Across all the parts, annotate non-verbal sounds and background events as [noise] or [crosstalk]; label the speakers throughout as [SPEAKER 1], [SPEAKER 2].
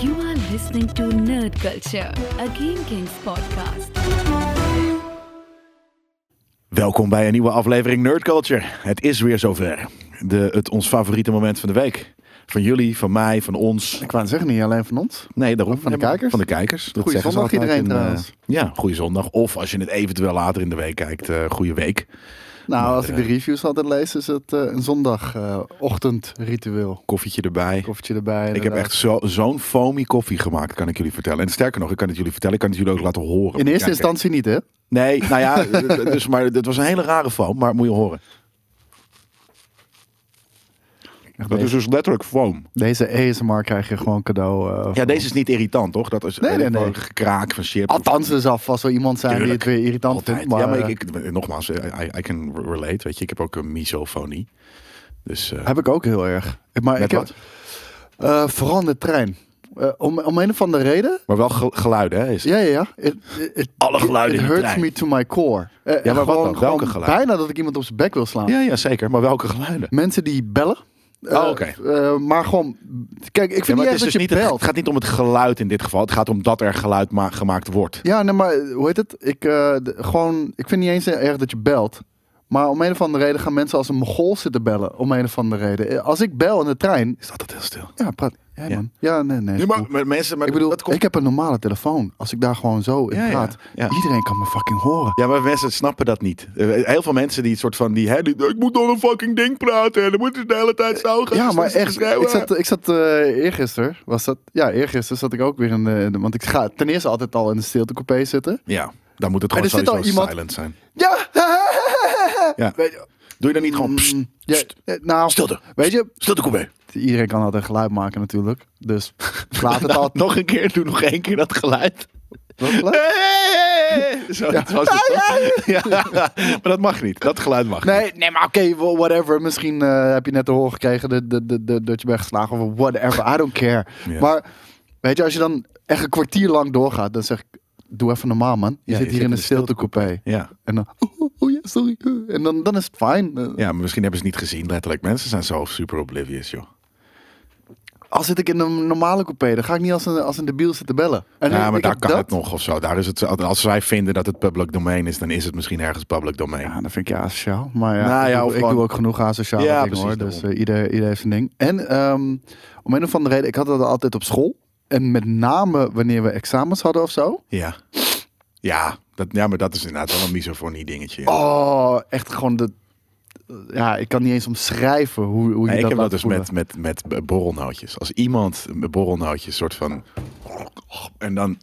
[SPEAKER 1] You are listening to Nerd Culture, a Game Kings podcast.
[SPEAKER 2] Welkom bij een nieuwe aflevering Nerd Culture. Het is weer zover. De, het ons favoriete moment van de week. Van jullie, van mij, van ons.
[SPEAKER 3] Ik wou het zeggen, niet alleen van ons.
[SPEAKER 2] Nee, daarom.
[SPEAKER 3] Van de kijkers?
[SPEAKER 2] Van de kijkers. Dat
[SPEAKER 3] Goeie
[SPEAKER 2] zeggen ze
[SPEAKER 3] zondag
[SPEAKER 2] altijd
[SPEAKER 3] iedereen
[SPEAKER 2] eh,
[SPEAKER 3] trouwens.
[SPEAKER 2] ja, goede zondag. Of als je het eventueel later in de week kijkt, eh goede week.
[SPEAKER 3] Nou, als
[SPEAKER 2] eh,
[SPEAKER 3] ik de reviews altijd lees, is het eh, een zondagochtendritueel.
[SPEAKER 2] Koffietje erbij.
[SPEAKER 3] Koffietje erbij.
[SPEAKER 2] ik heb
[SPEAKER 3] inderdaad.
[SPEAKER 2] echt zo- zo'n foamy koffie gemaakt, kan ik jullie vertellen. En sterker nog, ik kan het jullie vertellen, ik kan het jullie ook laten horen.
[SPEAKER 3] In eerste
[SPEAKER 2] Kijken.
[SPEAKER 3] instantie niet, hè?
[SPEAKER 2] Nee, nou ja, eh, dus, maar het was een hele rare foam, maar moet je horen. Dat is dus letterlijk foam.
[SPEAKER 3] Deze ASMR krijg je gewoon cadeau. eh,
[SPEAKER 2] Ja,
[SPEAKER 3] voor-
[SPEAKER 2] deze is niet irritant, toch? Dat is
[SPEAKER 3] Nee,
[SPEAKER 2] eh,
[SPEAKER 3] nee, nee.
[SPEAKER 2] gewoon gekraak van shit.
[SPEAKER 3] Althans, er zal vast wel iemand zijn
[SPEAKER 2] Tuurlijk.
[SPEAKER 3] die het weer irritant
[SPEAKER 2] altijd.
[SPEAKER 3] vindt. Maar,
[SPEAKER 2] ja, maar
[SPEAKER 3] eh,
[SPEAKER 2] ik, ik- nogmaals, eh, I, I can relate, weet je. Ik heb ook een misofonie. Dus eh,
[SPEAKER 3] heb ik ook heel erg. Ik- Maar
[SPEAKER 2] met
[SPEAKER 3] ik heb,
[SPEAKER 2] wat?
[SPEAKER 3] eh, vooral in de trein. Eh, om, om een of andere reden.
[SPEAKER 2] Maar wel gel- geluiden, hè? Is
[SPEAKER 3] Ja, ja, ja. It, it- it-
[SPEAKER 2] Alle geluiden
[SPEAKER 3] it
[SPEAKER 2] in de
[SPEAKER 3] hurts
[SPEAKER 2] trein.
[SPEAKER 3] me to my core. Eh,
[SPEAKER 2] Ja, maar wat
[SPEAKER 3] gewoon,
[SPEAKER 2] dan? Welke
[SPEAKER 3] gewoon
[SPEAKER 2] geluiden?
[SPEAKER 3] Bijna dat ik iemand op zijn bek wil slaan.
[SPEAKER 2] ja, ja, zeker. Maar welke geluiden?
[SPEAKER 3] mensen die bellen.
[SPEAKER 2] Oh, oké.
[SPEAKER 3] Eh, eh, maar gewoon, kijk, ik
[SPEAKER 2] Ja, maar
[SPEAKER 3] vind
[SPEAKER 2] het,
[SPEAKER 3] niet echt
[SPEAKER 2] is
[SPEAKER 3] dat
[SPEAKER 2] dus
[SPEAKER 3] je
[SPEAKER 2] niet het,
[SPEAKER 3] belt.
[SPEAKER 2] het gaat niet om het geluid in dit geval. Het gaat om dat er geluid ma- gemaakt wordt.
[SPEAKER 3] Ja, nee, maar eh, hoe heet het? Ik, eh, de- gewoon, ik vind niet eens erg dat je belt. Maar om een of andere reden gaan mensen als een mogol zitten bellen. Om een of andere reden. Eh, Als ik bel in de trein.
[SPEAKER 2] Is dat het heel stil?
[SPEAKER 3] Ja, praat. Ja,
[SPEAKER 2] Ja.
[SPEAKER 3] man. Ja, nee, nee. is cool.
[SPEAKER 2] maar mensen...
[SPEAKER 3] ik bedoel,
[SPEAKER 2] dat komt...
[SPEAKER 3] ik heb een normale telefoon. Als ik daar gewoon zo in
[SPEAKER 2] Ja, ja,
[SPEAKER 3] praat.
[SPEAKER 2] ja.
[SPEAKER 3] Iedereen kan me fucking horen.
[SPEAKER 2] Ja, maar mensen snappen dat niet. Eh, Heel veel mensen die het soort van... Die, hè, die, ik moet door een fucking ding praten. En dan moet je de hele tijd zo gaan.
[SPEAKER 3] Eh, Ja, maar
[SPEAKER 2] staan
[SPEAKER 3] echt.
[SPEAKER 2] schreeuwen.
[SPEAKER 3] Ik zat, ik zat eh eergisteren, was dat? Ja, eergisteren zat ik ook weer in de, in de- Want ik ga ten eerste altijd al in de stiltecoupé zitten.
[SPEAKER 2] Ja, dan moet het
[SPEAKER 3] En
[SPEAKER 2] gewoon
[SPEAKER 3] er zit
[SPEAKER 2] sowieso
[SPEAKER 3] al iemand-
[SPEAKER 2] silent zijn.
[SPEAKER 3] Ja!
[SPEAKER 2] [laughs] Ja.
[SPEAKER 3] Weet je,
[SPEAKER 2] Doe je dan niet gewoon... Psst,
[SPEAKER 3] mm, ja, eh, nou,
[SPEAKER 2] stilte.
[SPEAKER 3] Weet je,
[SPEAKER 2] stilte, kom mee.
[SPEAKER 3] iedereen kan altijd geluid maken natuurlijk. Dus [laughs] laat het altijd.
[SPEAKER 2] Nog een keer, doe nog één keer dat geluid.
[SPEAKER 3] Wat geluid?
[SPEAKER 2] Zo, dat was het toch? Ja, maar dat mag niet. Dat geluid mag niet.
[SPEAKER 3] Nee, nee, maar oké, wha- whatever. Misschien eh, heb je net te horen gekregen dat, dat, dat, dat, dat je bent geslagen of whatever. I don't care.
[SPEAKER 2] Ja.
[SPEAKER 3] Maar weet je, als je dan echt een kwartier lang doorgaat, dan zeg ik, doe even normaal man. Je
[SPEAKER 2] Ja,
[SPEAKER 3] zit
[SPEAKER 2] je
[SPEAKER 3] hier
[SPEAKER 2] zit
[SPEAKER 3] in
[SPEAKER 2] in
[SPEAKER 3] een
[SPEAKER 2] de
[SPEAKER 3] stiltecoupé.
[SPEAKER 2] Ja.
[SPEAKER 3] En dan, oh, oh, oh, ja, sorry. eh. En dan, dan is het fijn. Eh,
[SPEAKER 2] ja, maar misschien hebben ze het niet gezien, letterlijk. Mensen zijn zo super oblivious, joh.
[SPEAKER 3] Al zit ik in een normale coupé, dan ga ik niet als een, als een debiel zitten bellen. En
[SPEAKER 2] Ja,
[SPEAKER 3] ik-
[SPEAKER 2] maar
[SPEAKER 3] ik
[SPEAKER 2] daar
[SPEAKER 3] heb
[SPEAKER 2] kan
[SPEAKER 3] dat-
[SPEAKER 2] het nog of zo. Daar is het, als wij vinden dat het public domein is, dan is het misschien ergens public domein.
[SPEAKER 3] Ja, dat vind ik ja, asociaal. Maar ja,
[SPEAKER 2] Nou ja,
[SPEAKER 3] ik, doe-
[SPEAKER 2] of
[SPEAKER 3] ik
[SPEAKER 2] gewoon-
[SPEAKER 3] doe ook genoeg asociaal
[SPEAKER 2] Ja,
[SPEAKER 3] dingen
[SPEAKER 2] precies,
[SPEAKER 3] hoor. Dus
[SPEAKER 2] daarom.
[SPEAKER 3] eh, ieder, ieder heeft zijn ding. En ehm, om een of andere reden, ik had dat altijd op school. En met name wanneer we examens hadden of zo.
[SPEAKER 2] Ja. Ja, dat, ja, maar dat is inderdaad wel een misofonie dingetje. ja.
[SPEAKER 3] Oh, echt gewoon de... Ja, ik kan niet eens omschrijven hoe, hoe je
[SPEAKER 2] Nee,
[SPEAKER 3] dat
[SPEAKER 2] ik heb
[SPEAKER 3] laat
[SPEAKER 2] dat dus
[SPEAKER 3] voelen.
[SPEAKER 2] met, met, met borrelnootjes. Als iemand met borrelnootjes soort van... En dan...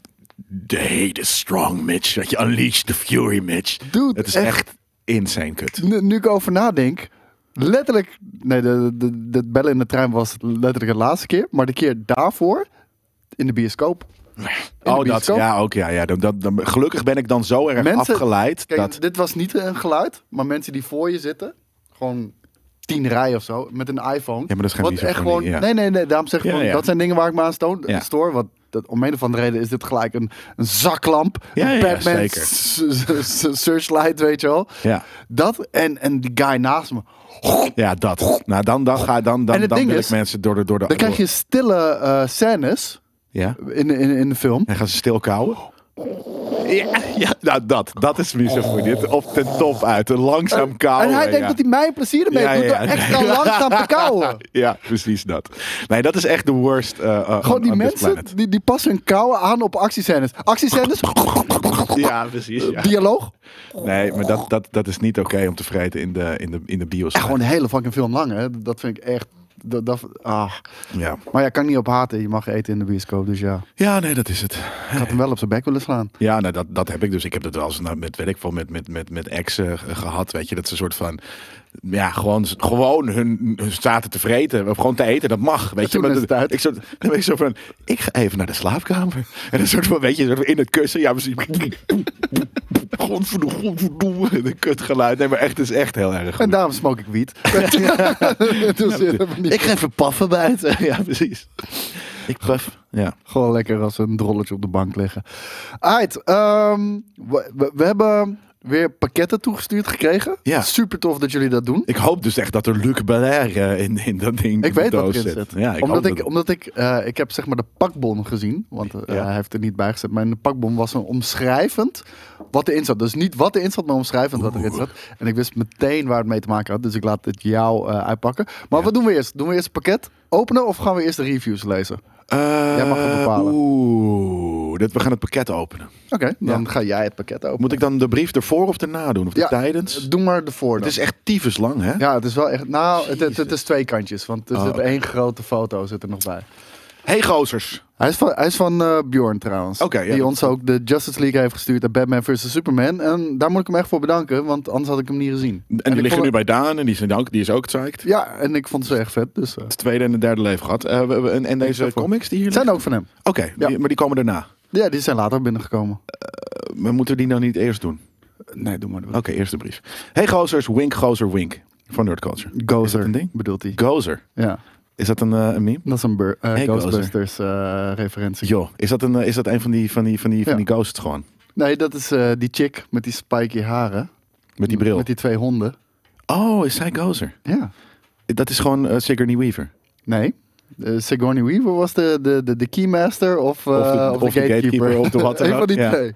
[SPEAKER 2] The hate is strong, Mitch. Dat je unleash the fury, Mitch.
[SPEAKER 3] Dude,
[SPEAKER 2] het is echt,
[SPEAKER 3] echt.
[SPEAKER 2] insane kut.
[SPEAKER 3] Nu, nu ik over nadenk, letterlijk... Nee, de, de, de bellen in de trein was letterlijk de laatste keer. Maar de keer daarvoor, in de bioscoop. In de
[SPEAKER 2] Oh, dat,
[SPEAKER 3] bioscoop.
[SPEAKER 2] ja, ook. Ja, ja, dat, dat, dan- gelukkig ben ik dan zo erg
[SPEAKER 3] Mensen-
[SPEAKER 2] afgeleid.
[SPEAKER 3] Kijk,
[SPEAKER 2] dat,
[SPEAKER 3] dit was niet een geluid, maar mensen die voor je zitten, gewoon tien rijen of zo, met een iPhone.
[SPEAKER 2] Ja, maar dat is geen
[SPEAKER 3] Wat
[SPEAKER 2] misofonie,
[SPEAKER 3] echt gewoon,
[SPEAKER 2] ja.
[SPEAKER 3] Nee, nee, nee, daarom zeg ik
[SPEAKER 2] Ja,
[SPEAKER 3] gewoon,
[SPEAKER 2] ja.
[SPEAKER 3] dat zijn dingen waar ik me aan stoor.
[SPEAKER 2] Ja.
[SPEAKER 3] stoor want dat, om een of andere reden is dit gelijk een, een zaklamp,
[SPEAKER 2] Ja,
[SPEAKER 3] een
[SPEAKER 2] ja,
[SPEAKER 3] Batman
[SPEAKER 2] zeker.
[SPEAKER 3] s- s- s- searchlight, weet je wel.
[SPEAKER 2] Ja.
[SPEAKER 3] Dat en, en die guy naast me.
[SPEAKER 2] ja, dat. Nou, dan, dan, ga, dan,
[SPEAKER 3] En
[SPEAKER 2] dan,
[SPEAKER 3] het
[SPEAKER 2] dan
[SPEAKER 3] ding
[SPEAKER 2] wil
[SPEAKER 3] is,
[SPEAKER 2] ik mensen door de... Door de
[SPEAKER 3] Dan krijg je stille eh, scènes
[SPEAKER 2] Ja?
[SPEAKER 3] in, in, in de film.
[SPEAKER 2] En gaan ze stil kauwen? Ja, ja, nou dat, dat is misofonie. Dit Op ten top uit, een langzaam kauwen.
[SPEAKER 3] en hij denkt
[SPEAKER 2] ja.
[SPEAKER 3] dat hij mij plezier ermee
[SPEAKER 2] Ja,
[SPEAKER 3] doet
[SPEAKER 2] ja,
[SPEAKER 3] door
[SPEAKER 2] ja.
[SPEAKER 3] extra langzaam te
[SPEAKER 2] [laughs]
[SPEAKER 3] kauwen.
[SPEAKER 2] Ja, precies dat. Nee, dat is echt de worst. eh, eh,
[SPEAKER 3] Gewoon
[SPEAKER 2] on-
[SPEAKER 3] die
[SPEAKER 2] on this
[SPEAKER 3] mensen
[SPEAKER 2] planet.
[SPEAKER 3] die, die passen hun kouwen aan op actiescènes. Actiescènes,
[SPEAKER 2] Ja, precies. Ja.
[SPEAKER 3] dialoog.
[SPEAKER 2] Nee, maar dat, dat, dat is niet oké om te vreten in de, in de, in de bios.
[SPEAKER 3] Echt gewoon een hele fucking film lang, hè. Dat vind ik echt... Dat, dat, ah.
[SPEAKER 2] Ja.
[SPEAKER 3] Maar ja, kan ik niet op haten. Je mag eten in de bioscoop, dus ja.
[SPEAKER 2] ja, nee, dat is het.
[SPEAKER 3] Ik had hem wel op zijn bek willen slaan.
[SPEAKER 2] Ja, nou, dat, dat heb ik dus. Ik heb dat wel eens nou, met, weet ik veel, met, met, met, met exen eh, gehad. Weet je, dat ze een soort van. Ja, gewoon, gewoon hun, hun zaten te vreten. of Gewoon te eten, dat mag. Weet je,
[SPEAKER 3] Toen
[SPEAKER 2] Maar
[SPEAKER 3] is
[SPEAKER 2] dat-
[SPEAKER 3] het uit.
[SPEAKER 2] Ik, zo, dan ben ik zo van. Ik ga even naar de slaapkamer. [laughs] En een soort van, weet je, een soort van in het kussen. Ja, misschien. Godverdomme, godverdomme. Een kutgeluid. Nee, maar echt, het is echt heel erg.
[SPEAKER 3] En daarom smoke ik [laughs] wiet. dus, eh, niet-
[SPEAKER 2] ga even paffen buiten. Ja, precies. Ik paf. Ja.
[SPEAKER 3] Gewoon lekker als een drolletje op de bank liggen. Alright, ehm, we, we, we hebben... weer pakketten toegestuurd gekregen.
[SPEAKER 2] Ja.
[SPEAKER 3] Super tof dat jullie dat doen.
[SPEAKER 2] Ik hoop dus echt dat er Luc Belair eh, in, in dat ding
[SPEAKER 3] Ik
[SPEAKER 2] in de
[SPEAKER 3] weet wat
[SPEAKER 2] doos
[SPEAKER 3] erin
[SPEAKER 2] zit.
[SPEAKER 3] zit.
[SPEAKER 2] Ja, ik
[SPEAKER 3] omdat,
[SPEAKER 2] hoop
[SPEAKER 3] ik,
[SPEAKER 2] dat-
[SPEAKER 3] omdat ik, eh, ik heb zeg maar de pakbon gezien, want eh,
[SPEAKER 2] Ja.
[SPEAKER 3] hij heeft er niet bij gezet. Maar in de pakbon was een omschrijvend wat erin zat. Dus niet wat erin zat, maar omschrijvend wat erin zat. En ik wist meteen waar het mee te maken had, dus ik laat het jou eh, uitpakken. Maar wat doen we eerst? Doen we eerst het pakket openen of gaan we eerst de reviews lezen?
[SPEAKER 2] Eh,
[SPEAKER 3] Jij mag het bepalen.
[SPEAKER 2] Oeh, dit, we gaan het pakket openen.
[SPEAKER 3] Oké, dan ga jij het pakket openen.
[SPEAKER 2] Moet ik dan de brief ervoor of erna doen? Of de
[SPEAKER 3] Ja, eh,
[SPEAKER 2] tijdens?
[SPEAKER 3] Doe maar de voordeel.
[SPEAKER 2] het is echt tyfus lang, hè?
[SPEAKER 3] Ja, het is wel echt. Nou, het, het, het is twee kantjes, want er
[SPEAKER 2] Oh,
[SPEAKER 3] zit
[SPEAKER 2] oké.
[SPEAKER 3] één grote foto zit er nog bij.
[SPEAKER 2] Hey gozers.
[SPEAKER 3] Hij is van, hij is van eh, Bjorn trouwens.
[SPEAKER 2] Oké, ja,
[SPEAKER 3] die
[SPEAKER 2] dat-
[SPEAKER 3] ons ook de Justice League heeft gestuurd en Batman vs. Superman. En daar moet ik hem echt voor bedanken, want anders had ik hem niet gezien.
[SPEAKER 2] En,
[SPEAKER 3] ik
[SPEAKER 2] die liggen
[SPEAKER 3] vond
[SPEAKER 2] nu bij Daan en die, zijn ook, die is ook psyched.
[SPEAKER 3] het- Ja, en ik vond ze echt vet. Dus, eh,
[SPEAKER 2] Het tweede en het derde leven gehad. Eh, we- we- en, en deze
[SPEAKER 3] daarvoor.
[SPEAKER 2] comics die hier
[SPEAKER 3] het zijn
[SPEAKER 2] liggen?
[SPEAKER 3] ook van hem.
[SPEAKER 2] Oké,
[SPEAKER 3] Ja.
[SPEAKER 2] die- maar die komen daarna.
[SPEAKER 3] Ja, die zijn later binnengekomen.
[SPEAKER 2] Eh, Maar moeten we die nou niet eerst doen?
[SPEAKER 3] Nee, doe maar.
[SPEAKER 2] Oké, eerst de brief. Hey gozers, wink gozer wink. Van Nerd Culture. Is dat
[SPEAKER 3] Gozer
[SPEAKER 2] een ding?
[SPEAKER 3] bedoelt hij.
[SPEAKER 2] Gozer.
[SPEAKER 3] ja,
[SPEAKER 2] Is dat een, eh, een meme?
[SPEAKER 3] dat is een bur- eh,
[SPEAKER 2] Hey, Gozer.
[SPEAKER 3] Ghostbusters eh, referentie.
[SPEAKER 2] Joh, is dat een, eh, is dat een van die, van die, van die, van
[SPEAKER 3] Ja.
[SPEAKER 2] die ghosts gewoon?
[SPEAKER 3] Nee, dat is eh, die chick met die spiky haren.
[SPEAKER 2] Met die bril.
[SPEAKER 3] Met die twee honden.
[SPEAKER 2] Oh, is zij gozer?
[SPEAKER 3] Ja.
[SPEAKER 2] Dat is gewoon eh, Sigourney Weaver.
[SPEAKER 3] Nee. Eh, Sigourney Weaver was de, de, de, de keymaster of, eh,
[SPEAKER 2] Of de-
[SPEAKER 3] of de,
[SPEAKER 2] of de
[SPEAKER 3] gatekeeper.
[SPEAKER 2] gatekeeper, of de wat dan
[SPEAKER 3] [laughs] Een van
[SPEAKER 2] ook,
[SPEAKER 3] die
[SPEAKER 2] ja.
[SPEAKER 3] twee.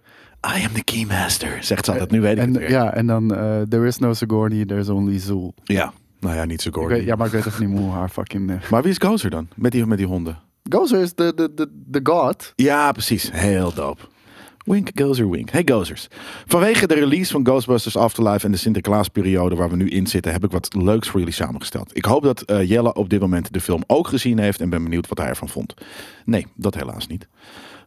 [SPEAKER 2] I am the keymaster, zegt ze altijd. Nu weet ik
[SPEAKER 3] En,
[SPEAKER 2] het weer.
[SPEAKER 3] ja, en dan eh, There is no Sigourney, there's only Zool.
[SPEAKER 2] Ja. Nou ja, niet
[SPEAKER 3] Ik
[SPEAKER 2] Sigourney.
[SPEAKER 3] weet, ja, maar ik weet even niet hoe haar fucking... eh,
[SPEAKER 2] Maar wie is Gozer dan? Met die, met die honden.
[SPEAKER 3] Gozer is de, de, de, de god.
[SPEAKER 2] Ja, precies. Heel dope. Wink, Gozer, wink. Hey Gozers. Vanwege de release van Ghostbusters Afterlife en de Sinterklaasperiode waar we nu in zitten, heb ik wat leuks voor jullie samengesteld. Ik hoop dat eh, Jelle op dit moment de film ook gezien heeft en ben benieuwd wat hij ervan vond. Nee, dat helaas niet.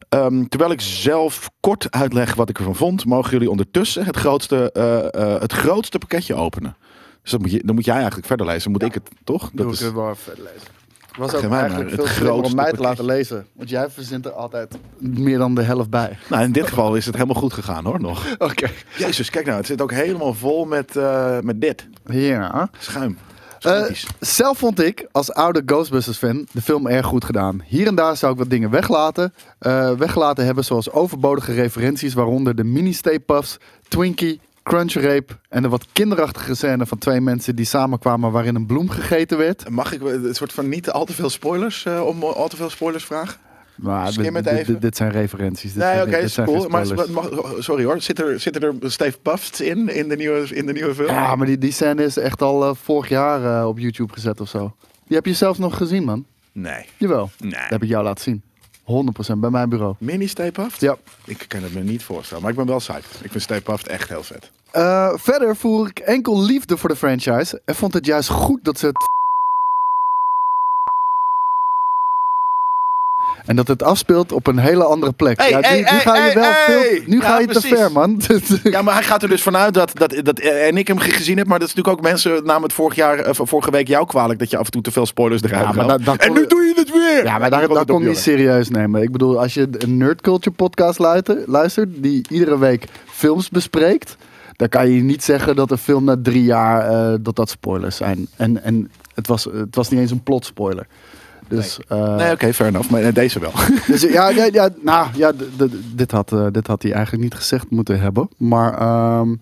[SPEAKER 2] Ehm, terwijl ik zelf kort uitleg wat ik ervan vond, mogen jullie ondertussen het grootste, eh, eh, het grootste pakketje openen. Dus dat moet je, dan moet jij eigenlijk verder lezen. Dan Moet ik het, toch?
[SPEAKER 3] Doe
[SPEAKER 2] Dat is,
[SPEAKER 3] ik het wel even lezen. Was
[SPEAKER 2] Geef
[SPEAKER 3] ook
[SPEAKER 2] mij maar
[SPEAKER 3] eigenlijk
[SPEAKER 2] het
[SPEAKER 3] veel slimmer om
[SPEAKER 2] grootste
[SPEAKER 3] mij te
[SPEAKER 2] pakketje.
[SPEAKER 3] laten lezen. Want jij verzint er altijd meer dan de helft bij.
[SPEAKER 2] nou, in dit geval is het helemaal goed gegaan hoor, nog.
[SPEAKER 3] [laughs] Oké.
[SPEAKER 2] Jezus, kijk nou, het zit ook helemaal vol met, eh, met dit.
[SPEAKER 3] Ja.
[SPEAKER 2] Schuim.
[SPEAKER 3] Eh,
[SPEAKER 2] Schottisch.
[SPEAKER 3] zelf vond ik, als oude Ghostbusters-fan, de film erg goed gedaan. Hier en daar zou ik wat dingen weglaten. eh, weggelaten hebben, zoals overbodige referenties, waaronder de mini-stay puffs, Twinkie, Crunchrape en de wat kinderachtige scène van twee mensen die samenkwamen waarin een bloem gegeten werd.
[SPEAKER 2] Mag ik een soort van niet al te veel spoilers, eh, om al te veel spoilers vragen?
[SPEAKER 3] Maar
[SPEAKER 2] Skim
[SPEAKER 3] dit,
[SPEAKER 2] het
[SPEAKER 3] dit-
[SPEAKER 2] even.
[SPEAKER 3] dit- dit zijn referenties. Dit
[SPEAKER 2] Nee,
[SPEAKER 3] zijn,
[SPEAKER 2] oké,
[SPEAKER 3] dit
[SPEAKER 2] is
[SPEAKER 3] zijn geen
[SPEAKER 2] cool. Maar,
[SPEAKER 3] spoilers.
[SPEAKER 2] mag- oh, sorry hoor, zitten er, zitten er Steve Puffs in, in de nieuwe, in de nieuwe film?
[SPEAKER 3] Ja, maar die, die scène is echt al eh, vorig jaar eh, op YouTube gezet of zo. Die heb je zelf nog gezien, man.
[SPEAKER 2] Nee,
[SPEAKER 3] Jawel. Dat
[SPEAKER 2] nee.
[SPEAKER 3] heb ik jou laten zien. 100% bij mijn bureau.
[SPEAKER 2] Mini Steve Puffs?
[SPEAKER 3] Ja.
[SPEAKER 2] Ik kan het me niet voorstellen, maar ik ben wel psyched. Ik vind Steve Puffs echt heel vet.
[SPEAKER 3] Eh, verder voer ik enkel liefde voor de franchise en vond het juist goed dat ze het. En dat het afspeelt op een hele andere plek.
[SPEAKER 2] Hey,
[SPEAKER 3] Ja, nu,
[SPEAKER 2] hey,
[SPEAKER 3] nu
[SPEAKER 2] hey,
[SPEAKER 3] ga je
[SPEAKER 2] hey,
[SPEAKER 3] wel
[SPEAKER 2] hey!
[SPEAKER 3] veel- nu
[SPEAKER 2] Ja,
[SPEAKER 3] ga je te
[SPEAKER 2] precies.
[SPEAKER 3] ver, man. [laughs]
[SPEAKER 2] Ja, maar hij gaat er dus vanuit dat, dat, dat en ik hem gezien heb, maar dat is natuurlijk ook mensen namen het vorig jaar, eh, vorige week jou kwalijk dat je af en toe te veel spoilers eruit
[SPEAKER 3] Ja, maar
[SPEAKER 2] haalt.
[SPEAKER 3] dat- dat
[SPEAKER 2] En
[SPEAKER 3] kon-
[SPEAKER 2] nu doe je het weer!
[SPEAKER 3] Ja, maar daar,
[SPEAKER 2] Ik
[SPEAKER 3] daar
[SPEAKER 2] het op,
[SPEAKER 3] kon je niet
[SPEAKER 2] jongen.
[SPEAKER 3] serieus nemen. Ik bedoel, als je een nerd culture podcast luister- luistert, die iedere week films bespreekt, dan kan je niet zeggen dat een film na drie jaar eh, dat dat spoilers zijn. En, en het, was, het was niet eens een plot spoiler. Dus, eh,
[SPEAKER 2] Nee, oké, fair enough. Maar eh, deze
[SPEAKER 3] [laughs]
[SPEAKER 2] wel.
[SPEAKER 3] dus ja, ja, ja, nou, ja, d- d- dit, had, eh, dit had hij eigenlijk niet gezegd moeten hebben. Maar, ehm,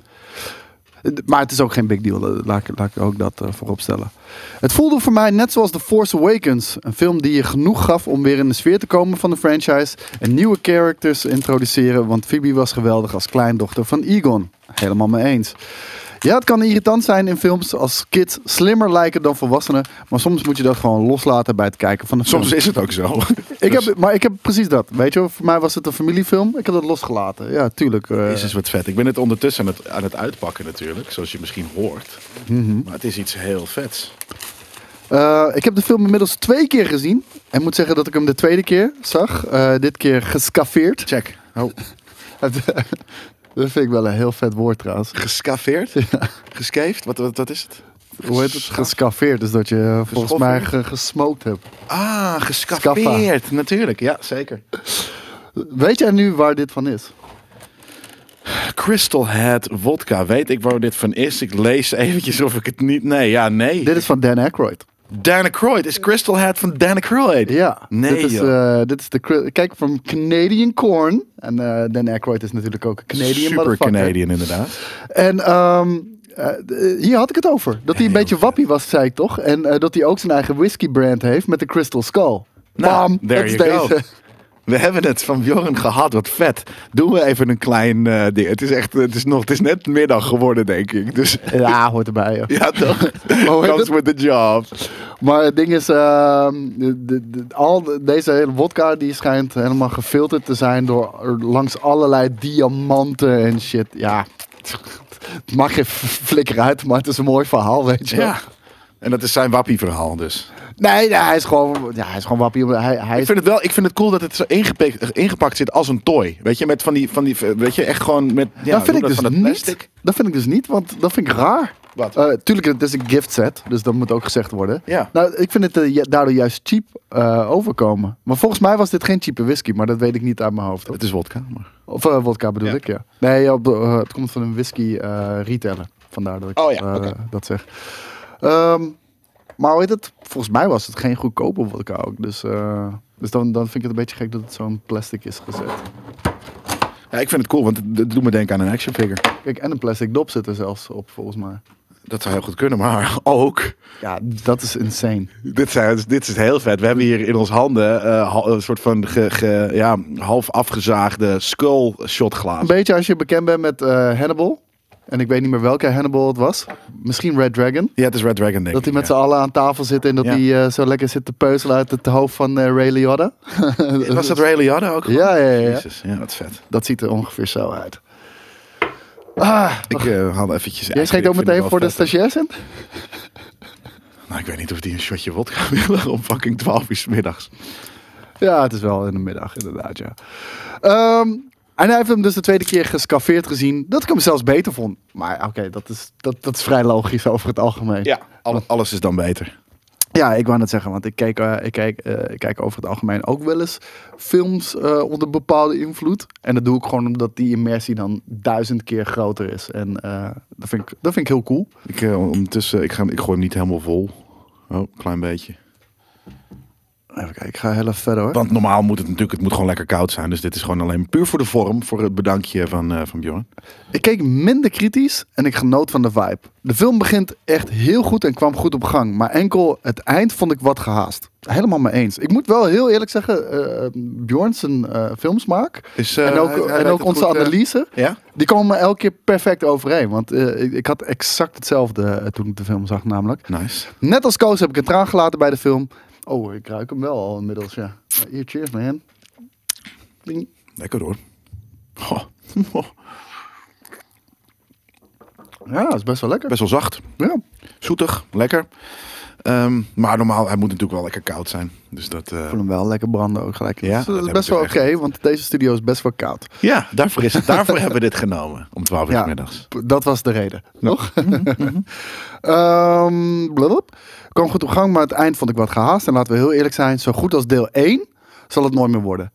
[SPEAKER 3] d- maar het is ook geen big deal. eh, Laat, ik- laat ik ook dat eh, voorop stellen. Het voelde voor mij net zoals The Force Awakens. Een film die je genoeg gaf om weer in de sfeer te komen van de franchise. En nieuwe characters te introduceren. Want Phoebe was geweldig als kleindochter van Egon. Helemaal mee eens. Ja, het kan irritant zijn in films als kids slimmer lijken dan volwassenen. Maar soms moet je dat gewoon loslaten bij het kijken van de film.
[SPEAKER 2] Soms is het ook
[SPEAKER 3] [laughs]
[SPEAKER 2] zo.
[SPEAKER 3] Ik
[SPEAKER 2] Dus-
[SPEAKER 3] heb, maar ik heb precies dat. Weet je, wel, voor mij was het een familiefilm. Ik heb dat losgelaten. Ja, tuurlijk. eh.
[SPEAKER 2] Jezus, wat vet. Ik ben het ondertussen aan het, aan het uitpakken natuurlijk, zoals je misschien hoort.
[SPEAKER 3] Mhm.
[SPEAKER 2] Maar het is iets heel vets.
[SPEAKER 3] Eh, ik heb de film inmiddels twee keer gezien. En moet zeggen dat ik hem de tweede keer zag. Eh, dit keer gescaffeerd.
[SPEAKER 2] Check.
[SPEAKER 3] Oh. [laughs] dat vind ik wel een heel vet woord trouwens. [laughs]
[SPEAKER 2] Gescaveerd? Gescaved? Wat, wat, wat is het?
[SPEAKER 3] Hoe heet het? Gescaffeerd. Dus dat je eh, volgens mij ge- gesmoked hebt.
[SPEAKER 2] Ah, gescaveerd. Natuurlijk, ja, zeker.
[SPEAKER 3] Weet jij nu waar dit van is?
[SPEAKER 2] Crystal Head Vodka. Weet ik waar dit van is? Ik lees eventjes of ik het niet... Nee, ja, nee.
[SPEAKER 3] Dit is van Dan Aykroyd.
[SPEAKER 2] Dan Aykroyd is Crystal Head van Dan Aykroyd.
[SPEAKER 3] Ja,
[SPEAKER 2] Nee,
[SPEAKER 3] dit, is,
[SPEAKER 2] joh.
[SPEAKER 3] eh, dit is de. cri- Kijk, van Canadian Corn. En eh Dan Aykroyd is natuurlijk ook een Canadian
[SPEAKER 2] Super
[SPEAKER 3] motherfucker.
[SPEAKER 2] Canadian inderdaad.
[SPEAKER 3] En ehm, eh, d- hier had ik het over. Dat hij een beetje wappie was, zei ik toch? En eh, dat hij ook zijn eigen whisky brand heeft met de Crystal Skull.
[SPEAKER 2] Nou,
[SPEAKER 3] Bam, dat
[SPEAKER 2] there
[SPEAKER 3] is
[SPEAKER 2] you go.
[SPEAKER 3] deze.
[SPEAKER 2] We hebben het van Bjorn gehad, wat vet. Doen we even een klein eh, ding. Het is echt, het is nog, het is net middag geworden, denk ik. Dus
[SPEAKER 3] [laughs] Ja, hoort erbij. joh.
[SPEAKER 2] ja,
[SPEAKER 3] [laughs]
[SPEAKER 2] toch?
[SPEAKER 3] heet
[SPEAKER 2] Comes
[SPEAKER 3] het?
[SPEAKER 2] with the job.
[SPEAKER 3] Maar het ding is, ehm, de- de- de- al de- deze hele vodka die schijnt helemaal gefilterd te zijn door langs allerlei diamanten en shit. Ja, het mag geen flikker uit, maar het is een mooi verhaal, weet je. wel.
[SPEAKER 2] Ja. En dat is zijn wappie verhaal dus.
[SPEAKER 3] Nee, nee, hij is gewoon, ja, hij is gewoon wappie. Hij, hij
[SPEAKER 2] Ik
[SPEAKER 3] is,
[SPEAKER 2] vind het wel, ik vind het cool dat het zo ingepakt, ingepakt zit als een toy. Weet je, met van die, van die weet je, echt gewoon met, ja,
[SPEAKER 3] dat vind ik
[SPEAKER 2] hoe
[SPEAKER 3] dus
[SPEAKER 2] van dat
[SPEAKER 3] niet.
[SPEAKER 2] plastic.
[SPEAKER 3] Dat vind ik dus niet, want dat vind ik raar.
[SPEAKER 2] Wat?
[SPEAKER 3] Eh, tuurlijk, het is een gift set, dus dat moet ook gezegd worden.
[SPEAKER 2] Ja.
[SPEAKER 3] Nou, ik vind het eh, ju- daardoor juist cheap eh, overkomen. Maar volgens mij was dit geen cheap whisky, maar dat weet ik niet uit mijn hoofd. hoor.
[SPEAKER 2] Het is wodka, maar...
[SPEAKER 3] Of eh, wodka bedoel
[SPEAKER 2] Ja.
[SPEAKER 3] ik, ja. Nee, op de- eh, het komt van een whisky eh retailer. Vandaar dat ik
[SPEAKER 2] Oh ja,
[SPEAKER 3] eh,
[SPEAKER 2] oké.
[SPEAKER 3] dat zeg. Ehm, maar hoe heet het? Volgens mij was het geen goedkope wodka ook. Dus, eh, dus dan, dan vind ik het een beetje gek dat het zo'n plastic is gezet.
[SPEAKER 2] Ja, ik vind het cool, want het, het doet me denken aan een action figure.
[SPEAKER 3] Kijk, en een plastic dop zit er zelfs op, volgens mij.
[SPEAKER 2] Dat zou heel goed kunnen, maar [laughs] ook...
[SPEAKER 3] Ja, dat is insane.
[SPEAKER 2] Dit, zijn, dit is heel vet. We hebben hier in ons handen eh, hal- een soort van ge- ge- ja, half afgezaagde skull shot
[SPEAKER 3] Een
[SPEAKER 2] glazen.
[SPEAKER 3] beetje als je bekend bent met eh, Hannibal. En ik weet niet meer welke Hannibal het was. Misschien Red Dragon.
[SPEAKER 2] Ja, het is Red Dragon denk
[SPEAKER 3] Dat
[SPEAKER 2] ik,
[SPEAKER 3] hij met
[SPEAKER 2] ja.
[SPEAKER 3] z'n allen aan tafel zit en dat
[SPEAKER 2] Ja.
[SPEAKER 3] hij eh, zo lekker zit te peuzelen uit het hoofd van eh, Ray Liotta.
[SPEAKER 2] [laughs] Was dat Ray Liotta ook?
[SPEAKER 3] [laughs] Ja, ja, ja, ja.
[SPEAKER 2] Jezus, ja, wat vet.
[SPEAKER 3] Dat ziet er ongeveer zo uit.
[SPEAKER 2] Ik eh had eventjes...
[SPEAKER 3] Jij schenkt ook meteen voor de
[SPEAKER 2] station.
[SPEAKER 3] stagiairs in?
[SPEAKER 2] Nou, ik weet niet of die een shotje wodka [laughs] willen om fucking 12 uur 's middags.
[SPEAKER 3] Ja, het is wel in de middag, inderdaad, ja. Ehm, en hij heeft hem dus de tweede keer gescaffeerd gezien. Dat ik hem zelfs beter vond. Maar oké, dat, is, dat, dat is vrij logisch over het algemeen.
[SPEAKER 2] Alle- alles is dan beter.
[SPEAKER 3] Ja, ik wou net zeggen, want ik kijk, eh, ik, kijk, eh, ik kijk over het algemeen ook wel eens films eh, onder bepaalde invloed. En dat doe ik gewoon omdat die immersie dan duizend keer groter is. En eh, dat, vind ik, dat vind ik heel cool.
[SPEAKER 2] Ik, eh, ondertussen, ik, ga, ik gooi hem niet helemaal vol. Oh, klein beetje.
[SPEAKER 3] Even kijken, ik ga heel even verder hoor.
[SPEAKER 2] Want normaal moet het natuurlijk, het moet gewoon lekker koud zijn. Dus dit is gewoon alleen puur voor de vorm, voor het bedankje van, eh, van Bjorn.
[SPEAKER 3] Ik keek minder kritisch en ik genoot van de vibe. De film begint echt heel goed en kwam goed op gang. Maar enkel het eind vond ik wat gehaast. Helemaal mee eens. Ik moet wel heel eerlijk zeggen, eh Bjorn zijn eh, filmsmaak
[SPEAKER 2] Dus, eh,
[SPEAKER 3] en ook,
[SPEAKER 2] hij- hij
[SPEAKER 3] en
[SPEAKER 2] weet
[SPEAKER 3] ook
[SPEAKER 2] het
[SPEAKER 3] onze
[SPEAKER 2] goed, eh,
[SPEAKER 3] analyse,
[SPEAKER 2] Ja?
[SPEAKER 3] die komen elke keer perfect overeen. Want eh, ik, ik had exact hetzelfde eh, toen ik de film zag namelijk.
[SPEAKER 2] Nice.
[SPEAKER 3] Net als Koos heb ik een traan gelaten bij de film. Oh, ik ruik hem wel al inmiddels, ja. Hier, cheers man. Ding.
[SPEAKER 2] Lekker hoor. Goh. [laughs]
[SPEAKER 3] Ja, dat is best wel lekker.
[SPEAKER 2] Best wel zacht.
[SPEAKER 3] Ja.
[SPEAKER 2] Zoetig. Lekker. Ehm, maar normaal, hij moet natuurlijk wel lekker koud zijn. Dus dat... eh,
[SPEAKER 3] Ik voel hem wel lekker branden ook gelijk.
[SPEAKER 2] Ja,
[SPEAKER 3] Ja, dat dus
[SPEAKER 2] dat
[SPEAKER 3] is
[SPEAKER 2] hebben
[SPEAKER 3] best
[SPEAKER 2] ze
[SPEAKER 3] wel oké,
[SPEAKER 2] echt.
[SPEAKER 3] want deze studio is best wel koud.
[SPEAKER 2] ja, daarvoor, is, daarvoor hebben we dit genomen. Om 12 uur
[SPEAKER 3] Ja.
[SPEAKER 2] 's middags.
[SPEAKER 3] P- Dat was de reden, toch? mhm. [laughs] Ehm, blablab. kwam goed op gang, maar het eind vond ik wat gehaast. En laten we heel eerlijk zijn, zo goed als deel 1 zal het nooit meer worden.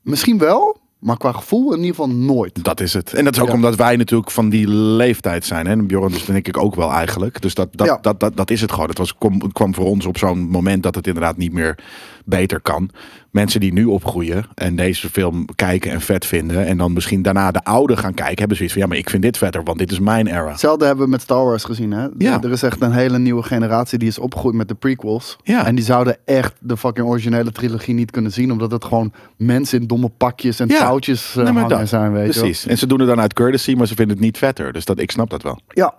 [SPEAKER 3] Misschien wel, maar qua gevoel in ieder geval nooit.
[SPEAKER 2] Dat is het. En dat is ook
[SPEAKER 3] Ja.
[SPEAKER 2] omdat wij natuurlijk van die leeftijd zijn. Hè? En Bjorn, dus denk ik ook wel eigenlijk. Dus dat, dat,
[SPEAKER 3] Ja.
[SPEAKER 2] dat, dat, dat is het gewoon. Het, was, kom, het kwam voor ons op zo'n moment dat het inderdaad niet meer beter kan. Mensen die nu opgroeien en deze film kijken en vet vinden. En dan misschien daarna de oude gaan kijken. Hebben zoiets van, ja, maar ik vind dit vetter. Want dit is mijn era.
[SPEAKER 3] Hetzelfde hebben we met Star Wars gezien. Hè?
[SPEAKER 2] Ja.
[SPEAKER 3] Er- Er is echt een hele nieuwe generatie die is opgegroeid met de prequels.
[SPEAKER 2] Ja.
[SPEAKER 3] En die zouden echt de fucking originele trilogie niet kunnen zien. Omdat het gewoon mensen in domme pakjes en
[SPEAKER 2] Ja.
[SPEAKER 3] touwtjes eh,
[SPEAKER 2] Nee, maar
[SPEAKER 3] hangen
[SPEAKER 2] dat-
[SPEAKER 3] zijn. Weet je wel.
[SPEAKER 2] Precies. En ze doen het dan uit courtesy, maar ze vinden het niet vetter. Dus dat, ik snap dat wel.
[SPEAKER 3] Ja,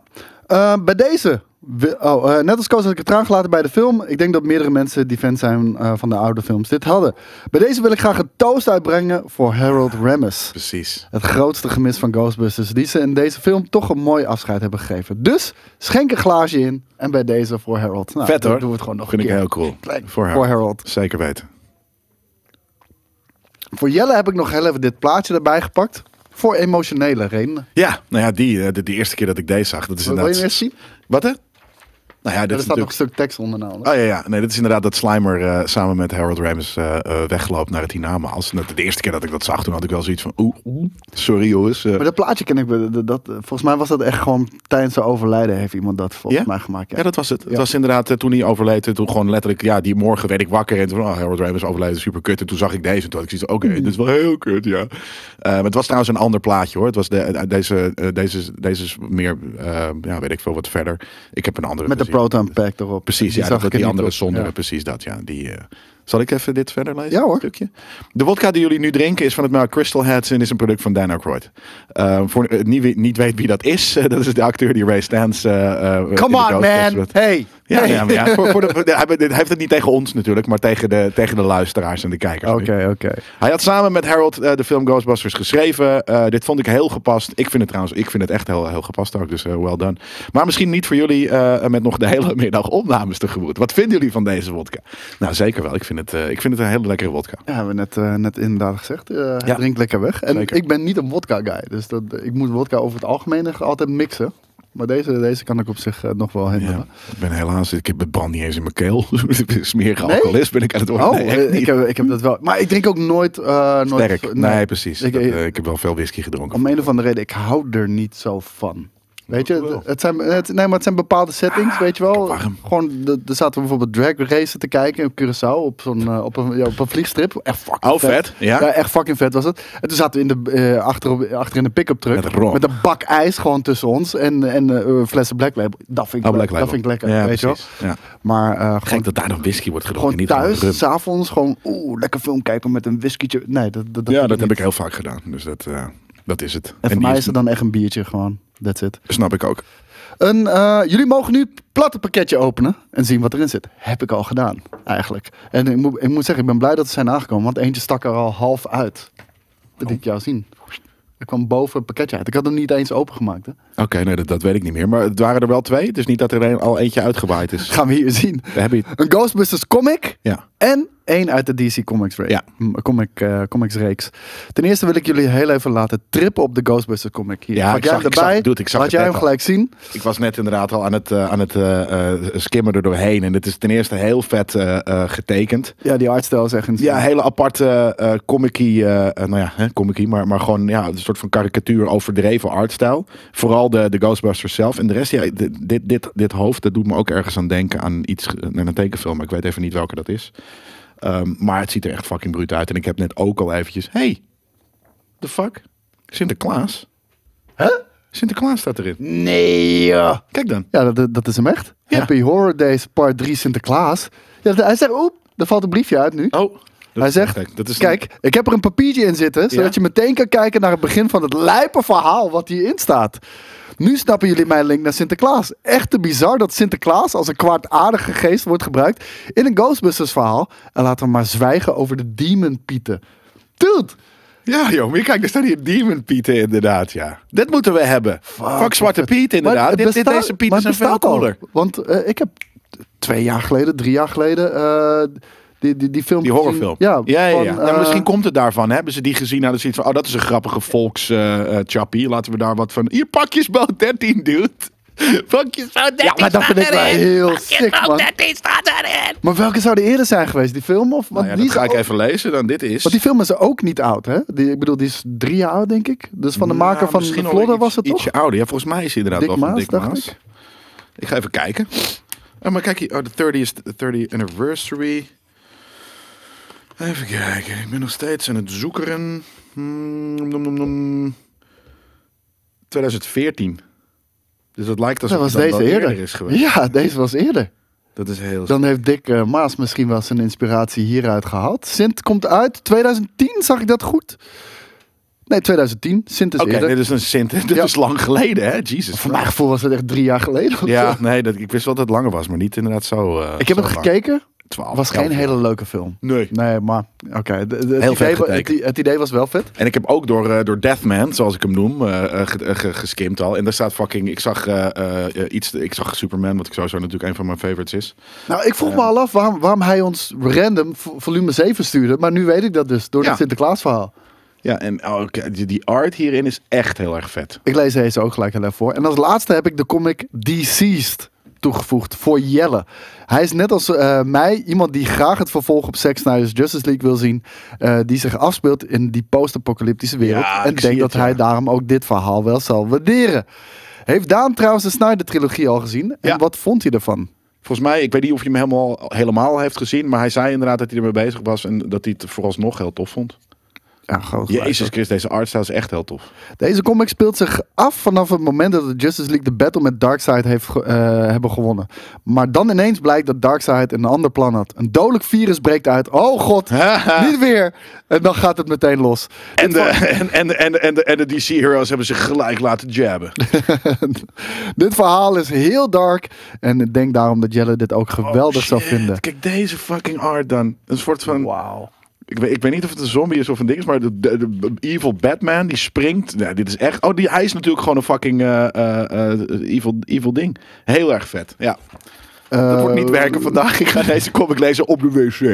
[SPEAKER 3] Eh, bij deze. wi- Oh, eh, net als Koos had ik het eraan gelaten bij de film. Ik denk dat meerdere mensen die fan zijn eh, van de oude films dit hadden. Bij deze wil ik graag een toast uitbrengen voor Harold Ramis.
[SPEAKER 2] Precies.
[SPEAKER 3] Het grootste gemis van Ghostbusters. Die ze in deze film toch een mooi afscheid hebben gegeven. Dus schenk een glaasje in. En bij deze voor Harold. Nou,
[SPEAKER 2] Vet
[SPEAKER 3] dan
[SPEAKER 2] hoor.
[SPEAKER 3] doen we het gewoon nog
[SPEAKER 2] Vind
[SPEAKER 3] een
[SPEAKER 2] ik
[SPEAKER 3] keer.
[SPEAKER 2] heel cool.
[SPEAKER 3] Klein.
[SPEAKER 2] Voor haar.
[SPEAKER 3] Voor Harold.
[SPEAKER 2] Zeker weten.
[SPEAKER 3] Voor Jelle heb ik nog heel even dit plaatje erbij gepakt. Voor emotionele redenen.
[SPEAKER 2] Ja, nou ja, die, eh, de, de eerste keer dat ik deze zag. Dat is
[SPEAKER 3] Wil je
[SPEAKER 2] inderdaad...
[SPEAKER 3] hem eerst zien?
[SPEAKER 2] Wat hè? Nou ja, dit
[SPEAKER 3] er
[SPEAKER 2] is
[SPEAKER 3] staat nog
[SPEAKER 2] natuurlijk...
[SPEAKER 3] een stuk tekst onder nou.
[SPEAKER 2] Oh ja, ja, nee, dit is inderdaad dat Slimer eh, samen met Harold Ramis eh eh, wegloopt naar het hiernamaals. En dat- De eerste keer dat ik dat zag, toen had ik wel zoiets van, oeh, oeh, sorry jongens. eh.
[SPEAKER 3] Maar dat plaatje ken ik. wel, Dat, dat, volgens mij was dat echt gewoon tijdens zijn overlijden heeft iemand dat volgens
[SPEAKER 2] Ja?
[SPEAKER 3] mij gemaakt. Ja.
[SPEAKER 2] ja, dat was het. Het
[SPEAKER 3] Ja.
[SPEAKER 2] was inderdaad eh, toen hij overleed. eh, Toen gewoon letterlijk, ja, die morgen werd ik wakker. En toen, oh, Harold Ramis overleden, super kut. En toen zag ik deze. En toen had ik zoiets van, oké,
[SPEAKER 3] Mhm.
[SPEAKER 2] dit is wel heel kut, ja. Eh, maar het was trouwens een ander plaatje, hoor. Het was de, eh, deze, eh, deze, is- deze is meer, eh, ja, weet ik veel, wat verder. Ik heb een andere
[SPEAKER 3] Met de
[SPEAKER 2] gezien.
[SPEAKER 3] Proton Pack erop.
[SPEAKER 2] Precies, ja, dat
[SPEAKER 3] ik
[SPEAKER 2] die
[SPEAKER 3] er niet
[SPEAKER 2] andere
[SPEAKER 3] op.
[SPEAKER 2] zonder,
[SPEAKER 3] Ja.
[SPEAKER 2] precies dat. Ja, die, eh. zal ik even dit verder lezen?
[SPEAKER 3] Ja, hoor.
[SPEAKER 2] Een Stukje? De wodka die jullie nu drinken is van het merk Crystal Heads en is een product van Dan Aykroyd. Eh, voor eh, niet, wie- niet weet wie dat is, [laughs] eh, dat is de acteur die Ray Stans... eh, eh, in
[SPEAKER 3] Come
[SPEAKER 2] de
[SPEAKER 3] on,
[SPEAKER 2] Ghostbusters
[SPEAKER 3] man.
[SPEAKER 2] werd.
[SPEAKER 3] Hey.
[SPEAKER 2] Ja,
[SPEAKER 3] Hey.
[SPEAKER 2] ja, maar ja, voor, voor de, hij, hij heeft het niet tegen ons natuurlijk, maar tegen de, tegen de luisteraars en de kijkers. nu.
[SPEAKER 3] Oké, oké.
[SPEAKER 2] Hij had samen met Harold eh, de film Ghostbusters geschreven. Eh, dit vond ik heel gepast. Ik vind het trouwens, ik vind het echt heel, heel gepast ook. Dus eh, well done. Maar misschien niet voor jullie eh, met nog de hele [laughs] middag opnames tegemoet. Wat vinden jullie van deze wodka? Nou, zeker wel. Ik vind het, eh, ik vind het een hele lekkere wodka.
[SPEAKER 3] Ja, hebben we net, eh, net inderdaad gezegd. eh hij
[SPEAKER 2] Ja.
[SPEAKER 3] drinkt lekker weg. En
[SPEAKER 2] Zeker.
[SPEAKER 3] ik ben niet een wodka guy. Dus dat, ik moet wodka over het algemeen altijd mixen. Maar deze, deze kan ik op zich eh, nog wel
[SPEAKER 2] Ja,
[SPEAKER 3] handelen.
[SPEAKER 2] ik ben helaas, ik heb het brand niet eens in mijn keel. [laughs] Smerige alcoholist ben ik aan het worden.
[SPEAKER 3] Oh,
[SPEAKER 2] Nee, echt
[SPEAKER 3] eh,
[SPEAKER 2] niet.
[SPEAKER 3] ik, heb, ik heb dat wel. Maar ik drink ook nooit... eh nooit
[SPEAKER 2] Sterk. Nee, precies.
[SPEAKER 3] Ik-
[SPEAKER 2] Dat,
[SPEAKER 3] ik-
[SPEAKER 2] eh, ik Oh, heb wel veel whisky gedronken.
[SPEAKER 3] Om een of andere reden, ik hou er niet zo van. Weet je,
[SPEAKER 2] Wel. Ah,
[SPEAKER 3] het- het zijn, het, nee, maar het zijn bepaalde settings, weet je wel.
[SPEAKER 2] warm.
[SPEAKER 3] Gewoon, de- er zaten we bijvoorbeeld drag racen te kijken op Curaçao, op, zo'n, eh, op, een, ja, op een vliegstrip. Echt fucking
[SPEAKER 2] Oh, vet, ja.
[SPEAKER 3] echt fucking vet was het. En toen zaten we in de, eh, achter, op- achter in de pick-up truck.
[SPEAKER 2] Met rom.
[SPEAKER 3] een bak ijs gewoon tussen ons en, en eh, flessen Black Label. Dat vind ik,
[SPEAKER 2] Oh, Black
[SPEAKER 3] Dat
[SPEAKER 2] Label.
[SPEAKER 3] vind ik lekker,
[SPEAKER 2] Ja,
[SPEAKER 3] weet
[SPEAKER 2] precies.
[SPEAKER 3] je wel.
[SPEAKER 2] Ja.
[SPEAKER 3] Maar eh, gewoon,
[SPEAKER 2] Gek dat daar nog whisky wordt gedronken.
[SPEAKER 3] gewoon
[SPEAKER 2] niet gewoon rum.
[SPEAKER 3] thuis, s'avonds, gewoon oeh, lekker film kijken met een whiskietje. Nee, dat, dat,
[SPEAKER 2] Ja, dat heb
[SPEAKER 3] niet.
[SPEAKER 2] ik heel vaak gedaan. Dus dat, eh, dat is het.
[SPEAKER 3] En voor
[SPEAKER 2] die
[SPEAKER 3] mij is het dan echt een biertje gewoon. That's it.
[SPEAKER 2] Snap ik ook.
[SPEAKER 3] Een, eh, jullie mogen nu het platte pakketje openen en zien wat erin zit. Heb ik al gedaan, eigenlijk. En ik moet, ik moet zeggen, ik ben blij dat ze zijn aangekomen, want eentje stak er al half uit.
[SPEAKER 2] Oh.
[SPEAKER 3] Dat liet ik jou zien. Er kwam boven het pakketje uit. Ik had hem niet eens opengemaakt. Hè.
[SPEAKER 2] Oké, nee, dat, dat weet ik niet meer. Maar het waren er wel twee. Dus niet dat er een, al eentje uitgewaaid [laughs] is.
[SPEAKER 3] Gaan we hier zien.
[SPEAKER 2] Daar heb je het.
[SPEAKER 3] Een Ghostbusters comic
[SPEAKER 2] Ja.
[SPEAKER 3] en één uit de DC Comics, reeks.
[SPEAKER 2] Ja.
[SPEAKER 3] M- comic, eh, comics reeks. Ten eerste wil ik jullie heel even laten trippen op de Ghostbusters comic. Hier,
[SPEAKER 2] Ja,
[SPEAKER 3] pak
[SPEAKER 2] ik
[SPEAKER 3] jij
[SPEAKER 2] zag-
[SPEAKER 3] hem
[SPEAKER 2] ik zag-
[SPEAKER 3] erbij.
[SPEAKER 2] dude, ik zag
[SPEAKER 3] laat
[SPEAKER 2] het
[SPEAKER 3] jij
[SPEAKER 2] net
[SPEAKER 3] hem
[SPEAKER 2] al.
[SPEAKER 3] gelijk zien.
[SPEAKER 2] Ik was net inderdaad al aan het, eh, aan het eh, eh, skimmen er doorheen. En het is ten eerste heel vet eh, eh, getekend.
[SPEAKER 3] Ja, die artstijl is echt insane.
[SPEAKER 2] Ja, hele aparte eh comicie, eh, eh, nou ja, hè, comicie, maar, maar gewoon ja, een soort van karikatuur overdreven artstijl. Vooral de, de Ghostbusters zelf. En de rest, ja, dit, dit, dit, dit hoofd, dat doet me ook ergens aan denken aan iets, eh, naar een tekenfilm. Maar ik weet even niet welke dat is. Ehm, maar het ziet er echt fucking bruut uit. En ik heb net ook al eventjes, hey, the fuck? Sinterklaas?
[SPEAKER 3] Hè?
[SPEAKER 2] Sinterklaas staat erin.
[SPEAKER 3] Nee, joh.
[SPEAKER 2] Kijk dan.
[SPEAKER 3] Ja, dat, dat is hem echt.
[SPEAKER 2] Ja.
[SPEAKER 3] Happy Horror Days Part 3 Sinterklaas. Ja, hij zegt, oep, er valt een briefje uit nu.
[SPEAKER 2] Oh.
[SPEAKER 3] hij zegt,
[SPEAKER 2] dat is
[SPEAKER 3] kijk, ik heb er een papiertje in zitten, zodat
[SPEAKER 2] Ja.
[SPEAKER 3] je meteen kan kijken naar het begin van het lijpe verhaal wat hierin staat. Nu snappen jullie mijn link naar Sinterklaas. Echt te bizar dat Sinterklaas als een kwaadaardige geest wordt gebruikt in een Ghostbusters verhaal. En laten we maar zwijgen over de Demon Pieten. Dude,
[SPEAKER 2] Ja, joh, maar kijk, er staat hier Demon Pieten inderdaad, ja. Dit moeten we hebben. Fuck, Zwarte Piet
[SPEAKER 3] Ah, Maar
[SPEAKER 2] inderdaad.
[SPEAKER 3] het
[SPEAKER 2] Dit, dit,
[SPEAKER 3] bestaat-
[SPEAKER 2] deze
[SPEAKER 3] maar
[SPEAKER 2] Pieten zijn
[SPEAKER 3] het
[SPEAKER 2] veel
[SPEAKER 3] bestaat al.
[SPEAKER 2] cooler.
[SPEAKER 3] Want eh, ik heb t- twee jaar geleden, drie jaar geleden, eh, die, die, die film
[SPEAKER 2] Die
[SPEAKER 3] gezien.
[SPEAKER 2] horrorfilm.
[SPEAKER 3] Ja,
[SPEAKER 2] ja, ja.
[SPEAKER 3] van,
[SPEAKER 2] Nou,
[SPEAKER 3] eh,
[SPEAKER 2] misschien komt het daarvan. Hebben ze die gezien? Hadden ze iets van, oh, dat is een grappige volks eh, eh, chappie. Laten we daar wat van... Hier, pakjesboot 13, dude. Pakjesboot 13
[SPEAKER 3] Ja, maar dat vind ik wel heel sick, man. Maar welke zou er eerder zijn geweest? Die film? Of, want,
[SPEAKER 2] Nou ja,
[SPEAKER 3] die
[SPEAKER 2] dat
[SPEAKER 3] is
[SPEAKER 2] ga ik
[SPEAKER 3] ook-
[SPEAKER 2] even lezen. Dan dit is...
[SPEAKER 3] want die film is ook niet oud, hè? Die, ik bedoel, die is drie jaar oud, denk ik. Dus van de
[SPEAKER 2] Nou,
[SPEAKER 3] maker van
[SPEAKER 2] misschien
[SPEAKER 3] de
[SPEAKER 2] al
[SPEAKER 3] Vlodder
[SPEAKER 2] iets-
[SPEAKER 3] was het toch?
[SPEAKER 2] Ietsje ouder. Ja, volgens mij is hij inderdaad
[SPEAKER 3] Dick
[SPEAKER 2] wel van
[SPEAKER 3] Maas,
[SPEAKER 2] Dick
[SPEAKER 3] dacht
[SPEAKER 2] Maas.
[SPEAKER 3] ik.
[SPEAKER 2] Ik. ga even kijken. Oh, maar kijk hier. Oh, de 30th, de 30th anniversary. Even kijken. Ik ben nog steeds aan het zoekeren. Hmm, nom, nom, nom. 2014. Dus dat lijkt alsof
[SPEAKER 3] Dat was
[SPEAKER 2] het dan
[SPEAKER 3] deze
[SPEAKER 2] wel
[SPEAKER 3] eerder.
[SPEAKER 2] is geweest.
[SPEAKER 3] ja, deze was eerder.
[SPEAKER 2] Dat is heel...
[SPEAKER 3] Dan heeft Dick eh, Maas misschien wel zijn inspiratie hieruit gehaald. Sint komt uit 2010, zag ik dat goed? Nee, 2010. Sint is
[SPEAKER 2] Oké,
[SPEAKER 3] eerder.
[SPEAKER 2] dit is een Sint. [laughs] Dit
[SPEAKER 3] Ja.
[SPEAKER 2] is lang geleden, hè?
[SPEAKER 3] [laughs]
[SPEAKER 2] Jesus.
[SPEAKER 3] Voor mijn gevoel was het echt drie jaar geleden. of
[SPEAKER 2] Ja,
[SPEAKER 3] zo.
[SPEAKER 2] nee, dat, ik wist wel dat het langer was, maar niet inderdaad zo. eh,
[SPEAKER 3] Ik heb
[SPEAKER 2] zo
[SPEAKER 3] het
[SPEAKER 2] lang.
[SPEAKER 3] gekeken.
[SPEAKER 2] 12,
[SPEAKER 3] Was geen
[SPEAKER 2] 11 jaar.
[SPEAKER 3] hele leuke film.
[SPEAKER 2] Nee.
[SPEAKER 3] Nee, maar oké. de- de-
[SPEAKER 2] Heel
[SPEAKER 3] Het, idee
[SPEAKER 2] vet
[SPEAKER 3] wa- het,
[SPEAKER 2] gekeken.
[SPEAKER 3] i- het idee was wel vet.
[SPEAKER 2] En ik heb ook door, eh, door Deathman, zoals ik hem noem, eh, eh, ge- eh, ge- geskimd al. En daar staat fucking, ik zag eh, eh, eh, iets, ik zag Superman, wat ik sowieso natuurlijk een van mijn favorites is.
[SPEAKER 3] Nou, ik vroeg me al af waarom, waarom hij ons random vo- volume 7 stuurde. Maar nu weet ik dat dus, door
[SPEAKER 2] Ja.
[SPEAKER 3] dat Sinterklaas verhaal.
[SPEAKER 2] Ja, en oh, oké, die, die art hierin is echt heel erg vet.
[SPEAKER 3] Ik lees deze ook gelijk heel even voor. En als laatste heb ik de comic Deceased. toegevoegd voor Jelle. Hij is net als eh, mij iemand die graag het vervolg op Zack Snyder's Justice League wil zien. eh, die zich afspeelt in die post-apocalyptische wereld.
[SPEAKER 2] Ja,
[SPEAKER 3] en
[SPEAKER 2] ik zie
[SPEAKER 3] denkt dat
[SPEAKER 2] het,
[SPEAKER 3] hij
[SPEAKER 2] ja.
[SPEAKER 3] daarom ook dit verhaal wel zal waarderen. Heeft Daan trouwens de Snyder-trilogie al gezien? En
[SPEAKER 2] Ja.
[SPEAKER 3] wat vond hij ervan?
[SPEAKER 2] Volgens mij, ik weet niet of je hem helemaal, helemaal heeft gezien. Maar hij zei inderdaad dat hij ermee bezig was. En dat hij het vooralsnog heel tof vond.
[SPEAKER 3] Ja, groot gelijk,
[SPEAKER 2] Jezus
[SPEAKER 3] hoor.
[SPEAKER 2] Christus, deze artstyle is echt heel tof.
[SPEAKER 3] Deze comic speelt zich af vanaf het moment dat de Justice League de battle met Darkseid heeft ge- eh, hebben gewonnen. Maar dan ineens blijkt dat Darkseid een ander plan had. Een dodelijk virus breekt uit. Oh
[SPEAKER 2] [laughs]
[SPEAKER 3] god, niet weer. En dan gaat het meteen los.
[SPEAKER 2] En de, en, en, en, en, de, en de DC Heroes hebben zich gelijk laten jabben.
[SPEAKER 3] Dit verhaal is heel dark. En ik denk daarom dat Jelle dit ook geweldig
[SPEAKER 2] Oh,
[SPEAKER 3] zou
[SPEAKER 2] shit.
[SPEAKER 3] vinden.
[SPEAKER 2] Kijk, deze fucking art dan. Een soort van...
[SPEAKER 3] Wauw.
[SPEAKER 2] Ik, weet, ik weet niet of het een zombie is of een ding is, maar de, de- de evil Batman die springt. Nou, dit is echt... Oh, die, hij is natuurlijk gewoon een fucking eh, eh, eh, evil, evil ding. Heel erg vet, ja. Dat wordt
[SPEAKER 3] Eh,
[SPEAKER 2] niet werken vandaag. Ik ga deze comic lezen op de wc.
[SPEAKER 3] [laughs]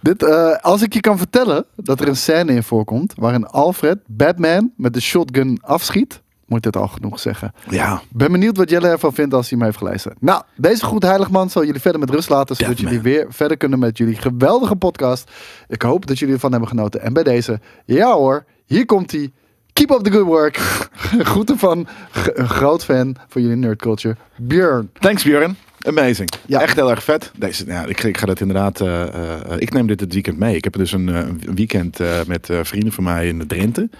[SPEAKER 3] Dit, eh, als ik je kan vertellen dat er een scène in voorkomt waarin Alfred Batman met de shotgun afschiet, moet dit al genoeg zeggen.
[SPEAKER 2] Ja.
[SPEAKER 3] Ben benieuwd wat Jelle ervan vindt als hij hem heeft geluisterd. Nou, deze goed heiligman zal jullie verder met rust laten, zodat
[SPEAKER 2] Deathman.
[SPEAKER 3] jullie weer verder kunnen met jullie geweldige podcast. Ik hoop dat jullie ervan hebben genoten. En bij deze, ja hoor, hier komt hij. Keep up the good work. [laughs] Groeten van g- een groot fan van jullie nerd culture, Björn.
[SPEAKER 2] Thanks Björn. Amazing.
[SPEAKER 3] Ja.
[SPEAKER 2] Echt heel erg vet. Deze, nou, ik, ik ga dat inderdaad. eh, eh, ik neem dit het weekend mee. Ik heb dus een, eh, een weekend eh, met eh, vrienden van mij in de Drenthe.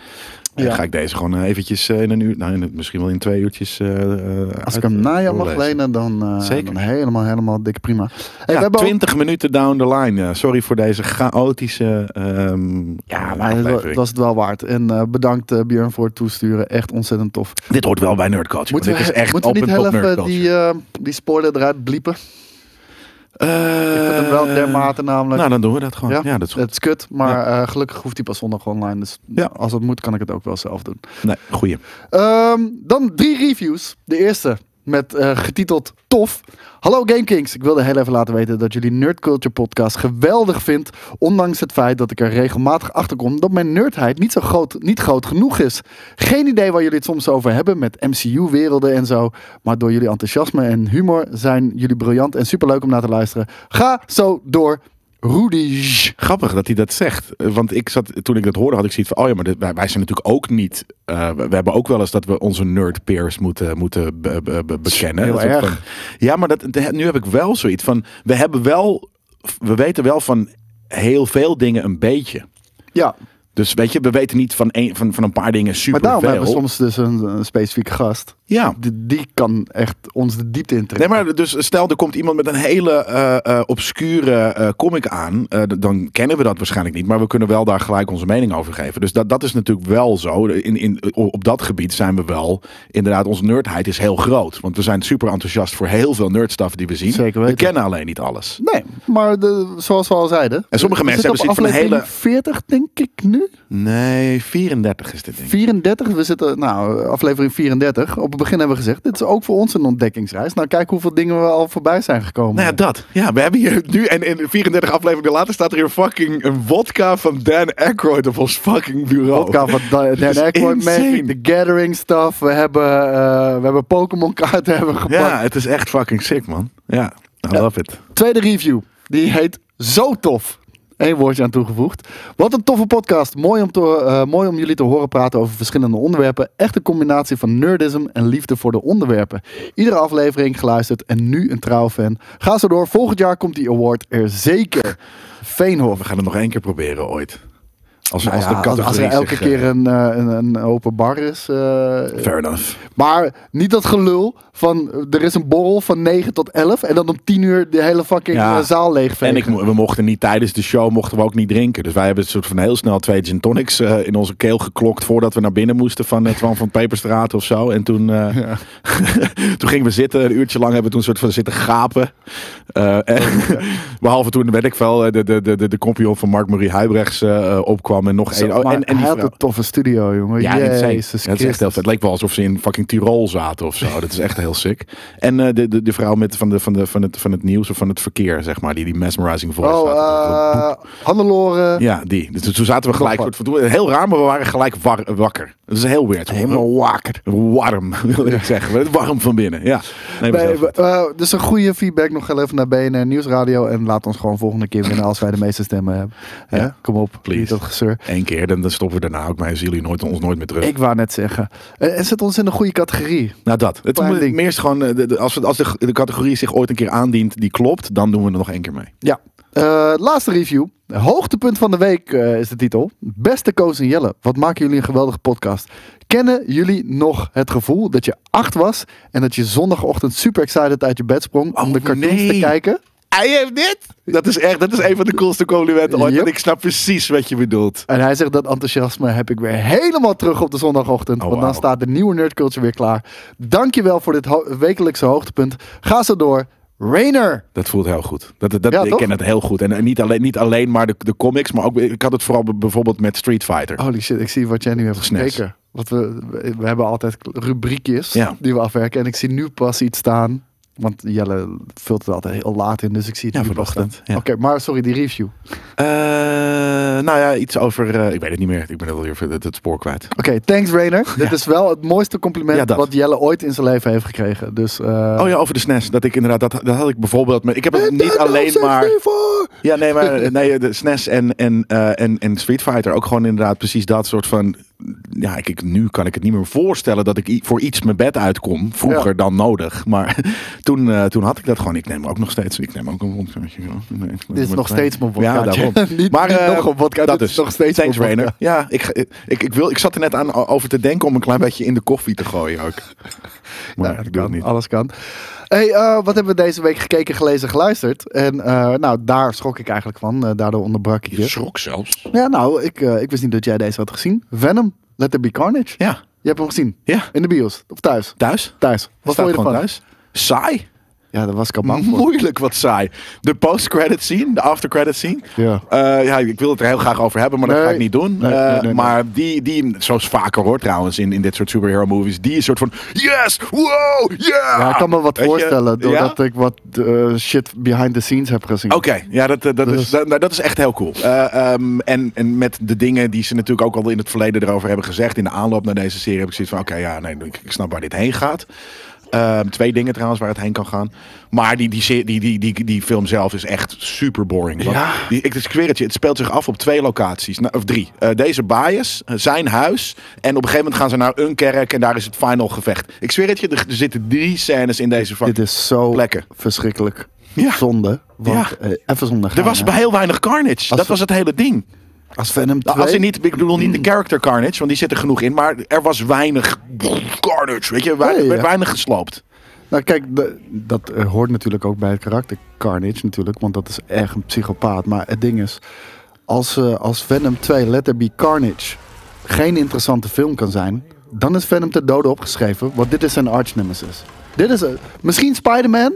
[SPEAKER 2] En
[SPEAKER 3] Ja.
[SPEAKER 2] ga ik deze gewoon eh, eventjes eh, in een uur, nou, in, het- misschien wel in twee uurtjes. eh, eh,
[SPEAKER 3] Als
[SPEAKER 2] uit-
[SPEAKER 3] ik hem na jou mag
[SPEAKER 2] doorlezen.
[SPEAKER 3] lenen, dan, eh,
[SPEAKER 2] Zeker.
[SPEAKER 3] dan helemaal, helemaal dikke prima. Hey, we
[SPEAKER 2] ja,
[SPEAKER 3] hebben ook-
[SPEAKER 2] 20 minuten down the line. Ja, sorry voor deze chaotische. ehm,
[SPEAKER 3] Ja,
[SPEAKER 2] eh,
[SPEAKER 3] maar het wa-
[SPEAKER 2] aflevering.
[SPEAKER 3] het was het wel waard. En eh, bedankt eh, Björn voor het toesturen. Echt ontzettend tof.
[SPEAKER 2] Dit hoort wel bij Nerd Culture.
[SPEAKER 3] Moeten
[SPEAKER 2] want
[SPEAKER 3] we,
[SPEAKER 2] dit is echt
[SPEAKER 3] moeten we niet
[SPEAKER 2] open top
[SPEAKER 3] heel
[SPEAKER 2] Nerd
[SPEAKER 3] even
[SPEAKER 2] Culture.
[SPEAKER 3] die, eh, die spoiler eruit bliepen? Ik
[SPEAKER 2] Eh,
[SPEAKER 3] vind hem wel dermate namelijk.
[SPEAKER 2] Nou, dan doen we dat gewoon. Ja, dat is goed.
[SPEAKER 3] Het is kut, maar eh, gelukkig hoeft die pas zondag online. Dus
[SPEAKER 2] Ja.
[SPEAKER 3] als het moet, kan ik het ook wel zelf doen.
[SPEAKER 2] Nee, goeie.
[SPEAKER 3] Ehm, dan drie reviews. De eerste met eh, getiteld Tof. Hallo GameKings, ik wilde heel even laten weten dat jullie Nerd Culture Podcast geweldig vindt. Ondanks het feit dat ik er regelmatig achter kom dat mijn nerdheid niet zo groot, niet groot genoeg is. Geen idee waar jullie het soms over hebben met MCU-werelden en zo. Maar door jullie enthousiasme en humor zijn jullie briljant en superleuk om naar te luisteren. Ga zo door. Rudy.
[SPEAKER 2] Grappig dat hij dat zegt. Eh, Want ik zat, toen ik dat hoorde, had ik zoiets van: oh ja, maar dit- wij, wij zijn natuurlijk ook niet. eh, we, we hebben ook wel eens dat we onze nerd peers moeten, moeten be- be- be- bekennen.
[SPEAKER 3] Heel
[SPEAKER 2] Dat is ook
[SPEAKER 3] erg.
[SPEAKER 2] van- ja, maar dat, de- nu heb ik wel zoiets van: we hebben wel. We weten wel van heel veel dingen een beetje.
[SPEAKER 3] Ja,
[SPEAKER 2] Dus weet je, we weten niet van een, van, van een paar dingen super
[SPEAKER 3] maar daarom
[SPEAKER 2] veel.
[SPEAKER 3] hebben we soms dus een, een specifieke gast.
[SPEAKER 2] Ja.
[SPEAKER 3] Die, die kan echt ons de diepte intrekken.
[SPEAKER 2] Nee, maar dus stel er komt iemand met een hele eh, eh, obscure eh, comic aan. eh, d- dan kennen we dat waarschijnlijk niet. Maar we kunnen wel daar gelijk onze mening over geven. Dus dat, dat is natuurlijk wel zo. In, in, op dat gebied zijn we wel. Inderdaad, onze nerdheid is heel groot. Want we zijn super enthousiast voor heel veel nerdstuff die we zien.
[SPEAKER 3] Zeker
[SPEAKER 2] We
[SPEAKER 3] weten.
[SPEAKER 2] kennen alleen niet alles.
[SPEAKER 3] Nee, maar de, zoals we al zeiden.
[SPEAKER 2] En sommige
[SPEAKER 3] we
[SPEAKER 2] mensen
[SPEAKER 3] zitten
[SPEAKER 2] hebben
[SPEAKER 3] op
[SPEAKER 2] zoiets van een
[SPEAKER 3] aflevering 40, denk ik nu.
[SPEAKER 2] Nee, 34 is dit ding.
[SPEAKER 3] 34, we zitten, nou, aflevering 34. Op het begin hebben we gezegd, dit is ook voor ons een ontdekkingsreis. Nou, kijk hoeveel dingen we al voorbij zijn gekomen.
[SPEAKER 2] Nou ja, dat. Ja, we hebben hier nu, en in 34 afleveringen later staat er hier fucking een vodka van Dan Aykroyd op ons fucking bureau.
[SPEAKER 3] Podcast van
[SPEAKER 2] [laughs]
[SPEAKER 3] Da-
[SPEAKER 2] Dat is
[SPEAKER 3] Dan Aykroyd,
[SPEAKER 2] insane.
[SPEAKER 3] Magic, The Gathering stuff. We hebben, eh, we hebben Pokémon kaarten [laughs] hebben gepakt.
[SPEAKER 2] Ja, het is echt fucking sick, man. Ja, I love it.
[SPEAKER 3] Tweede review, die heet Zo Tof. Eén woordje aan toegevoegd. Wat een toffe podcast. Mooi om, te, eh, mooi om jullie te horen praten over verschillende onderwerpen. Echt een combinatie van nerdism en liefde voor de onderwerpen. Iedere aflevering geluisterd en nu een trouw fan. Ga zo door. Volgend jaar komt die award er zeker. Veenhof.
[SPEAKER 2] We gaan het nog één keer proberen ooit. Als,
[SPEAKER 3] Nou
[SPEAKER 2] als
[SPEAKER 3] ja,
[SPEAKER 2] de categorie
[SPEAKER 3] als er elke
[SPEAKER 2] zich,
[SPEAKER 3] keer
[SPEAKER 2] eh,
[SPEAKER 3] een, eh, een, een open bar is. eh,
[SPEAKER 2] fair enough.
[SPEAKER 3] maar niet dat gelul van eh, er is een borrel van 9 tot 11 en dan om 10 uur de hele fucking
[SPEAKER 2] Ja.
[SPEAKER 3] eh, zaal leegvegen.
[SPEAKER 2] En ik, mo- we mochten niet tijdens de show mochten we ook niet drinken. Dus wij hebben een soort van heel snel twee gin tonics eh, in onze keel geklokt voordat we naar binnen moesten van het van Peperstraat of zo. En toen, eh, [laughs] toen gingen we zitten, een uurtje lang hebben we toen een soort van zitten gapen.
[SPEAKER 3] Oh,
[SPEAKER 2] [laughs] Eh, en, behalve toen, weet ik wel, eh, de, de, de, de, de compagnon van Mark Marie Huibrechts eh, eh, opkwam film en nog
[SPEAKER 3] Zo,
[SPEAKER 2] één. Oh,
[SPEAKER 3] maar
[SPEAKER 2] en, en
[SPEAKER 3] hij
[SPEAKER 2] die
[SPEAKER 3] had
[SPEAKER 2] vrouw.
[SPEAKER 3] een toffe studio, jongen.
[SPEAKER 2] Ja,
[SPEAKER 3] Jezus
[SPEAKER 2] insane. Ja, het, is echt heel
[SPEAKER 3] Christus.
[SPEAKER 2] vet. het leek wel alsof ze in fucking Tirol zaten of
[SPEAKER 3] [laughs]
[SPEAKER 2] zo. Dat is echt heel sick. En eh, de, de, de vrouw met van, de, van, de, van, het, van het nieuws of van het verkeer, zeg maar, die die mesmerizing voice
[SPEAKER 3] Oh,
[SPEAKER 2] had.
[SPEAKER 3] eh, Hannelore.
[SPEAKER 2] ja, die. Dus toen zaten we gelijk.
[SPEAKER 3] Nog
[SPEAKER 2] Soort van, heel raar, maar we waren gelijk war- wakker. Dat is heel weird.
[SPEAKER 3] Helemaal wakker.
[SPEAKER 2] warm, [laughs] wil ik zeggen. Warm van binnen. Ja. Nee, maar
[SPEAKER 3] Nee,
[SPEAKER 2] zelf-
[SPEAKER 3] we- eh, dus een goede feedback nog heel even naar BNR Nieuwsradio. En laat ons gewoon volgende keer winnen als wij de meeste stemmen hebben. Hè?
[SPEAKER 2] Ja,
[SPEAKER 3] Kom op,
[SPEAKER 2] please.
[SPEAKER 3] niet dat gezeur.
[SPEAKER 2] Eén keer, dan, dan stoppen we daarna ook mee. Dan zien jullie nooit, ons nooit meer terug.
[SPEAKER 3] Ik wou net zeggen. Eh, En zet ons in een goede categorie.
[SPEAKER 2] nou, dat. Het
[SPEAKER 3] Klein
[SPEAKER 2] moet-
[SPEAKER 3] ding.
[SPEAKER 2] meer is gewoon, eh, de- de- als, we, als de, de categorie zich ooit een keer aandient die klopt, dan doen we er nog één keer mee.
[SPEAKER 3] Ja. Eh, laatste review. Hoogtepunt van de week eh, is de titel. Beste Koos en Jelle, wat maken jullie een geweldige podcast. Kennen jullie nog het gevoel dat je acht was en dat je zondagochtend super excited uit je bed sprong om
[SPEAKER 2] Oh,
[SPEAKER 3] de cartoons te
[SPEAKER 2] nee.
[SPEAKER 3] kijken?
[SPEAKER 2] Hij heeft dit! Dat is echt, dat is een van de coolste complimenten ooit.
[SPEAKER 3] Yep.
[SPEAKER 2] En ik snap precies wat je bedoelt.
[SPEAKER 3] En hij zegt dat enthousiasme heb ik weer helemaal terug op de zondagochtend.
[SPEAKER 2] Oh,
[SPEAKER 3] want dan
[SPEAKER 2] wauw.
[SPEAKER 3] staat de nieuwe nerdculture weer klaar. Dankjewel voor dit ho- wekelijkse hoogtepunt. Ga zo door. Rainer.
[SPEAKER 2] Dat voelt heel goed. Dat, dat,
[SPEAKER 3] Ja,
[SPEAKER 2] ik
[SPEAKER 3] toch?
[SPEAKER 2] ken het heel goed. En, en niet, alleen, niet alleen maar de, de comics, maar ook, ik had het vooral b- bijvoorbeeld met Street Fighter.
[SPEAKER 3] Holy shit, ik zie wat jij nu hebt
[SPEAKER 2] SNES.
[SPEAKER 3] gekeken. Want we, we- we hebben altijd rubriekjes
[SPEAKER 2] Ja.
[SPEAKER 3] die we afwerken. En ik zie nu pas iets staan. Want Jelle vult het altijd heel laat in, dus ik zie het
[SPEAKER 2] Ja,
[SPEAKER 3] nu pas
[SPEAKER 2] vanochtend,
[SPEAKER 3] staan.
[SPEAKER 2] ja.
[SPEAKER 3] Oké, maar sorry, die review. Oké,
[SPEAKER 2] Eh, nou ja, iets over, eh, ik weet het niet meer. Ik ben alweer het, het, het spoor kwijt.
[SPEAKER 3] thanks Rainer. Dit is wel het mooiste compliment
[SPEAKER 2] Ja, dat.
[SPEAKER 3] wat Jelle ooit in zijn leven heeft gekregen. Dus, eh,
[SPEAKER 2] Oh ja, over de SNES. Dat ik inderdaad, dat, dat had ik bijvoorbeeld. met- Ik heb het
[SPEAKER 3] Nintendo
[SPEAKER 2] niet alleen maar.
[SPEAKER 3] 64!
[SPEAKER 2] Ja, nee, maar eh, nee, de SNES en, en, eh, en, en Street Fighter ook gewoon inderdaad precies dat soort van. Ja, ik, ik- nu kan ik het niet meer voorstellen dat ik i- voor iets mijn bed uitkom. Vroeger
[SPEAKER 3] Ja.
[SPEAKER 2] dan nodig. Maar [laughs] toen, eh, toen had ik dat gewoon. Ik neem ook nog steeds. Ik neem ook een wondkaartje.
[SPEAKER 3] Dit is nog steeds mijn
[SPEAKER 2] Ja,
[SPEAKER 3] wodkaatje.
[SPEAKER 2] daarom.
[SPEAKER 3] [laughs] Niet-
[SPEAKER 2] maar
[SPEAKER 3] niet
[SPEAKER 2] eh,
[SPEAKER 3] nog een wodka,
[SPEAKER 2] dat
[SPEAKER 3] dit is
[SPEAKER 2] is
[SPEAKER 3] nog steeds
[SPEAKER 2] Thanks,
[SPEAKER 3] mijn
[SPEAKER 2] Rainer. Ja, ik, ik, ik, wil, ik zat er net aan o- over te denken om een klein beetje in de koffie te gooien
[SPEAKER 3] [laughs]
[SPEAKER 2] ook. Maar
[SPEAKER 3] Nou,
[SPEAKER 2] ik doe
[SPEAKER 3] kan,
[SPEAKER 2] het niet.
[SPEAKER 3] Alles kan. Hey, eh, wat hebben we deze week gekeken, gelezen, geluisterd? En eh, nou, daar schrok ik eigenlijk van. Eh, daardoor onderbrak ik je.
[SPEAKER 2] schrok zelfs.
[SPEAKER 3] Ja, nou, ik, eh, ik wist niet dat jij deze had gezien. Venom, Let There Be Carnage.
[SPEAKER 2] Ja,
[SPEAKER 3] Je hebt hem gezien.
[SPEAKER 2] ja.
[SPEAKER 3] In de bios. Of thuis.
[SPEAKER 2] Thuis?
[SPEAKER 3] Thuis. Wat
[SPEAKER 2] Staat
[SPEAKER 3] vond je
[SPEAKER 2] gewoon
[SPEAKER 3] ervan?
[SPEAKER 2] thuis? Saai.
[SPEAKER 3] Ja, dat
[SPEAKER 2] [laughs]
[SPEAKER 3] was ik al bang voor.
[SPEAKER 2] Moeilijk wat saai. De post-credit scene, de after-credit scene.
[SPEAKER 3] Ja.
[SPEAKER 2] Eh, ja, ik wil het er heel graag over hebben, maar dat
[SPEAKER 3] Nee.
[SPEAKER 2] ga ik niet doen.
[SPEAKER 3] Nee,
[SPEAKER 2] Eh,
[SPEAKER 3] nee, nee,
[SPEAKER 2] maar die, die, zoals vaker hoort trouwens in, in dit soort superhero movies, die is soort van yes, wow, yeah.
[SPEAKER 3] Ja, ik kan me wat
[SPEAKER 2] Weet je?
[SPEAKER 3] voorstellen,
[SPEAKER 2] Ja?
[SPEAKER 3] doordat ik wat eh, shit behind the scenes heb gezien.
[SPEAKER 2] Oké, ja, dat, eh, dat,
[SPEAKER 3] Dus-
[SPEAKER 2] is, dat, nou, dat is echt heel cool. Eh, ehm, en, en met de dingen die ze natuurlijk ook al in het verleden erover hebben gezegd. In de aanloop naar deze serie heb ik zoiets van: oké, ja, nee, ik, ik snap waar dit heen gaat. Ehm, twee dingen trouwens waar het heen kan gaan. Maar die, die, se- die, die, die, die film zelf is echt super boring. Want
[SPEAKER 3] Ja.
[SPEAKER 2] die, ik ik zweer het je, het speelt zich af op twee locaties. Nou, of drie. Eh, deze bias, eh, zijn huis. En op een gegeven moment gaan ze naar een kerk en daar is het final gevecht. Ik zweer het je, er, er zitten drie scènes in deze
[SPEAKER 3] Dit
[SPEAKER 2] fucking...
[SPEAKER 3] is zo
[SPEAKER 2] Plekken.
[SPEAKER 3] verschrikkelijk
[SPEAKER 2] Ja.
[SPEAKER 3] zonde. Want
[SPEAKER 2] Ja.
[SPEAKER 3] eh, even zonder
[SPEAKER 2] Er
[SPEAKER 3] gaan,
[SPEAKER 2] was
[SPEAKER 3] hè.
[SPEAKER 2] bij heel weinig carnage.
[SPEAKER 3] Als
[SPEAKER 2] Dat
[SPEAKER 3] we-
[SPEAKER 2] was het hele ding.
[SPEAKER 3] Als Venom 2...
[SPEAKER 2] Nou, als je niet, ik bedoel niet de character carnage, want die zit er genoeg in, maar er was weinig carnage, weet je, weinig,
[SPEAKER 3] Nee, ja.
[SPEAKER 2] weinig gesloopt.
[SPEAKER 3] Nou kijk, de- dat eh, hoort natuurlijk ook bij het karakter Carnage natuurlijk, want dat is echt een psychopaat. Maar het ding is, als, eh, als Venom 2 Let There Be Carnage geen interessante film kan zijn, dan is Venom ter dode opgeschreven, want dit is zijn arch nemesis. Dit is, eh, misschien Spider-Man,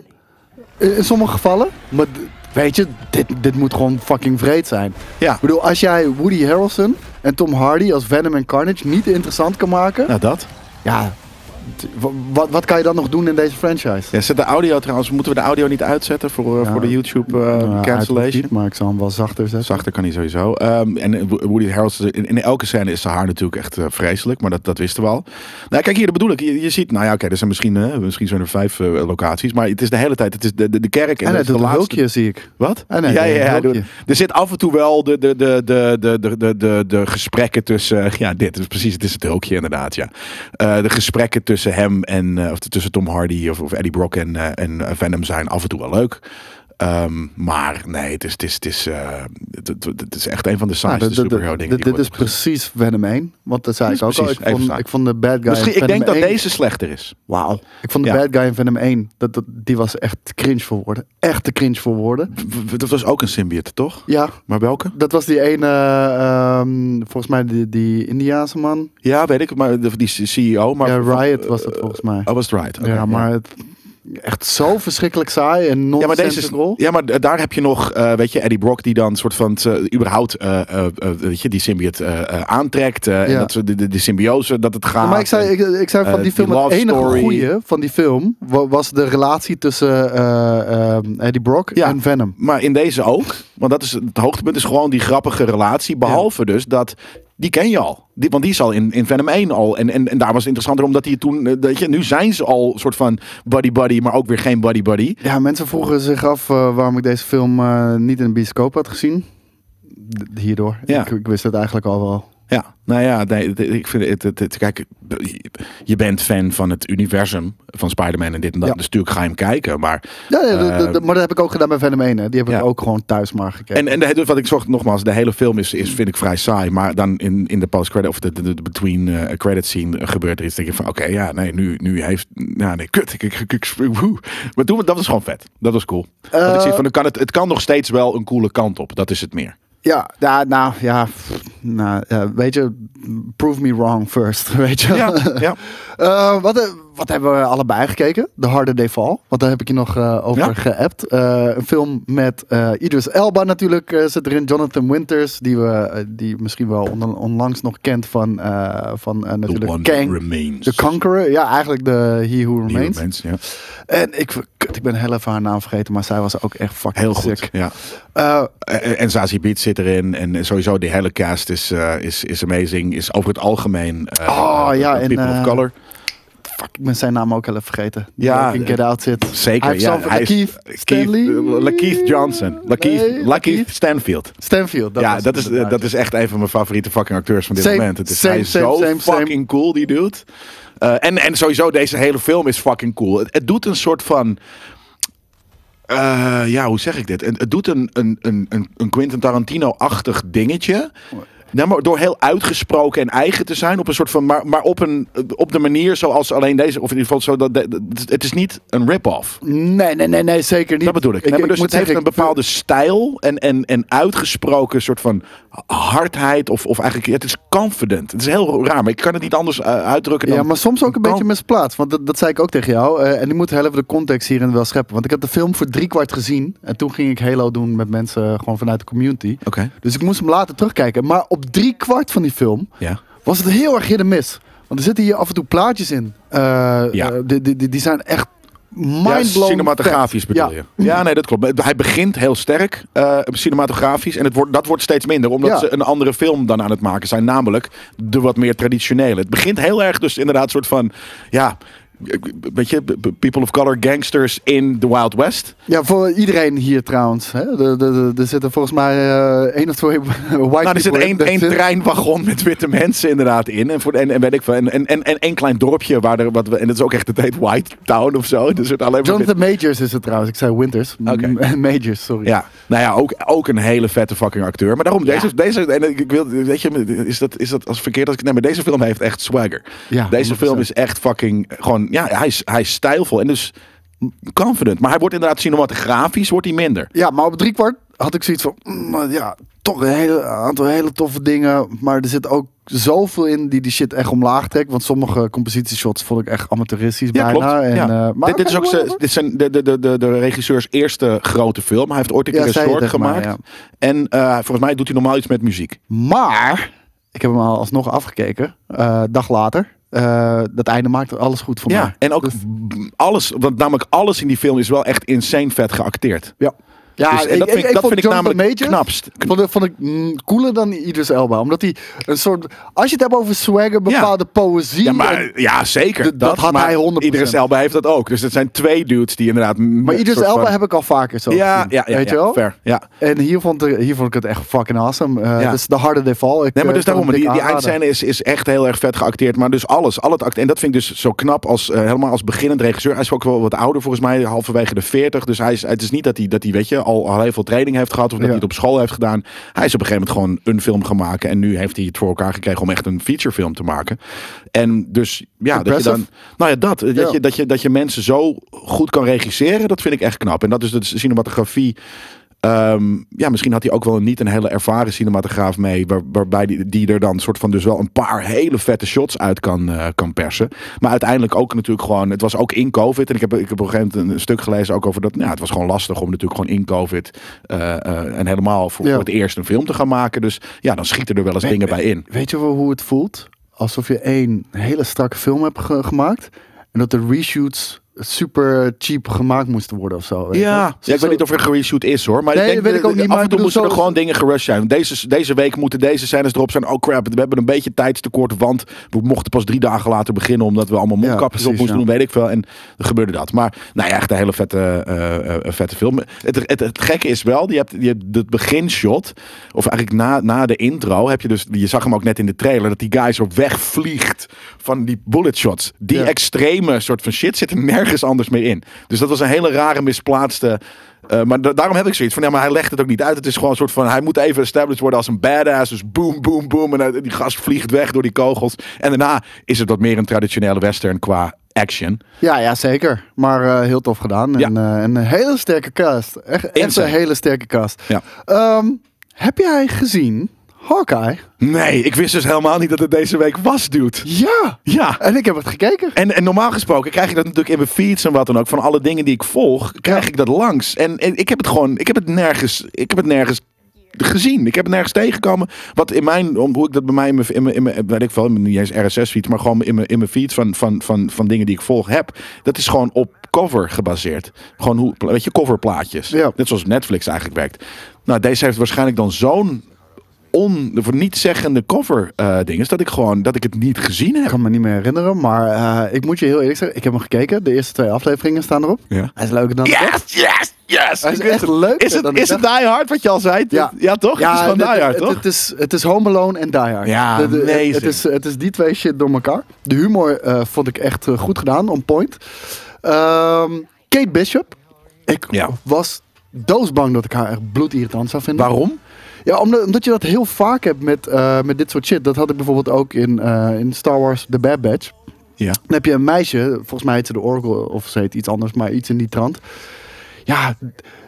[SPEAKER 3] in, in sommige gevallen, maar d- weet je, dit, dit moet gewoon fucking vreed zijn.
[SPEAKER 2] Ja.
[SPEAKER 3] Ik bedoel, als jij Woody Harrelson en Tom Hardy als Venom en Carnage niet interessant kan maken,
[SPEAKER 2] Nou, dat.
[SPEAKER 3] ja... t- wa- Wat, wat kan je dan nog doen in deze franchise?
[SPEAKER 2] Ja, zet de audio trouwens, moeten we de audio niet uitzetten voor, eh,
[SPEAKER 3] Ja.
[SPEAKER 2] voor de YouTube eh,
[SPEAKER 3] Nou, uit het
[SPEAKER 2] cancellation?
[SPEAKER 3] niet, maar ik zal hem wel zachter zetten.
[SPEAKER 2] Zachter kan hij sowieso. Ehm, en Wo- Woody Harrelson, in, in elke scène is zijn haar natuurlijk echt eh, vreselijk, maar dat, dat wisten we al. Nou, kijk hier, dat bedoel ik. Je, je ziet, nou ja, oké, er zijn misschien, eh, misschien zijn er vijf eh, locaties, maar het is de hele tijd, het is de, de, de kerk en, dat
[SPEAKER 3] En hij
[SPEAKER 2] is de
[SPEAKER 3] doet een
[SPEAKER 2] laatste-
[SPEAKER 3] hulkje, zie ik.
[SPEAKER 2] Wat?
[SPEAKER 3] Ah, nee,
[SPEAKER 2] ja,
[SPEAKER 3] nee,
[SPEAKER 2] ja, ja,
[SPEAKER 3] een
[SPEAKER 2] doe-
[SPEAKER 3] hulpje.
[SPEAKER 2] Er zit af en toe wel de, de, de, de, de, de, de, de, de gesprekken tussen. eh, Ja, dit is precies. Het is het hulkje, inderdaad. Ja. Eh, de gesprekken tussen hem en. eh, of tussen Tom Hardy of, of Eddie Brock en, eh, en eh, Venom zijn af en toe wel leuk. Ehm, maar nee, het is, het, is, het, is, eh, het, het- het Ah, is echt een van de
[SPEAKER 3] Nou,
[SPEAKER 2] saaiste
[SPEAKER 3] dit- dit-
[SPEAKER 2] superhero dingen.
[SPEAKER 3] dit- dit is precies Venom 1. Want dat zei
[SPEAKER 2] Dit
[SPEAKER 3] ik
[SPEAKER 2] is
[SPEAKER 3] ook al.
[SPEAKER 2] precies,
[SPEAKER 3] Ik
[SPEAKER 2] even
[SPEAKER 3] vond,
[SPEAKER 2] staan.
[SPEAKER 3] ik vond de bad guy
[SPEAKER 2] Misschien,
[SPEAKER 3] in
[SPEAKER 2] ik
[SPEAKER 3] Venom
[SPEAKER 2] denk dat
[SPEAKER 3] 1
[SPEAKER 2] deze slechter is.
[SPEAKER 3] Wauw. Ik vond de
[SPEAKER 2] Ja.
[SPEAKER 3] bad guy in Venom 1, dat, dat, die was echt te cringe voor woorden. Echt te cringe voor woorden.
[SPEAKER 2] W- w- Dat was ook een symbiote, toch?
[SPEAKER 3] Ja,
[SPEAKER 2] Maar welke?
[SPEAKER 3] dat was die ene, ehm, volgens mij die, die Indiaanse man. E
[SPEAKER 2] Ja, weet ik. Maar de- die CEO. Maar
[SPEAKER 3] ja, Riot was dat volgens mij.
[SPEAKER 2] Oh, was het Riot? Oké,
[SPEAKER 3] ja, maar het, Echt zo verschrikkelijk saai en non
[SPEAKER 2] Ja, maar deze is, ja, maar d- daar heb je nog, eh, weet je, Eddie Brock die dan soort van, eh, überhaupt, eh, eh, eh, weet je, die symbiote eh, eh, aantrekt. eh, En
[SPEAKER 3] Ja.
[SPEAKER 2] dat ze de, de, de symbiose, dat het gaat.
[SPEAKER 3] Ja, maar ik zei,
[SPEAKER 2] En-
[SPEAKER 3] ik, ik zei van
[SPEAKER 2] eh,
[SPEAKER 3] die film,
[SPEAKER 2] die
[SPEAKER 3] het
[SPEAKER 2] love
[SPEAKER 3] enige
[SPEAKER 2] story.
[SPEAKER 3] goede van die film wa- was de relatie tussen eh, eh, Eddie Brock
[SPEAKER 2] Ja.
[SPEAKER 3] en Venom.
[SPEAKER 2] Maar in deze ook. Want dat is het hoogtepunt is gewoon die grappige relatie. Behalve dus dat. Die ken je al. Die, want die is al in, in Venom 1 al. En, en, en daar was het interessanter omdat die toen. eh, Dat je, nu zijn ze al soort van buddy-buddy, maar ook weer geen buddy-buddy.
[SPEAKER 3] Ja, mensen vroegen zich af eh, waarom ik deze film eh, niet in de bioscoop had gezien. D- hierdoor.
[SPEAKER 2] Ja.
[SPEAKER 3] Ik, ik wist het eigenlijk al wel.
[SPEAKER 2] Ja, nou ja, nee, het- ik vind het, het, het- Kijk, je bent fan van het universum van Spider-Man en dit en dat.
[SPEAKER 3] Ja.
[SPEAKER 2] Dus natuurlijk ga je hem kijken. Maar
[SPEAKER 3] Ja, ja, de- de-
[SPEAKER 2] Eh,
[SPEAKER 3] de- maar dat heb ik ook gedaan bij Venom 1. Hè. Die heb
[SPEAKER 2] Ja.
[SPEAKER 3] ik ook gewoon thuis maar gekeken.
[SPEAKER 2] En, en de, wat ik zocht, nogmaals, de hele film is, is vind ik vrij saai. Maar dan in, in de post-credit of de, de, de between eh, credit scene gebeurt er iets. denk je van, oké, ja, nee, nu, nu heeft... Nou, nee, kut. Ik, ik, ik, ik- woe. Maar toen, dat was gewoon vet. Dat was cool. Want ik
[SPEAKER 3] Eh,
[SPEAKER 2] zie van, dan kan het, het kan nog steeds wel een coole kant op. Dat is het meer.
[SPEAKER 3] Ja, ja, nou ja, pff, nou, ja, weet je, prove me wrong first, [laughs] weet je.
[SPEAKER 2] Ja, ja.
[SPEAKER 3] Eh, wat, he- wat hebben we allebei gekeken? The Harder They Fall, want daar heb ik je nog eh, over
[SPEAKER 2] Ja.
[SPEAKER 3] geappt. Eh, een film met eh, Idris Elba natuurlijk eh, zit erin, Jonathan Winters, die we eh, die misschien wel on- onlangs nog kent van, eh, van eh,
[SPEAKER 2] The
[SPEAKER 3] natuurlijk
[SPEAKER 2] one
[SPEAKER 3] Kang.
[SPEAKER 2] remains.
[SPEAKER 3] The Conqueror, ja, eigenlijk de He Who
[SPEAKER 2] He
[SPEAKER 3] Remains.
[SPEAKER 2] remains, ja.
[SPEAKER 3] En ik, kut, ik ben heel even haar naam vergeten, maar zij was ook echt fucking
[SPEAKER 2] Heel goed,
[SPEAKER 3] sick.
[SPEAKER 2] ja.
[SPEAKER 3] Eh,
[SPEAKER 2] En, en Zazie Beetz zit erin. En sowieso, die hele cast is, eh, is, is amazing. Is over het algemeen... eh,
[SPEAKER 3] Oh,
[SPEAKER 2] eh,
[SPEAKER 3] ja, en,
[SPEAKER 2] People of
[SPEAKER 3] eh,
[SPEAKER 2] color.
[SPEAKER 3] Fuck, ik ben zijn naam ook heel even vergeten. Die
[SPEAKER 2] Ja,
[SPEAKER 3] ook in
[SPEAKER 2] eh,
[SPEAKER 3] Get Out zit.
[SPEAKER 2] Zeker,
[SPEAKER 3] Hij heeft
[SPEAKER 2] ja.
[SPEAKER 3] zoon van Lakeith Stanley.
[SPEAKER 2] eh, Lakeith Johnson. Lakeith,
[SPEAKER 3] Nee,
[SPEAKER 2] Lakeith
[SPEAKER 3] Lakeith
[SPEAKER 2] Stanfield.
[SPEAKER 3] Stanfield.
[SPEAKER 2] ja,
[SPEAKER 3] was
[SPEAKER 2] dat is, eh,
[SPEAKER 3] het inderdaad.
[SPEAKER 2] dat is echt een van mijn favoriete fucking acteurs van dit
[SPEAKER 3] Same,
[SPEAKER 2] moment. Het is,
[SPEAKER 3] same,
[SPEAKER 2] hij is
[SPEAKER 3] same,
[SPEAKER 2] zo
[SPEAKER 3] same, same.
[SPEAKER 2] fucking cool, die dude. Eh, en, en sowieso, deze hele film is fucking cool. Het, het doet een soort van... eh, ja, hoe zeg ik dit? Het, het doet een, een, een, een, een Quentin Tarantino-achtig dingetje. Nou, maar door heel uitgesproken en eigen te zijn. Op een soort van, maar, maar op, een, op de manier zoals alleen deze... Of in ieder geval, zo dat, dat- het is niet een rip-off.
[SPEAKER 3] Nee, nee, nee, nee, zeker niet.
[SPEAKER 2] Dat bedoel ik. Nee, maar dus het heeft een
[SPEAKER 3] ik-
[SPEAKER 2] bepaalde stijl en, en, en uitgesproken soort van hardheid. Of, of eigenlijk, het is confident. Het is heel raar, maar ik kan het niet anders eh, uitdrukken dan...
[SPEAKER 3] Ja, maar soms ook een
[SPEAKER 2] Kan-
[SPEAKER 3] beetje misplaatst. Want dat, dat zei ik ook tegen jou. eh, en die moet heel even de context hierin wel scheppen. Want ik had de film voor driekwart gezien. En toen ging ik Halo doen met mensen eh, gewoon vanuit de community.
[SPEAKER 2] Oké.
[SPEAKER 3] Dus ik moest hem later terugkijken. Maar op driekwart van die film
[SPEAKER 2] Ja.
[SPEAKER 3] was het heel erg hidden mis. Want er zitten hier af en toe plaatjes in. Eh, eh, die, die, die, die zijn echt
[SPEAKER 2] Ja,
[SPEAKER 3] mindblowing.
[SPEAKER 2] cinematografisch
[SPEAKER 3] vet.
[SPEAKER 2] bedoel
[SPEAKER 3] Ja.
[SPEAKER 2] je. Ja, nee, dat klopt. Hij begint heel sterk eh, cinematografisch. En het wordt, dat wordt steeds minder. Omdat
[SPEAKER 3] Ja.
[SPEAKER 2] ze een andere film dan aan het maken zijn. Namelijk de wat meer traditionele. Het begint heel erg dus inderdaad soort van... Ja, weet je, people of color gangsters in the Wild West.
[SPEAKER 3] Ja, voor iedereen hier trouwens. Hè? Er, er- er- er zitten volgens mij eh, één of twee [laughs] white
[SPEAKER 2] Nou, er zit
[SPEAKER 3] people in.
[SPEAKER 2] één,
[SPEAKER 3] Dat
[SPEAKER 2] één
[SPEAKER 3] zit-
[SPEAKER 2] treinwagon met witte mensen inderdaad in. En, voor, en, en weet ik veel. En, en, en, en één klein dorpje waar er wat we. En dat is ook echt het heet White Town of zo. Dus het alleen maar. wit-
[SPEAKER 3] Jonathan Majors is het trouwens. Ik zei Winters. M-
[SPEAKER 2] Oké.
[SPEAKER 3] [laughs] Majors, sorry.
[SPEAKER 2] Ja, nou ja, ook, ook een hele vette fucking acteur. Maar daarom, deze, deze en ik wil, weet je, is dat, is dat als verkeerd als ik, nee, maar deze film heeft echt swagger.
[SPEAKER 3] Ja,
[SPEAKER 2] deze
[SPEAKER 3] 100%.
[SPEAKER 2] film is echt fucking, gewoon, ja, hij is, hij is stijlvol en dus confident. Maar hij wordt inderdaad cinematografisch, wordt hij minder.
[SPEAKER 3] Ja, maar op driekwart had ik zoiets van... mm, ja, toch een hele, aantal hele toffe dingen. Maar er zit ook zoveel in die die shit echt omlaag trekt. Want sommige compositieshots vond ik echt amateuristisch
[SPEAKER 2] Ja,
[SPEAKER 3] bijna.
[SPEAKER 2] klopt.
[SPEAKER 3] En,
[SPEAKER 2] ja.
[SPEAKER 3] eh, maar
[SPEAKER 2] dit, dit is
[SPEAKER 3] oké,
[SPEAKER 2] ook zijn,
[SPEAKER 3] whatever.
[SPEAKER 2] dit zijn de, de, de, de, de regisseurs eerste grote film. Hij heeft ooit een
[SPEAKER 3] Ja,
[SPEAKER 2] keer een
[SPEAKER 3] zei je
[SPEAKER 2] short
[SPEAKER 3] tegen mij,
[SPEAKER 2] gemaakt. En eh, volgens mij doet hij normaal iets met muziek.
[SPEAKER 3] Maar, ik heb hem al alsnog afgekeken. eh, dag later. Eh, dat einde maakt alles goed voor mij.
[SPEAKER 2] Ja, en ook
[SPEAKER 3] Dus-
[SPEAKER 2] b- alles, want namelijk alles in die film is wel echt insane vet geacteerd.
[SPEAKER 3] Ja. Ja,
[SPEAKER 2] Dus- en dat vind ik- dat
[SPEAKER 3] vond
[SPEAKER 2] vind ik
[SPEAKER 3] Jonathan
[SPEAKER 2] namelijk knapst. Kn-
[SPEAKER 3] Vond, ik- vond ik mm, cooler dan Idris Elba. Omdat hij een soort... Als je het hebt over swagger, bepaalde poëzie...
[SPEAKER 2] Ja,
[SPEAKER 3] en-
[SPEAKER 2] maar, ja zeker.
[SPEAKER 3] D- dat had
[SPEAKER 2] maar
[SPEAKER 3] hij 100%.
[SPEAKER 2] Idris Elba heeft dat ook. Dus dat zijn twee dudes die inderdaad...
[SPEAKER 3] maar Idris Elba heb ik al vaker zo
[SPEAKER 2] Ja,
[SPEAKER 3] gezien,
[SPEAKER 2] ja, ja,
[SPEAKER 3] weet
[SPEAKER 2] ja,
[SPEAKER 3] je wel?
[SPEAKER 2] fair. Ja.
[SPEAKER 3] En hier vond, ik- hier vond ik het echt fucking awesome. Eh,
[SPEAKER 2] Ja.
[SPEAKER 3] Dus de harder they fall. Ik,
[SPEAKER 2] Nee, maar
[SPEAKER 3] eh,
[SPEAKER 2] dus
[SPEAKER 3] kan hem
[SPEAKER 2] daarom, die,
[SPEAKER 3] dik
[SPEAKER 2] die
[SPEAKER 3] aanraden.
[SPEAKER 2] eindscène is, is echt heel erg vet geacteerd. Maar dus alles, al het acte En dat vind ik dus zo knap als eh, helemaal als beginnend regisseur. Hij is ook wel wat ouder volgens mij, halverwege de 40. Dus hij is, het is niet dat hij, dat hij weet je, al, al heel veel training heeft gehad of dat
[SPEAKER 3] Ja.
[SPEAKER 2] hij het op school heeft gedaan. Hij is op een gegeven moment gewoon een film gaan maken. En nu heeft hij het voor elkaar gekregen om echt een featurefilm te maken. En dus ja, dat je
[SPEAKER 3] Impressive.
[SPEAKER 2] dan. Nou ja, dat. Dat,
[SPEAKER 3] Ja.
[SPEAKER 2] Je, dat, je, dat je mensen zo goed kan regisseren, dat vind ik echt knap. En dat is de cinematografie. Ehm, ja, misschien had hij ook wel een, niet een hele ervaren cinematograaf mee. Waar, waarbij die, die er dan soort van dus wel een paar hele vette shots uit kan, eh, kan persen. Maar uiteindelijk ook natuurlijk gewoon. Het was ook in COVID. En ik heb, ik heb op een gegeven moment een stuk gelezen ook over dat. Nou, het was gewoon lastig om natuurlijk gewoon in COVID. eh, eh, en helemaal voor,
[SPEAKER 3] Ja.
[SPEAKER 2] voor het eerst een film te gaan maken. Dus ja, dan schieten er wel eens dingen bij in.
[SPEAKER 3] Weet je wel hoe het voelt? Alsof je één hele strakke film hebt ge- gemaakt. En dat de reshoots super cheap gemaakt moesten worden of zo. weet je wel?
[SPEAKER 2] Ja, ja, ik
[SPEAKER 3] Zo-
[SPEAKER 2] weet niet of er gereshoot is hoor. Maar
[SPEAKER 3] Nee,
[SPEAKER 2] ik denk,
[SPEAKER 3] dat weet ik ook niet, maar
[SPEAKER 2] Af en
[SPEAKER 3] ik
[SPEAKER 2] toe
[SPEAKER 3] bedoel,
[SPEAKER 2] moeten er
[SPEAKER 3] zo-
[SPEAKER 2] gewoon dingen gerushed zijn. Deze, deze week moeten deze scènes erop zijn. Oh crap, we hebben een beetje tijdstekort. Want we mochten pas drie dagen later beginnen. Omdat we allemaal mondkapjes
[SPEAKER 3] Ja,
[SPEAKER 2] op
[SPEAKER 3] precies,
[SPEAKER 2] moesten
[SPEAKER 3] ja.
[SPEAKER 2] doen, weet ik veel. En er gebeurde dat. Maar nou ja, echt een hele vette, eh, eh, eh, vette film. Het, het, het gekke is wel, je hebt, je hebt het beginshot. Of eigenlijk na, na de intro heb je dus... Je zag hem ook net in de trailer. Dat die guy zo wegvliegt van die bullet shots. Die
[SPEAKER 3] Ja.
[SPEAKER 2] extreme soort van shit zit er nergens anders meer in. Dus dat was een hele rare misplaatste. eh, maar da- daarom heb ik zoiets van, ja, maar hij legt het ook niet uit. Het is gewoon een soort van, hij moet even established worden als een badass. Dus boom, boom, boom. En hij- die gast vliegt weg door die kogels. En daarna is het wat meer een traditionele western qua action.
[SPEAKER 3] Ja, ja, zeker. Maar eh, heel tof gedaan. En, eh, een hele sterke cast. Echt, echt
[SPEAKER 2] Insane.
[SPEAKER 3] een hele sterke cast.
[SPEAKER 2] Ja.
[SPEAKER 3] Ehm, heb jij gezien Hawkeye?
[SPEAKER 2] Nee, ik wist dus helemaal niet dat het deze week was, dude.
[SPEAKER 3] Ja.
[SPEAKER 2] Ja.
[SPEAKER 3] En ik heb het gekeken.
[SPEAKER 2] En, en normaal gesproken krijg je dat natuurlijk in mijn feeds en wat dan ook. Van alle dingen die ik volg, krijg ik dat langs. En, en ik heb het gewoon, ik heb het nergens, ik heb het nergens gezien. Ik heb het nergens tegengekomen. Wat in mijn, om- hoe ik dat bij mij in mijn, in mijn, in mijn weet ik veel, in mijn- niet eens RSS-feed, maar gewoon in mijn, in mijn feed van, van, van, van dingen die ik volg heb. Dat is gewoon op cover gebaseerd. Gewoon hoe, weet je, coverplaatjes.
[SPEAKER 3] Ja.
[SPEAKER 2] Net zoals Netflix eigenlijk werkt. Nou, deze heeft waarschijnlijk dan zo'n on, voor niet zeggende cover eh ding is dat ik gewoon, dat ik het niet gezien
[SPEAKER 3] Ik
[SPEAKER 2] heb.
[SPEAKER 3] kan me niet meer herinneren, maar eh, ik moet je heel eerlijk zeggen, ik heb hem gekeken. De eerste twee afleveringen staan erop.
[SPEAKER 2] Ja.
[SPEAKER 3] Hij is leuker dan ik dacht.
[SPEAKER 2] Yes, yes, yes.
[SPEAKER 3] Hij is
[SPEAKER 2] Ik wist
[SPEAKER 3] echt
[SPEAKER 2] het.
[SPEAKER 3] leuker
[SPEAKER 2] Is het,
[SPEAKER 3] dan ik
[SPEAKER 2] is het Die Hard wat je al zei? Ja, toch? het is gewoon
[SPEAKER 3] dit-
[SPEAKER 2] Die Hard,
[SPEAKER 3] het,
[SPEAKER 2] toch?
[SPEAKER 3] Het is, het is Home Alone en Die Hard.
[SPEAKER 2] Ja,
[SPEAKER 3] De- de- het-
[SPEAKER 2] amazing.
[SPEAKER 3] het, is, het is die twee shit door elkaar. De humor eh, vond ik echt eh, goed gedaan, on point. Ehm, Kate Bishop. Ik
[SPEAKER 2] Ja.
[SPEAKER 3] was doodsbang dat ik haar echt bloedirritant zou vinden.
[SPEAKER 2] Waarom?
[SPEAKER 3] Ja, omdat, omdat je dat heel vaak hebt met, eh, met dit soort shit. Dat had ik bijvoorbeeld ook in, eh, in Star Wars The Bad Batch.
[SPEAKER 2] Ja.
[SPEAKER 3] Dan heb je een meisje, volgens mij heet ze de Oracle of ze heet iets anders, maar iets in die trant. Ja,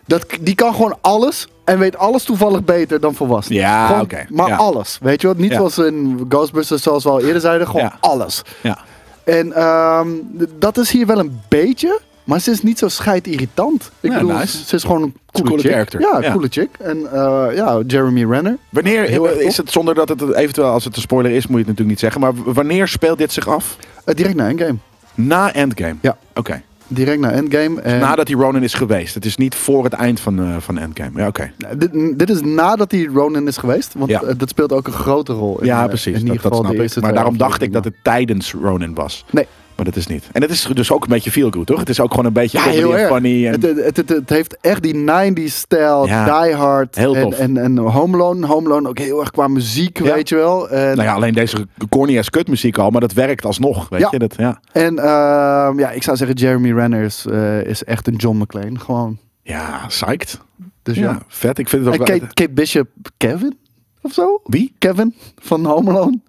[SPEAKER 3] dat, die kan gewoon alles en weet alles toevallig beter dan volwassenen.
[SPEAKER 2] Ja,
[SPEAKER 3] Gewoon-
[SPEAKER 2] oké,
[SPEAKER 3] Maar
[SPEAKER 2] ja.
[SPEAKER 3] alles, weet je wat? Niet
[SPEAKER 2] Ja.
[SPEAKER 3] zoals in Ghostbusters, zoals we al eerder zeiden, gewoon
[SPEAKER 2] Ja.
[SPEAKER 3] alles.
[SPEAKER 2] Ja.
[SPEAKER 3] En ehm, d- dat is hier wel een beetje, maar ze is niet zo scheidirritant. Ik
[SPEAKER 2] Ja,
[SPEAKER 3] bedoel,
[SPEAKER 2] nice.
[SPEAKER 3] ze is gewoon een coole,
[SPEAKER 2] coole
[SPEAKER 3] chick.
[SPEAKER 2] character.
[SPEAKER 3] Ja,
[SPEAKER 2] Ja.
[SPEAKER 3] coole chick. En eh, ja, Jeremy Renner.
[SPEAKER 2] Wanneer
[SPEAKER 3] Heel erg
[SPEAKER 2] is het zonder dat het eventueel als het een spoiler is, moet je het natuurlijk niet zeggen. Maar w- wanneer speelt dit zich af?
[SPEAKER 3] Eh, direct naar Endgame.
[SPEAKER 2] Na Endgame.
[SPEAKER 3] Ja.
[SPEAKER 2] Oké.
[SPEAKER 3] Direct naar Endgame. En
[SPEAKER 2] Nadat die Ronin is geweest. Het is niet voor het eind van, eh, van Endgame. Ja, oké.
[SPEAKER 3] Dit, dit is nadat hij Ronin is geweest. Want
[SPEAKER 2] Ja.
[SPEAKER 3] eh, dat speelt ook een grote rol. In,
[SPEAKER 2] Ja,
[SPEAKER 3] eh,
[SPEAKER 2] precies.
[SPEAKER 3] In ieder
[SPEAKER 2] dat, dat
[SPEAKER 3] geval de
[SPEAKER 2] snap ik.
[SPEAKER 3] eerste
[SPEAKER 2] Maar
[SPEAKER 3] twee
[SPEAKER 2] daarom dacht ik dat
[SPEAKER 3] afleveringen.
[SPEAKER 2] het tijdens Ronin was.
[SPEAKER 3] Nee.
[SPEAKER 2] Maar dat is niet. En het is dus ook een beetje feel good, toch? Het is ook gewoon een beetje
[SPEAKER 3] Ja,
[SPEAKER 2] comedy
[SPEAKER 3] heel
[SPEAKER 2] en
[SPEAKER 3] erg.
[SPEAKER 2] funny. En...
[SPEAKER 3] Het, het, het, het heeft echt die 90s stijl,
[SPEAKER 2] Ja.
[SPEAKER 3] Die Hard
[SPEAKER 2] Heel
[SPEAKER 3] en,
[SPEAKER 2] tof.
[SPEAKER 3] en, en Home Loan. Home Loan ook heel erg qua muziek,
[SPEAKER 2] Ja.
[SPEAKER 3] weet je wel. Eh, En,
[SPEAKER 2] Nou ja, alleen deze corny as kut muziek al, maar dat werkt alsnog. Weet
[SPEAKER 3] Ja.
[SPEAKER 2] je? Dat, ja.
[SPEAKER 3] en ehm, ja, ik zou zeggen Jeremy Renner is, eh, is echt een John McClane. Gewoon.
[SPEAKER 2] ja, psyched.
[SPEAKER 3] Dus
[SPEAKER 2] ja,
[SPEAKER 3] ja.
[SPEAKER 2] vet. Ik vind het
[SPEAKER 3] En
[SPEAKER 2] ook wel-
[SPEAKER 3] Kate, Kate Bishop, Kevin of zo?
[SPEAKER 2] Wie? Oh,
[SPEAKER 3] Kevin van Home Loan.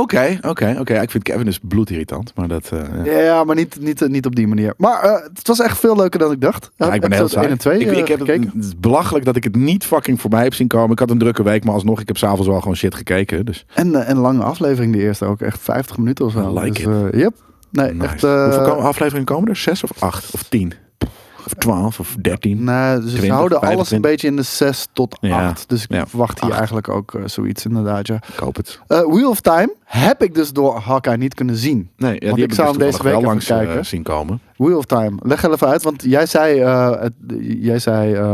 [SPEAKER 2] Oké, oké, oké. Ik vind Kevin dus bloedirritant, maar dat... eh, ja.
[SPEAKER 3] Ja, maar niet, niet, eh, niet op die manier. Maar eh, het was echt veel leuker dan ik dacht.
[SPEAKER 2] Ja, ik ben
[SPEAKER 3] Episode
[SPEAKER 2] heel saai.
[SPEAKER 3] 1 en 2
[SPEAKER 2] ik, ik heb
[SPEAKER 3] gekeken.
[SPEAKER 2] het, het is belachelijk dat ik het niet fucking voorbij heb zien komen. Ik had een drukke week, maar alsnog, ik heb s'avonds wel gewoon shit gekeken. Dus
[SPEAKER 3] En, eh, en lange aflevering de eerste ook. Echt 50 minuten of zo.
[SPEAKER 2] I like
[SPEAKER 3] dus, eh, yep. Nee,
[SPEAKER 2] nice.
[SPEAKER 3] echt... eh,
[SPEAKER 2] Hoeveel ko- afleveringen komen er? Zes of acht? Of tien? Of twaalf? Of dertien?
[SPEAKER 3] Nee, dus ze
[SPEAKER 2] 20,
[SPEAKER 3] houden alles
[SPEAKER 2] 25.
[SPEAKER 3] een beetje in de 6 tot 8.
[SPEAKER 2] Ja,
[SPEAKER 3] dus ik
[SPEAKER 2] ja,
[SPEAKER 3] verwacht hier
[SPEAKER 2] acht.
[SPEAKER 3] eigenlijk ook eh, zoiets inderdaad. Ja.
[SPEAKER 2] Ik hoop het.
[SPEAKER 3] Eh, Wheel of Time heb ik dus door Hawkeye niet kunnen zien.
[SPEAKER 2] Nee, ja, die
[SPEAKER 3] Want
[SPEAKER 2] heb
[SPEAKER 3] ik zou
[SPEAKER 2] dus
[SPEAKER 3] hem deze
[SPEAKER 2] toevallig
[SPEAKER 3] week
[SPEAKER 2] wel
[SPEAKER 3] even
[SPEAKER 2] langs eh,
[SPEAKER 3] kijken.
[SPEAKER 2] zien komen.
[SPEAKER 3] Wheel of Time, leg er even uit. Want jij zei, eh, het- jij zei ehm,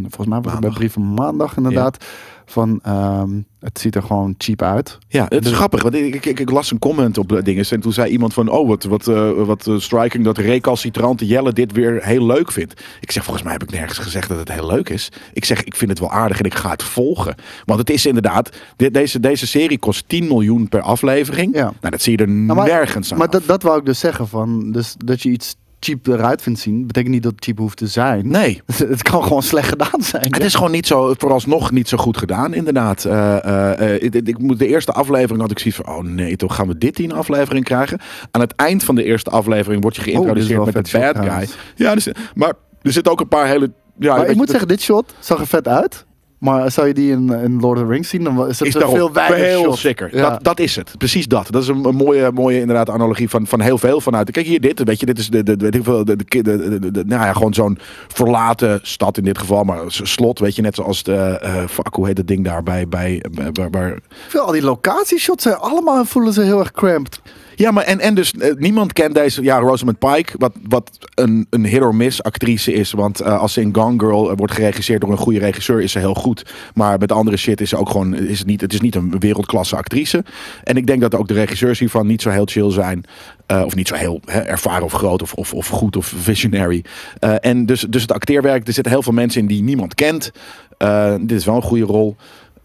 [SPEAKER 3] volgens mij was het bij
[SPEAKER 2] Maandag.
[SPEAKER 3] brieven maandag inderdaad... van ehm, het ziet er gewoon cheap uit.
[SPEAKER 2] Ja, het is
[SPEAKER 3] dus-
[SPEAKER 2] grappig, want ik, ik, ik- ik las een comment op eh, dingen en toen zei iemand van, oh wat, wat, eh, wat eh, striking dat recalcitrante Jelle dit weer heel leuk vindt. Ik zeg, volgens mij heb ik nergens gezegd dat het heel leuk is. Ik zeg, ik vind het wel aardig en ik ga het volgen. Want het is inderdaad, dit- deze, deze serie kost 10 miljoen per aflevering.
[SPEAKER 3] Ja.
[SPEAKER 2] Nou, dat zie je er
[SPEAKER 3] Nou, maar-
[SPEAKER 2] nergens aan
[SPEAKER 3] Maar
[SPEAKER 2] af.
[SPEAKER 3] dat, dat wou ik dus zeggen. Van, dus dat je iets cheap eruit vindt zien, betekent niet dat het cheap hoeft te zijn.
[SPEAKER 2] Nee,
[SPEAKER 3] [laughs] Het kan gewoon slecht gedaan zijn.
[SPEAKER 2] Het is gewoon niet zo, vooralsnog niet zo goed gedaan, inderdaad. Eh, eh, eh, ik, ik- ik moet de eerste aflevering had ik zoiets van, oh nee, toch gaan we dit in een aflevering krijgen. Aan het eind van de eerste aflevering word je
[SPEAKER 3] Oh, dit is
[SPEAKER 2] geïntroduceerd
[SPEAKER 3] wel
[SPEAKER 2] met de
[SPEAKER 3] vet shit
[SPEAKER 2] bad guy.
[SPEAKER 3] trouwens.
[SPEAKER 2] Ja, dus, maar er zitten ook een paar hele ja,
[SPEAKER 3] maar
[SPEAKER 2] weet
[SPEAKER 3] ik moet
[SPEAKER 2] je,
[SPEAKER 3] zeggen, dit shot zag er vet uit. Maar zou je die in, eh, in Lord of the Rings zien, dan wa- is het
[SPEAKER 2] is
[SPEAKER 3] een
[SPEAKER 2] daarom
[SPEAKER 3] veel wijder
[SPEAKER 2] heel
[SPEAKER 3] shot.
[SPEAKER 2] sicker.
[SPEAKER 3] Ja.
[SPEAKER 2] Dat, dat is het. Precies dat. Dat is een, een mooie, mooie inderdaad analogie van, van heel veel vanuit. Kijk hier dit, weet je, dit is de, de, weet ik veel, de, de, de, de- de- de- nou ja, gewoon zo'n verlaten stad in dit geval, maar s- slot, weet je, net zoals de, eh, fuck, hoe heet dat ding daar bij, bij, eh, bij, bij- bij-
[SPEAKER 3] Ik vind al die locatieshots zijn allemaal voelen ze heel erg cramped.
[SPEAKER 2] ja, maar en, en dus eh, niemand kent deze, ja, Rosamund Pike, wat, wat een, een hit or miss actrice is, want eh, als ze in Gone Girl eh, wordt geregisseerd door een goede regisseur, is ze heel goed, maar met andere shit is ze ook gewoon, is het niet, het is niet een wereldklasse actrice. En ik denk dat ook de regisseurs hiervan niet zo heel chill zijn, eh, of niet zo heel hè, ervaren of groot of, of, of goed of visionary. Eh, en dus, dus het acteerwerk, er zitten heel veel mensen in die niemand kent. Eh, dit is wel een goede rol.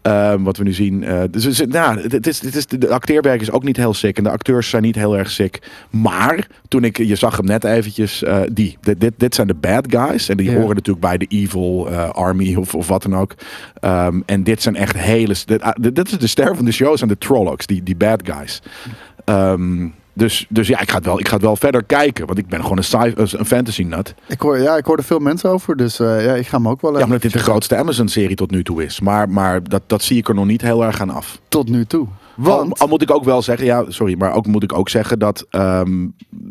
[SPEAKER 2] Ehm, wat we nu zien. Eh, dus, dus, nou, het is, het is, de acteerwerk is ook niet heel sick. En de acteurs zijn niet heel erg sick. Maar toen ik, je zag hem net eventjes, eh, die. Dit, dit, dit zijn de bad guys. En die
[SPEAKER 3] Ja.
[SPEAKER 2] horen natuurlijk bij de evil eh, army of, of wat dan ook. Ehm, en dit zijn echt hele... Dit, ah, dit- dit is de ster van de show, zijn de Trollocs. Die, die bad guys. Ehm, dus, dus ja, ik ga, het wel, ik ga het wel verder kijken. Want ik ben gewoon een, sci- een fantasy nut.
[SPEAKER 3] Ik hoor, ja, ik hoor er veel mensen over, dus eh, ja, ik ga hem ook wel
[SPEAKER 2] Ja,
[SPEAKER 3] even
[SPEAKER 2] omdat dit de grootste Amazon-serie tot nu toe is. Maar, maar dat, dat zie ik er nog niet heel erg aan af.
[SPEAKER 3] tot nu toe.
[SPEAKER 2] Al,
[SPEAKER 3] Want
[SPEAKER 2] al moet ik ook wel zeggen, ja, sorry, maar ook moet ik ook zeggen dat ehm,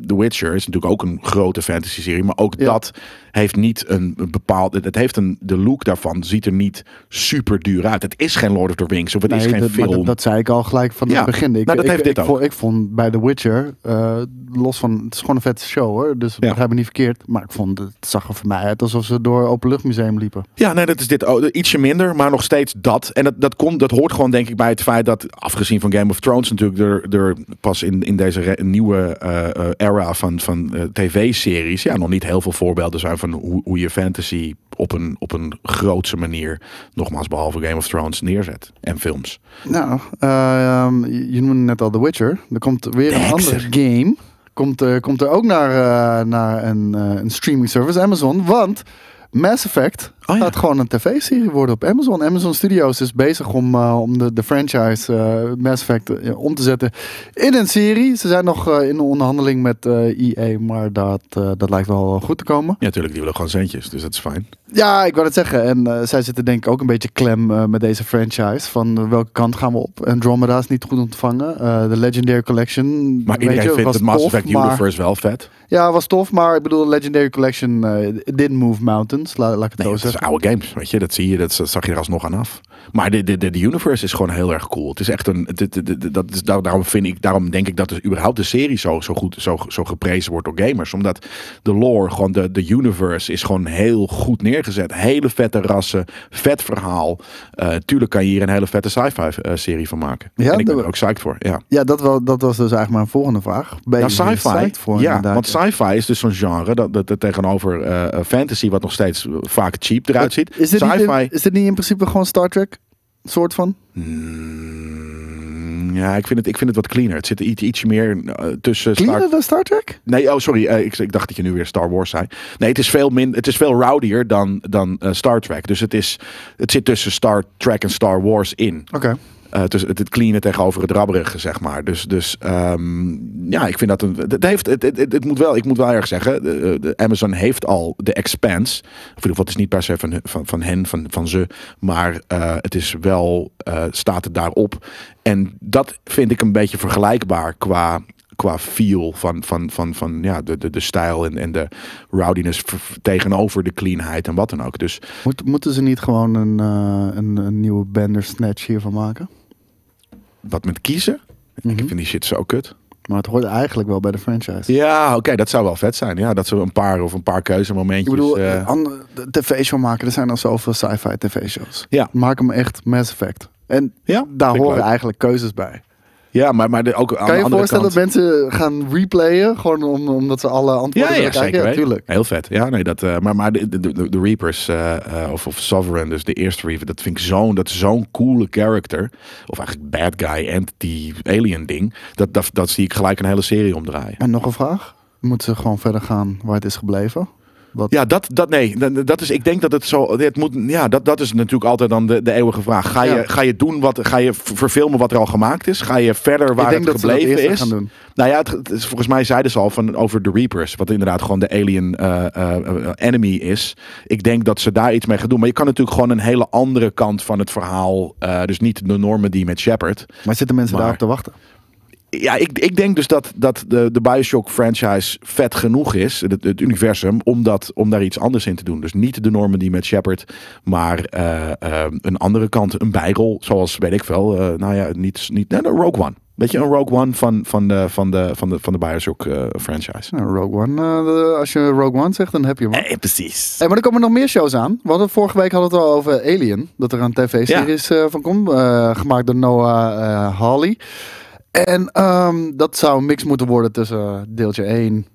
[SPEAKER 2] The Witcher is natuurlijk ook een grote fantasy serie, maar ook
[SPEAKER 3] Ja.
[SPEAKER 2] dat heeft niet een bepaald, het heeft een, de look daarvan ziet er niet super duur uit. Het is geen Lord of the Rings of het
[SPEAKER 3] Nee,
[SPEAKER 2] is geen
[SPEAKER 3] dat, maar
[SPEAKER 2] film.
[SPEAKER 3] dat, dat zei ik al gelijk van
[SPEAKER 2] Ja,
[SPEAKER 3] het begin. Ik,
[SPEAKER 2] nou, dat
[SPEAKER 3] ik,
[SPEAKER 2] heeft
[SPEAKER 3] ik,
[SPEAKER 2] dit ook.
[SPEAKER 3] Vond, ik vond bij The Witcher, eh, los van, het is gewoon een vette show hoor, dus
[SPEAKER 2] Ja.
[SPEAKER 3] begrijp me niet verkeerd. Maar ik vond, het zag er voor mij uit alsof ze door een openluchtmuseum liepen.
[SPEAKER 2] Ja, nee, dat is dit ook. Ietsje minder, maar nog steeds dat. En dat, dat, komt, dat hoort gewoon, denk ik, bij het feit dat, afgezien van Game of Thrones, natuurlijk, er, er pas in, in deze re- nieuwe eh, eh, era van, van eh, tv-series, ja, nog niet heel veel voorbeelden zijn van hoe, hoe je fantasy op een, op een grootse manier, nogmaals, behalve Game of Thrones, neerzet. En films.
[SPEAKER 3] Nou, eh, ehm, je je noemde net al The Witcher. Er komt weer
[SPEAKER 2] De
[SPEAKER 3] een
[SPEAKER 2] hekser.
[SPEAKER 3] andere game. Komt, eh, komt er ook naar, eh, naar een, eh, een streaming service, Amazon. Want Mass Effect
[SPEAKER 2] Oh ja.
[SPEAKER 3] gaat gewoon een tv-serie worden op Amazon. Amazon Studios is bezig om, eh, om de, de franchise eh, Mass Effect eh, om te zetten in een serie. Ze zijn nog eh, in de onderhandeling met eh EA, maar dat, eh, dat lijkt wel goed te komen.
[SPEAKER 2] Ja, natuurlijk, die willen gewoon centjes, dus dat is fijn.
[SPEAKER 3] Ja, ik wou het zeggen. En eh, zij zitten denk ik ook een beetje klem eh, met deze franchise. Van eh, welke kant gaan we op? Andromeda is niet goed ontvangen. Eh, De Legendary Collection.
[SPEAKER 2] Maar
[SPEAKER 3] weet je,
[SPEAKER 2] iedereen vindt
[SPEAKER 3] was
[SPEAKER 2] het Mass
[SPEAKER 3] tof,
[SPEAKER 2] Effect
[SPEAKER 3] maar-
[SPEAKER 2] Universe wel vet.
[SPEAKER 3] Ja, was tof, maar ik bedoel, Legendary Collection eh, it didn't move mountains. La- laat ik
[SPEAKER 2] Nee,
[SPEAKER 3] het zo
[SPEAKER 2] dat is dus
[SPEAKER 3] zeggen.
[SPEAKER 2] oude games, weet je. Dat zie je, dat, dat zag je er alsnog aan af. Maar de, de, de, de universe is gewoon heel erg cool. Het is echt een, dit- dit- dit- dat is, daar- daarom vind ik, daarom denk ik dat dus überhaupt de serie zo, zo goed, zo, zo geprezen wordt door gamers. Omdat de lore, gewoon de, de universe is gewoon heel goed neergezet. Hele vette rassen, vet verhaal. Eh, tuurlijk kan je hier een hele vette sci-fi eh, serie van maken. en
[SPEAKER 3] Ja,
[SPEAKER 2] ik ben
[SPEAKER 3] dat-
[SPEAKER 2] er ook psyched voor, ja.
[SPEAKER 3] Ja, dat, wel, dat was dus eigenlijk mijn volgende vraag. Ben
[SPEAKER 2] Nou,
[SPEAKER 3] je hier
[SPEAKER 2] sci-fi.
[SPEAKER 3] psyched voor
[SPEAKER 2] ja,
[SPEAKER 3] inderdaad?
[SPEAKER 2] want sci-fi is dus zo'n genre dat, dat, dat tegenover eh, fantasy, wat nog steeds eh, vaak cheap eruit ziet.
[SPEAKER 3] Is dit, niet,
[SPEAKER 2] Sci-fi.
[SPEAKER 3] in- is dit niet in principe gewoon Star Trek? Soort van?
[SPEAKER 2] Mm, ja, ik vind, het, ik vind het wat cleaner. Het zit iets, ietsje meer eh, tussen. Star-
[SPEAKER 3] Cleaner dan Star Trek?
[SPEAKER 2] Nee, oh sorry, eh, ik, ik dacht dat je nu weer Star Wars zei. Nee, het is veel, min, het is veel rowdier dan, dan eh, Star Trek. Dus het, is, het zit tussen Star Trek en Star Wars in.
[SPEAKER 3] Oké.
[SPEAKER 2] Eh, dus het, het cleane tegenover het rabberige, zeg maar. Dus, dus ehm, ja, ik vind dat een. Het, heeft, het, het, het- het moet wel, ik moet wel erg zeggen. de- de Amazon heeft al de Expanse. Of in ieder geval, het is niet per se van, hun- van, van hen, van, van ze. Maar eh, het is wel. eh, staat het daarop. En dat vind ik een beetje vergelijkbaar qua. Qua feel van, van, van, van ja, de, de, de stijl en, en de rowdiness v- v- tegenover de cleanheid en wat dan ook. Dus
[SPEAKER 3] Moet, moeten ze niet gewoon een, eh, een, een nieuwe Bandersnatch hiervan maken?
[SPEAKER 2] wat met kiezen. Ik vind die shit zo kut.
[SPEAKER 3] Maar het hoort eigenlijk wel bij de franchise.
[SPEAKER 2] Ja, oké, dat zou wel vet zijn. Ja, dat ze een paar of een paar
[SPEAKER 3] Ik
[SPEAKER 2] keuzemomentjes.
[SPEAKER 3] bedoel, ah.
[SPEAKER 2] eh,
[SPEAKER 3] andere tv-show maken, er zijn al zoveel sci-fi tv-shows.
[SPEAKER 2] ja,
[SPEAKER 3] Maak hem echt Mass Effect. En
[SPEAKER 2] ja,
[SPEAKER 3] daar
[SPEAKER 2] vind ik
[SPEAKER 3] horen
[SPEAKER 2] leuk.
[SPEAKER 3] eigenlijk keuzes bij.
[SPEAKER 2] Ja, maar, maar de, ook aan
[SPEAKER 3] kan
[SPEAKER 2] de
[SPEAKER 3] je je
[SPEAKER 2] andere
[SPEAKER 3] voorstellen
[SPEAKER 2] kant.
[SPEAKER 3] dat mensen gaan replayen, gewoon om, omdat ze alle antwoorden
[SPEAKER 2] ja, ja,
[SPEAKER 3] willen kijken?
[SPEAKER 2] zeker.
[SPEAKER 3] Ja,
[SPEAKER 2] weten.
[SPEAKER 3] tuurlijk.
[SPEAKER 2] Heel vet. Ja, nee, dat, eh, maar, maar de, de, de, de Reapers eh, eh, of, of Sovereign, dus de eerste Reaper, dat vind ik zo'n dat is zo'n coole character. Of eigenlijk bad guy entity alien ding. Dat, dat, dat zie ik gelijk een hele serie omdraaien.
[SPEAKER 3] En nog een vraag. Moeten ze gewoon verder gaan waar het is gebleven? Wat,
[SPEAKER 2] Ja, dat, dat nee. Dat, dat is, ik denk dat het zo. Het moet, ja, dat, dat is natuurlijk altijd dan de, de eeuwige vraag. Ga je,
[SPEAKER 3] Ja.
[SPEAKER 2] ga je doen wat. Ga je ver- verfilmen wat er al gemaakt is? Ga je verder waar
[SPEAKER 3] ik denk
[SPEAKER 2] het
[SPEAKER 3] dat ze dat
[SPEAKER 2] gebleven
[SPEAKER 3] eerst
[SPEAKER 2] is?
[SPEAKER 3] gaan doen.
[SPEAKER 2] Nou ja, het, het is, volgens mij zeiden ze al van over The Reapers, wat inderdaad gewoon de alien eh, eh, eh, enemy is. Ik denk dat ze daar iets mee gaan doen. Maar je kan natuurlijk gewoon een hele andere kant van het verhaal. eh, dus niet de normen die met Shepard.
[SPEAKER 3] Maar zitten mensen
[SPEAKER 2] Maar-
[SPEAKER 3] daarop te wachten?
[SPEAKER 2] Ja, ik, ik denk dus dat, dat de, de Bioshock franchise vet genoeg is, het, het universum, om, dat, om daar iets anders in te doen. Dus niet de normen die met Shepard, maar eh, eh, een andere kant, een bijrol, zoals weet ik wel, eh, nou ja, niet, niet nou, de Rogue One. Weet je, een Rogue One van, van, de, van, de, van, de, van de Bioshock eh, franchise.
[SPEAKER 3] Nou, Rogue One. eh, als je Rogue One zegt, dan heb je hem.
[SPEAKER 2] Eh, precies.
[SPEAKER 3] Hey, maar er komen nog meer shows aan. We hadden vorige week hadden we het al over Alien. Dat er een tv-series eh, van komt. eh, gemaakt door Noah eh Hawley. En ehm, dat zou een mix moeten worden tussen deeltje 1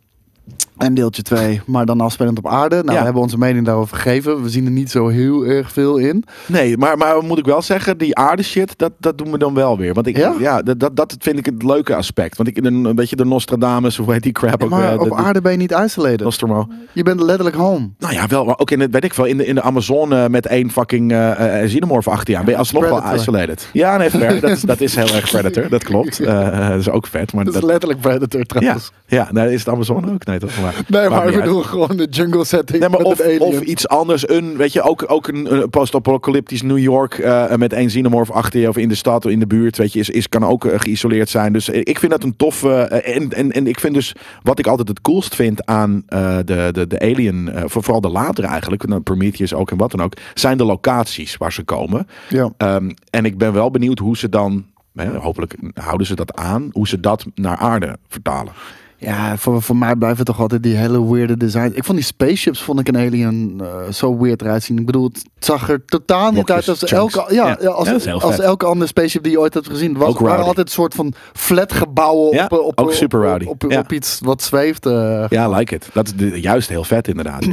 [SPEAKER 3] en deeltje 2. Maar dan afspelend op aarde. Nou,
[SPEAKER 2] Ja.
[SPEAKER 3] we hebben onze mening daarover gegeven. We zien er niet zo heel erg veel in.
[SPEAKER 2] Nee, maar, maar moet ik wel zeggen, die aarde shit, dat, dat doen we dan wel weer. Want ik,
[SPEAKER 3] Ja?
[SPEAKER 2] ja? dat, dat, dat vind ik het leuke aspect. Want ik, een, een beetje de Nostradamus, of hoe heet die crap ook.
[SPEAKER 3] maar
[SPEAKER 2] eh, de-
[SPEAKER 3] op
[SPEAKER 2] de-
[SPEAKER 3] aarde ben je niet isolated.
[SPEAKER 2] Nostromo.
[SPEAKER 3] Je bent letterlijk home.
[SPEAKER 2] Nou ja, wel. Maar ook in het, weet ik wel, in de, in de Amazone met één fucking eh eh, xenomorph achter je aan. Ben je alsnog wel
[SPEAKER 3] Predator.
[SPEAKER 2] isolated. Ja, nee,
[SPEAKER 3] [laughs]
[SPEAKER 2] fair. dat, is, dat is heel erg Predator. Dat klopt. Eh, dat is ook vet. Maar
[SPEAKER 3] Dat is
[SPEAKER 2] dat,
[SPEAKER 3] letterlijk Predator
[SPEAKER 2] ja,
[SPEAKER 3] trouwens.
[SPEAKER 2] ja nou, is het Amazone ook? Nee, toch? Maar,
[SPEAKER 3] Nee,
[SPEAKER 2] maakt
[SPEAKER 3] maar
[SPEAKER 2] niet
[SPEAKER 3] ik
[SPEAKER 2] uit.
[SPEAKER 3] bedoel gewoon de jungle setting
[SPEAKER 2] Nee, maar
[SPEAKER 3] met
[SPEAKER 2] of,
[SPEAKER 3] het alien.
[SPEAKER 2] of iets anders. Een, weet je, ook, ook een, een post-apocalyptisch New York eh, met één xenomorph achter je of in de stad of in de buurt, weet je, is, is, kan ook eh, geïsoleerd zijn. Dus eh, ik vind dat een toffe... eh, en, en, en ik vind dus, wat ik altijd het coolst vind aan eh, de, de, de Alien, eh, voor, vooral de latere eigenlijk, nou, Prometheus ook en wat dan ook, zijn de locaties waar ze komen.
[SPEAKER 3] Ja.
[SPEAKER 2] Ehm, en ik ben wel benieuwd hoe ze dan... Hè, hopelijk houden ze dat aan, hoe ze dat naar aarde vertalen.
[SPEAKER 3] Ja, voor, voor mij blijven toch altijd die hele weirde design. Ik vond die spaceships vond ik een alien eh, zo weird eruit zien. Ik bedoel, het zag er totaal niet
[SPEAKER 2] Blokjes,
[SPEAKER 3] uit als
[SPEAKER 2] chunks.
[SPEAKER 3] elke, ja,
[SPEAKER 2] Ja.
[SPEAKER 3] ja, als,
[SPEAKER 2] Ja, dat is heel
[SPEAKER 3] als
[SPEAKER 2] vet.
[SPEAKER 3] elke andere spaceship die je ooit hebt gezien. Het was,
[SPEAKER 2] Ook
[SPEAKER 3] waren
[SPEAKER 2] rowdy.
[SPEAKER 3] altijd een soort van flat gebouwen
[SPEAKER 2] Ja,
[SPEAKER 3] op, eh, op,
[SPEAKER 2] ook
[SPEAKER 3] op-
[SPEAKER 2] super
[SPEAKER 3] op-
[SPEAKER 2] rowdy.
[SPEAKER 3] op, op,
[SPEAKER 2] Ja.
[SPEAKER 3] op iets wat zweeft. eh.
[SPEAKER 2] Ja, like it. Dat is de- juist heel vet inderdaad.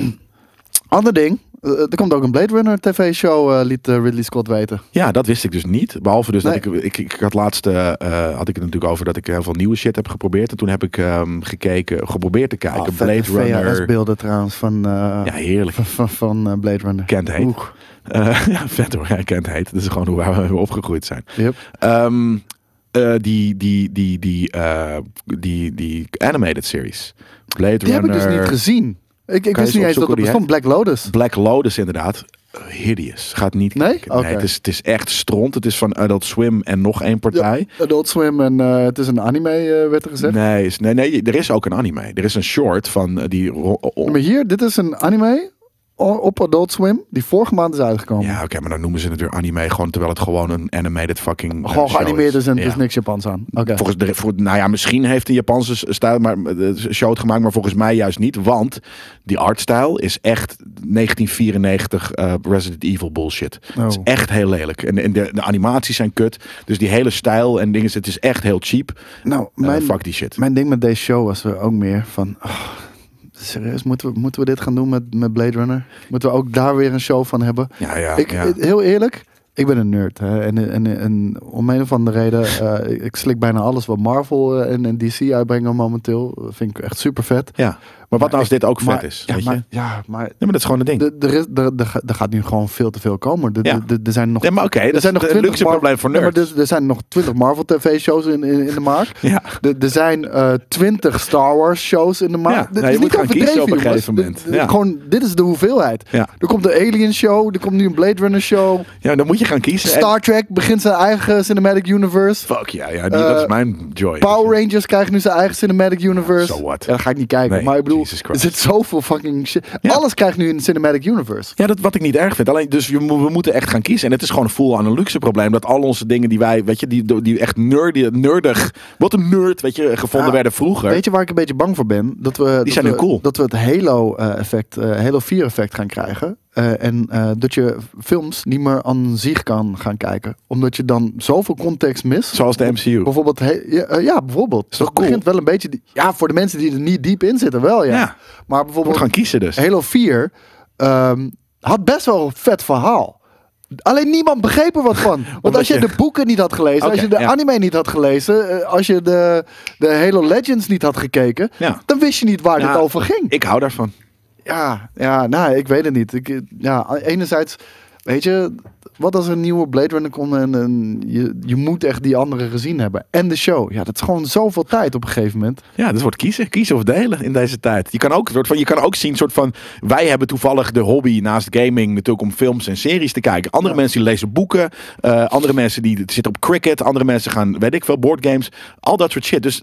[SPEAKER 3] Ander ding, eh, er komt ook een Blade Runner tv-show, eh, liet eh, Ridley Scott weten.
[SPEAKER 2] Ja, dat wist ik dus niet. Behalve dus dat
[SPEAKER 3] Nee.
[SPEAKER 2] ik, ik, ik had laatst eh, eh, had ik het natuurlijk over dat ik heel veel nieuwe shit heb geprobeerd. En toen heb ik ehm, gekeken, geprobeerd te kijken.
[SPEAKER 3] Ah,
[SPEAKER 2] Blade
[SPEAKER 3] vette
[SPEAKER 2] Runner.
[SPEAKER 3] VHS-beelden trouwens van, eh,
[SPEAKER 2] Ja, heerlijk.
[SPEAKER 3] van, van, van, eh, Blade Runner.
[SPEAKER 2] [laughs] Kent heet.
[SPEAKER 3] Oeh,
[SPEAKER 2] Eh, [laughs] ja, vet hoor. Ja, kent heet. Dat is gewoon hoe we, we opgegroeid zijn.
[SPEAKER 3] yep.
[SPEAKER 2] Ehm, eh, die, die, die, die, eh, die, die animated series. Blade
[SPEAKER 3] Die heb
[SPEAKER 2] Runner.
[SPEAKER 3] ik dus niet gezien. Ik, ik
[SPEAKER 2] Kan je
[SPEAKER 3] wist
[SPEAKER 2] eens
[SPEAKER 3] niet eens
[SPEAKER 2] opzoeken
[SPEAKER 3] dat er
[SPEAKER 2] hoe die
[SPEAKER 3] bestond. Black Lotus.
[SPEAKER 2] Black Lotus inderdaad. Hideous. Gaat niet
[SPEAKER 3] Nee?
[SPEAKER 2] kijken.
[SPEAKER 3] Oké.
[SPEAKER 2] het, is, het is echt stront. Het is van Adult Swim en nog één partij.
[SPEAKER 3] Adult Swim en eh, het is een anime, eh, werd er gezegd.
[SPEAKER 2] Nee, is- nee, nee, er is ook een anime. Er is een short van eh, die. ro- o- o-
[SPEAKER 3] Maar hier, dit is een anime o- op Adult Swim die vorige maand is uitgekomen.
[SPEAKER 2] Ja, oké, maar dan noemen ze het weer anime gewoon terwijl het gewoon een animated fucking. eh,
[SPEAKER 3] Gewoon
[SPEAKER 2] show
[SPEAKER 3] geanimeerd is en
[SPEAKER 2] Ja.
[SPEAKER 3] er is niks Japans aan. Oké.
[SPEAKER 2] Volgens de, voor, nou ja, misschien heeft de Japanse s- stijl maar eh, show het gemaakt, maar volgens mij juist niet, want die artstijl is echt 1994 eh, Resident Evil bullshit.
[SPEAKER 3] Oh.
[SPEAKER 2] Het is echt heel lelijk en, en de, de animaties zijn kut, dus die hele stijl en dingen, het is echt heel cheap.
[SPEAKER 3] Nou,
[SPEAKER 2] Eh,
[SPEAKER 3] mijn,
[SPEAKER 2] fuck die shit.
[SPEAKER 3] mijn ding met deze show was er ook meer van... ah, serieus, moeten we, moeten we dit gaan doen met, met Blade Runner? Moeten we ook daar weer een show van hebben?
[SPEAKER 2] Ja, ja,
[SPEAKER 3] ik,
[SPEAKER 2] ja.
[SPEAKER 3] ik- heel eerlijk, ik ben een nerd. Hè? En, en, en om een of andere reden, eh, ik slik bijna alles wat Marvel eh, en, en DC uitbrengen momenteel. Dat vind ik echt super vet.
[SPEAKER 2] ja. Maar wat nou als dit ook vet
[SPEAKER 3] Maar-
[SPEAKER 2] is?
[SPEAKER 3] Ja,
[SPEAKER 2] weet
[SPEAKER 3] maar,
[SPEAKER 2] je?
[SPEAKER 3] ja, maar
[SPEAKER 2] Nee, maar dat is gewoon een ding.
[SPEAKER 3] de- er is- er- er ga- er gaat nu gewoon veel te veel komen. Er-
[SPEAKER 2] Ja.
[SPEAKER 3] er- er- Er zijn nog...
[SPEAKER 2] Nee, maar oké,
[SPEAKER 3] er
[SPEAKER 2] dat is
[SPEAKER 3] zijn nog
[SPEAKER 2] nog een
[SPEAKER 3] 20
[SPEAKER 2] luxe
[SPEAKER 3] Mar-
[SPEAKER 2] probleem voor
[SPEAKER 3] Nee, maar dus
[SPEAKER 2] nerds.
[SPEAKER 3] er, er zijn nog 20 Marvel TV-shows in, in, in de
[SPEAKER 2] [laughs]
[SPEAKER 3] markt.
[SPEAKER 2] Ja.
[SPEAKER 3] Er, er zijn eh 20 Star Wars-shows in de markt.
[SPEAKER 2] Ja,
[SPEAKER 3] Dit
[SPEAKER 2] nou,
[SPEAKER 3] is
[SPEAKER 2] je
[SPEAKER 3] niet
[SPEAKER 2] moet gaan kiezen
[SPEAKER 3] overdreven,
[SPEAKER 2] op een
[SPEAKER 3] jongens.
[SPEAKER 2] gegeven moment.
[SPEAKER 3] Dit- dit-
[SPEAKER 2] Ja.
[SPEAKER 3] Gewoon, dit is de hoeveelheid.
[SPEAKER 2] Ja.
[SPEAKER 3] Er komt een Alien-show, er komt nu een Blade Runner-show.
[SPEAKER 2] Ja, dan moet je gaan kiezen.
[SPEAKER 3] Star Trek begint zijn eigen cinematic universe.
[SPEAKER 2] En- fuck ja, ja die, dat is
[SPEAKER 3] Eh,
[SPEAKER 2] mijn joy.
[SPEAKER 3] Power Rangers krijgt nu zijn eigen cinematic universe.
[SPEAKER 2] so what?
[SPEAKER 3] Ja, dat ga ik niet kijken.
[SPEAKER 2] Nee,
[SPEAKER 3] maar ik bedoel,
[SPEAKER 2] Jesus
[SPEAKER 3] er
[SPEAKER 2] Christ.
[SPEAKER 3] zit zoveel fucking shit.
[SPEAKER 2] Ja.
[SPEAKER 3] Alles krijgt nu een cinematic universe.
[SPEAKER 2] Ja, dat wat ik niet erg vind. Alleen, dus je mo- we moeten echt gaan kiezen. En het is gewoon full aan een luxe probleem. Dat al onze dingen die wij, weet je, die, die echt nerdy, nerdig, wat een nerd, weet je, gevonden
[SPEAKER 3] Ja,
[SPEAKER 2] werden vroeger.
[SPEAKER 3] Weet je waar ik een beetje bang voor ben? Dat we, dat
[SPEAKER 2] zijn
[SPEAKER 3] we,
[SPEAKER 2] nu cool.
[SPEAKER 3] Dat we het Halo-effect, eh, Halo 4-effect gaan krijgen. Eh, en eh, dat je films niet meer aan zich kan gaan kijken. Omdat je dan zoveel context mist.
[SPEAKER 2] Zoals de MCU.
[SPEAKER 3] Bijvoorbeeld, he- ja, eh, ja, bijvoorbeeld.
[SPEAKER 2] Is toch
[SPEAKER 3] Het
[SPEAKER 2] cool?
[SPEAKER 3] begint wel een beetje. die- ja, voor de mensen die er niet diep in zitten, wel ja.
[SPEAKER 2] Ja.
[SPEAKER 3] Maar
[SPEAKER 2] we moeten
[SPEAKER 3] bijvoorbeeld,
[SPEAKER 2] gaan kiezen dus.
[SPEAKER 3] Halo 4 ehm, had best wel een vet verhaal. Alleen niemand begreep er wat
[SPEAKER 2] [laughs]
[SPEAKER 3] van. Want
[SPEAKER 2] Omdat
[SPEAKER 3] als je,
[SPEAKER 2] je-
[SPEAKER 3] de boeken niet had gelezen, als
[SPEAKER 2] Oké,
[SPEAKER 3] je de
[SPEAKER 2] ja.
[SPEAKER 3] anime niet had gelezen, eh, als je de, de Halo Legends niet had gekeken,
[SPEAKER 2] Ja.
[SPEAKER 3] dan wist je niet waar
[SPEAKER 2] Ja,
[SPEAKER 3] dit over ging.
[SPEAKER 2] Ik hou daarvan.
[SPEAKER 3] Ja, ja, nou, ik weet het niet. Ik, ja, enerzijds, weet je, wat als er een nieuwe Blade Runner komt en, en je, je moet echt die andere gezien hebben. En de show. Ja, dat is gewoon zoveel tijd op een gegeven moment.
[SPEAKER 2] Ja, dus wordt kiezen. Kiezen of delen in deze tijd. Je kan ook, soort van, je kan ook zien, soort van, wij hebben toevallig de hobby naast gaming natuurlijk om films en series te kijken. Andere mensen die lezen boeken, eh, andere mensen die zitten op cricket, andere mensen gaan, weet ik veel, boardgames, al dat soort shit. Dus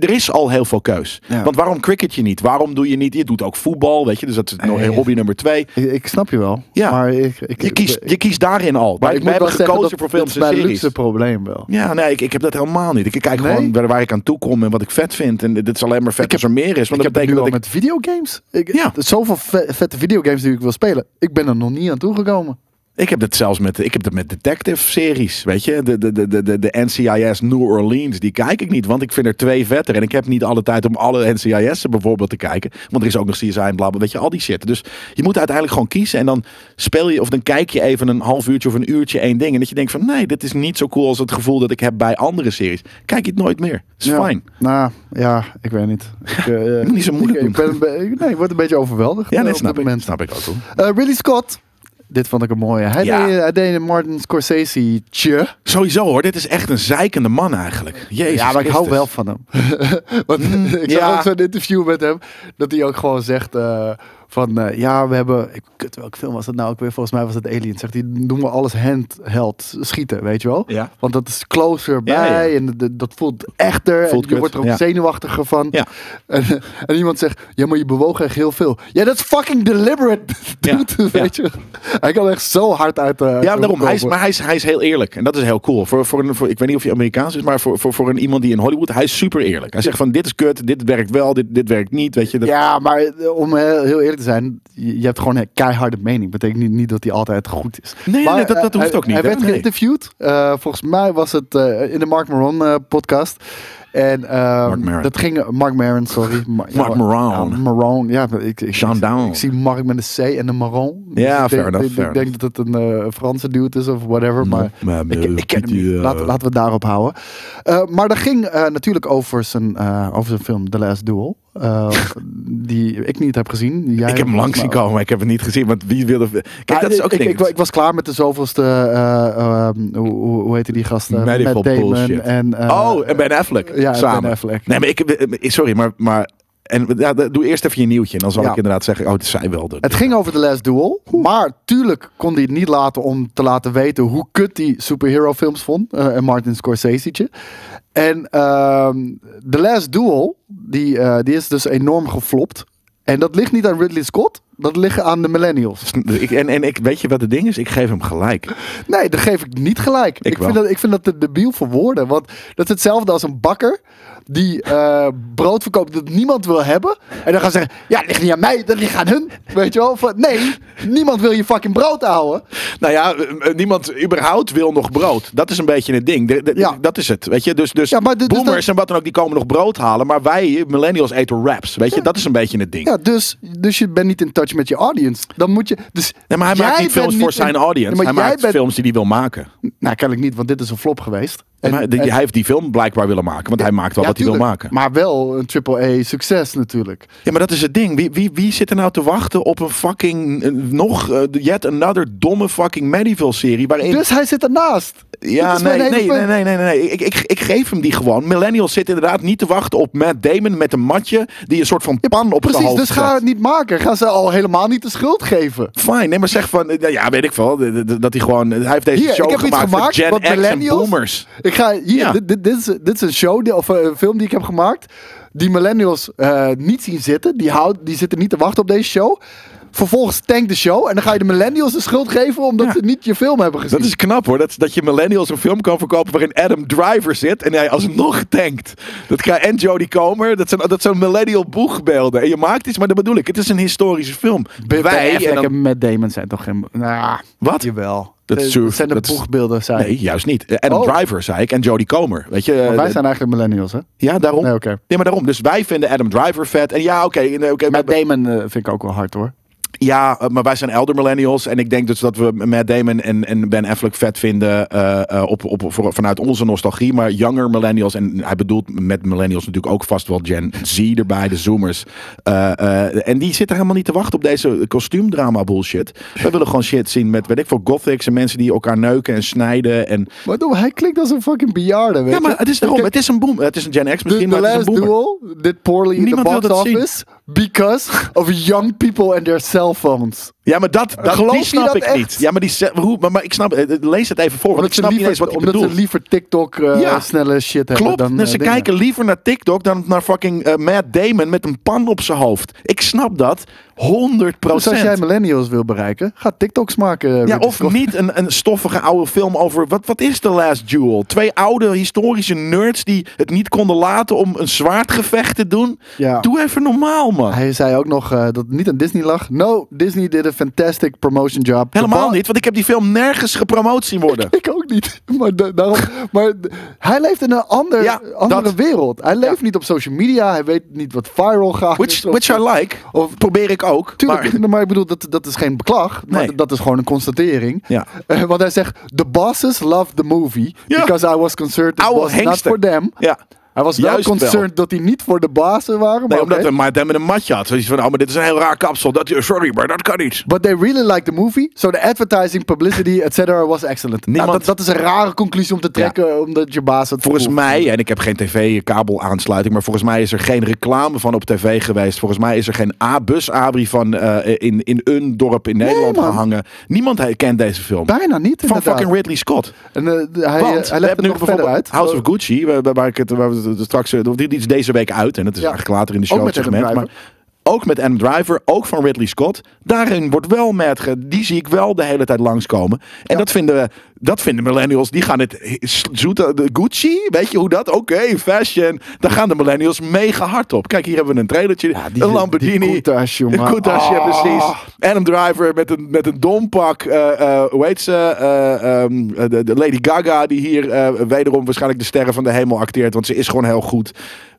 [SPEAKER 2] er is al heel veel keus.
[SPEAKER 3] Ja.
[SPEAKER 2] Want waarom cricket je niet? Waarom doe je niet, je doet ook voetbal, weet je, dus dat is nog
[SPEAKER 3] Nee.
[SPEAKER 2] hobby nummer twee.
[SPEAKER 3] Ik, ik snap je wel.
[SPEAKER 2] Ja.
[SPEAKER 3] maar ik, ik,
[SPEAKER 2] Je kiest, je kiest daarin al.
[SPEAKER 3] maar
[SPEAKER 2] wij,
[SPEAKER 3] ik
[SPEAKER 2] wij
[SPEAKER 3] moet wel
[SPEAKER 2] hebben
[SPEAKER 3] zeggen dat
[SPEAKER 2] gekozen voor
[SPEAKER 3] dit
[SPEAKER 2] films
[SPEAKER 3] is
[SPEAKER 2] en
[SPEAKER 3] mijn
[SPEAKER 2] series.
[SPEAKER 3] luxe probleem wel.
[SPEAKER 2] Ja, nee, ik, ik heb dat helemaal niet. Ik, ik kijk
[SPEAKER 3] Nee?
[SPEAKER 2] gewoon waar, waar ik aan toe kom en wat ik vet vind. En dit is alleen maar vet
[SPEAKER 3] Ik heb-
[SPEAKER 2] als er meer is. Want
[SPEAKER 3] ik
[SPEAKER 2] dat
[SPEAKER 3] heb het nu
[SPEAKER 2] betekent
[SPEAKER 3] al
[SPEAKER 2] dat ik...
[SPEAKER 3] met videogames. Ik,
[SPEAKER 2] Ja.
[SPEAKER 3] er is Zoveel ve- vette videogames die ik wil spelen. Ik ben er nog niet aan toegekomen.
[SPEAKER 2] Ik heb dat zelfs met, ik heb dat met detective series, weet je. De, de, de, de- de, de NCIS New Orleans, die kijk ik niet, want ik vind er twee vetter. En ik heb niet alle tijd om alle NCIS'en bijvoorbeeld te kijken. Want er is ook nog CSI en blablabla, weet je, al die shit. Dus je moet uiteindelijk gewoon kiezen. En dan speel je, of dan kijk je even een half uurtje of een uurtje één ding. En dat je denkt van, nee, dit is niet zo cool als het gevoel dat ik heb bij andere series. Kijk je het nooit meer. is
[SPEAKER 3] Ja.
[SPEAKER 2] fijn.
[SPEAKER 3] Nou, ja, ik weet
[SPEAKER 2] [laughs]
[SPEAKER 3] niet. Ik, eh,
[SPEAKER 2] moet niet zo moeilijk
[SPEAKER 3] ik, ik
[SPEAKER 2] doen.
[SPEAKER 3] ben, een be- ik- nee, ik word een beetje overweldigd
[SPEAKER 2] Ja,
[SPEAKER 3] eh,
[SPEAKER 2] dat
[SPEAKER 3] op dit
[SPEAKER 2] snap ik.
[SPEAKER 3] moment.
[SPEAKER 2] Snap ik ook. hoor.
[SPEAKER 3] Eh, Ridley Scott. Dit vond ik een mooie. Hij,
[SPEAKER 2] Ja.
[SPEAKER 3] deed, eh, hij deed een Martin Scorsese-tje.
[SPEAKER 2] Sowieso hoor, dit is echt een zeikende man eigenlijk. Jezus
[SPEAKER 3] Ja, maar ik hou
[SPEAKER 2] Christus.
[SPEAKER 3] wel van hem. [laughs] Want ik zag
[SPEAKER 2] Mm, ja.
[SPEAKER 3] ook zo'n interview met hem. Dat hij ook gewoon zegt eh, van... eh, ja, we hebben... Ik, kut, welke film was dat nou ook weer? Volgens mij was het Alien. Zegt hij, doen we alles handheld schieten, weet je wel?
[SPEAKER 2] Ja.
[SPEAKER 3] Want dat is closer
[SPEAKER 2] Ja, ja.
[SPEAKER 3] bij. En de- de- dat voelt echter.
[SPEAKER 2] Voelt
[SPEAKER 3] en je
[SPEAKER 2] kut,
[SPEAKER 3] wordt er ook
[SPEAKER 2] ja.
[SPEAKER 3] zenuwachtiger van.
[SPEAKER 2] Ja.
[SPEAKER 3] [laughs] En, en iemand zegt... Ja, maar je bewoog echt heel veel. Ja, dat is fucking deliberate, [laughs] dude,
[SPEAKER 2] Ja, ja.
[SPEAKER 3] weet je. Hij kan echt zo hard uit... eh, uit
[SPEAKER 2] Ja,
[SPEAKER 3] zijn
[SPEAKER 2] daarom.
[SPEAKER 3] hoek
[SPEAKER 2] Hij is,
[SPEAKER 3] komen.
[SPEAKER 2] maar hij is, hij is heel eerlijk. En dat is heel cool. Voor, voor een, voor, ik weet niet of hij Amerikaans is, maar voor, voor, voor een, iemand die in Hollywood... Hij is super eerlijk. Hij zegt van, dit is kut, dit werkt wel, dit, dit werkt niet. Weet je, dat,
[SPEAKER 3] Ja, maar eh, om heel, heel eerlijk te zijn, je je hebt gewoon een keiharde mening. Betekent niet, niet dat die altijd goed is.
[SPEAKER 2] Nee, nee,
[SPEAKER 3] maar,
[SPEAKER 2] nee, dat-
[SPEAKER 3] eh,
[SPEAKER 2] dat hoeft
[SPEAKER 3] hij-
[SPEAKER 2] ook niet,
[SPEAKER 3] Hij
[SPEAKER 2] hè?
[SPEAKER 3] werd
[SPEAKER 2] Nee.
[SPEAKER 3] geïnterviewd. Eh, volgens mij was het eh, in de Mark Maron eh, podcast. En ehm,
[SPEAKER 2] Mark Maron.
[SPEAKER 3] dat ging Mark Maron, sorry.
[SPEAKER 2] [laughs]
[SPEAKER 3] Ma- ja,
[SPEAKER 2] Mark Maron.
[SPEAKER 3] Ja, Maron, ja. maar Ik, ik,
[SPEAKER 2] Sean
[SPEAKER 3] ik-
[SPEAKER 2] Down.
[SPEAKER 3] Ik zie Mark met een C en een Maron. Dus
[SPEAKER 2] Ja,
[SPEAKER 3] ik
[SPEAKER 2] fair
[SPEAKER 3] denk,
[SPEAKER 2] enough,
[SPEAKER 3] ik-
[SPEAKER 2] fair
[SPEAKER 3] Ik denk dat het een eh, Franse dude is of whatever. Maar
[SPEAKER 2] maar,
[SPEAKER 3] ik, ik ken hem niet.
[SPEAKER 2] eh,
[SPEAKER 3] Laten, laten we het daarop houden. Eh, maar dat ging eh, natuurlijk over zijn, eh, over zijn film The Last Duel. eh, [laughs] die ik niet heb gezien. Jij
[SPEAKER 2] ik heb hem langs
[SPEAKER 3] volgens
[SPEAKER 2] zien
[SPEAKER 3] mij ook.
[SPEAKER 2] komen, maar ik heb hem niet gezien. Want wie wilde... Kijk,
[SPEAKER 3] Ah,
[SPEAKER 2] dat is ook
[SPEAKER 3] ik,
[SPEAKER 2] een
[SPEAKER 3] ik,
[SPEAKER 2] ding.
[SPEAKER 3] ik, was klaar met de zoveelste. eh, eh, ehm, hoe, hoe hoe heette die gasten?
[SPEAKER 2] Medical
[SPEAKER 3] Matt eh, Damon
[SPEAKER 2] bullshit.
[SPEAKER 3] En, eh,
[SPEAKER 2] oh, en Ben Affleck.
[SPEAKER 3] ja, en
[SPEAKER 2] samen.
[SPEAKER 3] Ben Affleck.
[SPEAKER 2] Nee, maar ik... eh, Sorry, maar... maar en, ja, doe eerst even je nieuwtje. En dan zal
[SPEAKER 3] Ja.
[SPEAKER 2] ik inderdaad zeggen, oh, het zij wel. de-
[SPEAKER 3] Het ging over The Last Duel. Maar tuurlijk kon hij het niet laten om te laten weten hoe kut die superhero films vond. eh, en Martin Scorsese. En ehm, The Last Duel, die, eh, die is dus enorm geflopt. En dat ligt niet aan Ridley Scott. Dat ligt aan de millennials.
[SPEAKER 2] Ik, en, en ik, weet je wat het ding is? Ik geef hem gelijk.
[SPEAKER 3] Nee, dat geef ik niet gelijk. Ik,
[SPEAKER 2] wel.
[SPEAKER 3] vind, dat, ik vind dat te debiel voor woorden. Want dat is hetzelfde als een bakker die eh, brood verkoopt dat niemand wil hebben. En dan gaan ze zeggen, ja, dat ligt niet aan mij, dat ligt aan hun. Weet je wel? Van, nee, niemand wil je fucking brood houden.
[SPEAKER 2] Nou ja, eh, eh, niemand überhaupt wil nog brood. Dat is een beetje het ding. De- de-
[SPEAKER 3] Ja.
[SPEAKER 2] Dat is het, weet je. Dus, dus
[SPEAKER 3] Ja, maar dit- dus
[SPEAKER 2] boomers
[SPEAKER 3] dat-
[SPEAKER 2] en wat dan ook, die komen nog brood halen. Maar wij, millennials, eten wraps, weet je. Dat is een beetje het ding.
[SPEAKER 3] Ja, dus, dus je bent niet in touch met je audience. Dan moet je... Dus
[SPEAKER 2] Nee, maar hij
[SPEAKER 3] jij
[SPEAKER 2] maakt niet
[SPEAKER 3] bent
[SPEAKER 2] films voor
[SPEAKER 3] niet
[SPEAKER 2] zijn
[SPEAKER 3] in-
[SPEAKER 2] audience.
[SPEAKER 3] Nee,
[SPEAKER 2] hij
[SPEAKER 3] maar jij
[SPEAKER 2] maakt
[SPEAKER 3] bent-
[SPEAKER 2] films die hij wil maken.
[SPEAKER 3] Nou, kennelijk niet, want dit is een flop geweest. En-
[SPEAKER 2] maar die-
[SPEAKER 3] en-
[SPEAKER 2] hij heeft die film blijkbaar willen maken. Want hij maakt wel
[SPEAKER 3] Ja,
[SPEAKER 2] wat hij wil
[SPEAKER 3] tuurlijk,
[SPEAKER 2] maken.
[SPEAKER 3] Maar wel een triple A succes natuurlijk.
[SPEAKER 2] Ja, maar dat is het ding. Wie, wie, wie zit er nou te wachten op een fucking... eh, nog eh, yet another domme fucking Medieval-serie... waarin
[SPEAKER 3] Dus hij zit ernaast. Dit
[SPEAKER 2] Ja,
[SPEAKER 3] is mijn
[SPEAKER 2] nee, nee,
[SPEAKER 3] hele
[SPEAKER 2] nee,
[SPEAKER 3] punt.
[SPEAKER 2] nee, nee, nee. Ik, ik, ik geef hem die gewoon. Millennials zitten inderdaad niet te wachten op Matt Damon met een matje die een soort van pan op zijn
[SPEAKER 3] Precies,
[SPEAKER 2] hoofd
[SPEAKER 3] dus ga het niet maken. Ga ze al helemaal niet de schuld geven.
[SPEAKER 2] Fijn, nee, maar zeg van, eh, ja, weet ik wel, eh, d- d- dat hij gewoon, hij heeft deze
[SPEAKER 3] Hier, ik
[SPEAKER 2] show
[SPEAKER 3] heb iets
[SPEAKER 2] gemaakt, voor
[SPEAKER 3] gemaakt wat
[SPEAKER 2] Gen X en
[SPEAKER 3] millennials-
[SPEAKER 2] boomers.
[SPEAKER 3] Ik ga hier,
[SPEAKER 2] Ja.
[SPEAKER 3] dit, dit, dit is, dit is een show die, of eh, een film die ik heb gemaakt. Die millennials eh, niet zien zitten. Die, houden, die zitten niet te wachten op deze show. Vervolgens tankt de show. En dan ga je de millennials de schuld geven omdat
[SPEAKER 2] Ja.
[SPEAKER 3] ze niet je film hebben gezien.
[SPEAKER 2] Dat is knap hoor, dat, dat je millennials een film kan verkopen waarin Adam Driver zit en hij alsnog tankt. Dat kan, en Jodie Comer, dat zijn, dat zijn millennial boegbeelden. En je maakt iets, maar dat bedoel ik, het is een historische film.
[SPEAKER 3] Ben- Ben Affleck
[SPEAKER 2] en dan-
[SPEAKER 3] en Matt Damon zijn toch geen... Nou,
[SPEAKER 2] Wat?
[SPEAKER 3] Jawel.
[SPEAKER 2] Dat
[SPEAKER 3] Eh,
[SPEAKER 2] is zo-
[SPEAKER 3] zijn de
[SPEAKER 2] dat is-
[SPEAKER 3] boegbeelden, zei
[SPEAKER 2] Nee,
[SPEAKER 3] ik.
[SPEAKER 2] juist niet. Eh, Adam
[SPEAKER 3] Oh.
[SPEAKER 2] Driver, zei ik, en Jodie Comer. Weet je,
[SPEAKER 3] Maar
[SPEAKER 2] eh,
[SPEAKER 3] wij
[SPEAKER 2] de-
[SPEAKER 3] zijn eigenlijk millennials, hè?
[SPEAKER 2] Ja, daarom.
[SPEAKER 3] Nee,
[SPEAKER 2] Nee,
[SPEAKER 3] oké.
[SPEAKER 2] maar daarom. Dus wij vinden Adam Driver vet. En ja, oké. nee, oké,
[SPEAKER 3] Matt
[SPEAKER 2] maar-
[SPEAKER 3] Damon eh, vind ik ook wel hard, hoor.
[SPEAKER 2] Ja, eh, maar wij zijn elder millennials. En ik denk dus dat we Matt Damon en, en Ben Affleck vet vinden eh, eh, op, op, voor- vanuit onze nostalgie. Maar younger millennials, en hij bedoelt met millennials natuurlijk ook vast wel Gen Z erbij, de zoomers. Eh, eh, en die zitten helemaal niet te wachten op deze kostuumdrama bullshit. Wij willen gewoon shit zien met, weet ik veel, gothics en mensen die elkaar neuken en snijden. En...
[SPEAKER 3] Maar doe, hij klinkt als een fucking bejaarde, weet
[SPEAKER 2] Ja, maar
[SPEAKER 3] je?
[SPEAKER 2] het is daarom.
[SPEAKER 3] Kijk,
[SPEAKER 2] Het is een boom. Het is een Gen X
[SPEAKER 3] The,
[SPEAKER 2] misschien,
[SPEAKER 3] The
[SPEAKER 2] maar het is een
[SPEAKER 3] Last
[SPEAKER 2] boomer.
[SPEAKER 3] Duel did poorly in
[SPEAKER 2] Niemand
[SPEAKER 3] the
[SPEAKER 2] wil
[SPEAKER 3] box
[SPEAKER 2] dat zien.
[SPEAKER 3] office because of young people and their cell phones.
[SPEAKER 2] Ja, maar dat, dat
[SPEAKER 3] Geloof
[SPEAKER 2] die
[SPEAKER 3] je
[SPEAKER 2] snap
[SPEAKER 3] dat
[SPEAKER 2] ik
[SPEAKER 3] echt?
[SPEAKER 2] niet. Ja, maar, die, ze- hoe, maar, maar ik snap, eh, lees het even voor, want
[SPEAKER 3] Omdat,
[SPEAKER 2] ik snap niet
[SPEAKER 3] ze, liever,
[SPEAKER 2] eens wat je
[SPEAKER 3] omdat
[SPEAKER 2] bedoelt.
[SPEAKER 3] ze liever TikTok eh,
[SPEAKER 2] Ja.
[SPEAKER 3] snelle shit hebben
[SPEAKER 2] Klopt,
[SPEAKER 3] dan
[SPEAKER 2] dus
[SPEAKER 3] eh,
[SPEAKER 2] ze
[SPEAKER 3] dingen.
[SPEAKER 2] kijken liever naar TikTok dan naar fucking eh, Matt Damon met een pan op zijn hoofd. Ik snap dat, 100
[SPEAKER 3] Dus als jij millennials wil bereiken, ga TikToks maken. eh,
[SPEAKER 2] Ja,
[SPEAKER 3] Ridley
[SPEAKER 2] of
[SPEAKER 3] Scott.
[SPEAKER 2] niet een, een stoffige oude film over, wat, wat is The Last Duel? Twee oude historische nerds die het niet konden laten om een zwaardgevecht te doen.
[SPEAKER 3] Ja.
[SPEAKER 2] Doe even normaal, man.
[SPEAKER 3] Hij zei ook nog eh, dat het niet aan Disney lag. No, Disney did a fantastic promotion job. The
[SPEAKER 2] Helemaal
[SPEAKER 3] bo-
[SPEAKER 2] niet, want ik heb die film nergens gepromoot zien worden.
[SPEAKER 3] Ik ook niet. Maar, da- daarom, maar d- hij leeft in een ander,
[SPEAKER 2] Ja,
[SPEAKER 3] andere
[SPEAKER 2] dat.
[SPEAKER 3] wereld. Hij leeft niet op social media. Hij weet niet wat viral gaat.
[SPEAKER 2] Which, which I like, of probeer ik ook.
[SPEAKER 3] Tuurlijk,
[SPEAKER 2] maar-
[SPEAKER 3] [laughs] maar, ik bedoel, dat, dat is geen beklag. Maar
[SPEAKER 2] Nee.
[SPEAKER 3] d- dat is gewoon een constatering.
[SPEAKER 2] Ja.
[SPEAKER 3] Eh, want hij zegt, the bosses love the movie.
[SPEAKER 2] Ja.
[SPEAKER 3] Because I was concerned it
[SPEAKER 2] Oude
[SPEAKER 3] was not
[SPEAKER 2] hengster.
[SPEAKER 3] for them.
[SPEAKER 2] Ja.
[SPEAKER 3] Hij was wel
[SPEAKER 2] Juist wel.
[SPEAKER 3] concerned dat hij niet voor de bazen waren. Maar
[SPEAKER 2] Nee, omdat
[SPEAKER 3] oké.
[SPEAKER 2] hij maar met een matje had. Zoiets van, oh, maar dit is een heel raar kapsel. Dat, sorry, maar dat kan niet.
[SPEAKER 3] But they really liked the movie, so the advertising, publicity, etc. was excellent. Nou,
[SPEAKER 2] Niemand-
[SPEAKER 3] dat, dat is een rare conclusie om te trekken, omdat je baas het
[SPEAKER 2] Volgens
[SPEAKER 3] voelt.
[SPEAKER 2] mij, en ik heb geen tv-kabelaansluiting, maar volgens mij is er geen reclame van op tv geweest. Volgens mij is er geen A-bus-abri van eh, in, in een dorp in Nederland
[SPEAKER 3] man.
[SPEAKER 2] gehangen. Niemand he- kent deze film.
[SPEAKER 3] Bijna niet,
[SPEAKER 2] van
[SPEAKER 3] inderdaad.
[SPEAKER 2] fucking Ridley Scott.
[SPEAKER 3] En, eh, de- hij,
[SPEAKER 2] Want
[SPEAKER 3] eh,
[SPEAKER 2] we
[SPEAKER 3] hij legt
[SPEAKER 2] hebben
[SPEAKER 3] het
[SPEAKER 2] nu
[SPEAKER 3] nog verder
[SPEAKER 2] bijvoorbeeld
[SPEAKER 3] uit.
[SPEAKER 2] House of Gucci, waar, waar ik het, waar we het straks eh, die die is deze week uit en dat is
[SPEAKER 3] Ja.
[SPEAKER 2] eigenlijk later in de
[SPEAKER 3] Ook
[SPEAKER 2] show het
[SPEAKER 3] met Adam
[SPEAKER 2] segment,
[SPEAKER 3] Driver.
[SPEAKER 2] maar ook met Adam Driver, ook van Ridley Scott. Daarin wordt wel met ge- die zie ik wel de hele tijd langskomen. En dat vinden we, dat vinden millennials. Die gaan het eh, zoete de Gucci, weet je hoe dat? Oké, fashion. Daar gaan de millennials mega hard op. Kijk, hier hebben we een trailertje,
[SPEAKER 3] die-
[SPEAKER 2] een Lamborghini,
[SPEAKER 3] die countach, jongen.
[SPEAKER 2] een countach, ja,
[SPEAKER 3] Ah.
[SPEAKER 2] precies. Adam Driver met een, met een dompak. eh, eh, hoe heet ze? Eh, ehm, eh, de, de Lady Gaga, die hier eh, wederom waarschijnlijk de sterren van de hemel acteert. Want ze is gewoon heel goed.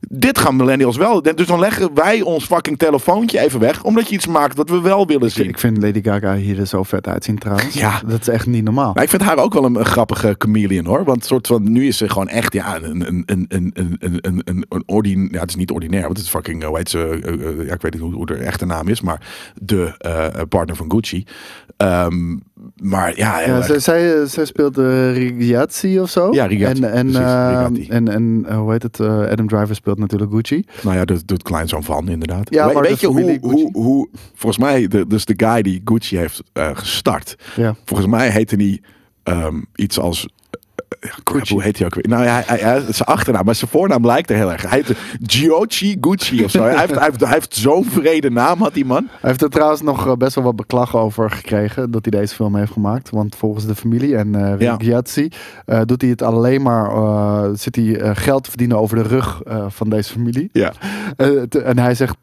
[SPEAKER 2] Dit gaan millennials wel. Dus dan leggen wij ons fucking telefoontje even weg. Omdat je iets maakt wat we wel willen zien.
[SPEAKER 3] Ik vind Lady Gaga hier er zo vet uitzien trouwens.
[SPEAKER 2] Ja.
[SPEAKER 3] Dat is echt niet normaal.
[SPEAKER 2] Maar ik vind haar ook wel een, een grappige chameleon hoor. Want soort van, nu is ze gewoon echt ja, een, een, een, een, een, een, een, een, een ordin, ja, het is niet ordinair, want het is fucking, eh, hoe heet ze, eh, eh, ja, ik weet niet hoe, hoe de echte naam is, maar de eh, partner van Gucci. Ehm, maar ja, heel
[SPEAKER 3] Ja,
[SPEAKER 2] erg-
[SPEAKER 3] zij, zij, eh, zij speelt eh, Rigiazzi of zo.
[SPEAKER 2] Ja, Rigiazzi,
[SPEAKER 3] En, en,
[SPEAKER 2] precies,
[SPEAKER 3] eh,
[SPEAKER 2] Rigatti.
[SPEAKER 3] en, en eh, hoe heet het? eh, Adam Driver speelt natuurlijk Gucci.
[SPEAKER 2] nou ja, dat doet kleinzoon van inderdaad.
[SPEAKER 3] Ja,
[SPEAKER 2] We-
[SPEAKER 3] maar
[SPEAKER 2] weet
[SPEAKER 3] de
[SPEAKER 2] je hoe,
[SPEAKER 3] familie
[SPEAKER 2] hoe,
[SPEAKER 3] Gucci.
[SPEAKER 2] hoe, volgens mij, de, dus de guy die Gucci heeft eh, gestart,
[SPEAKER 3] Ja.
[SPEAKER 2] volgens mij heette die ehm, iets als. eh, ja, crap, hoe heet hij ook weer? Nou ja, hij, hij, hij- zijn achternaam, maar zijn voornaam lijkt er heel erg. Hij heette Giochi Gucci of zo. hij heeft, hij heeft, hij heeft zo'n vrede naam, had die man.
[SPEAKER 3] Hij heeft er trouwens nog eh, best wel wat beklag over gekregen dat hij deze film heeft gemaakt. Want volgens de familie en eh
[SPEAKER 2] Ja.
[SPEAKER 3] Rigiazzi eh, doet hij het alleen maar, eh, zit hij eh, geld te verdienen over de rug eh, van deze familie.
[SPEAKER 2] Ja.
[SPEAKER 3] Eh, te- en hij zegt,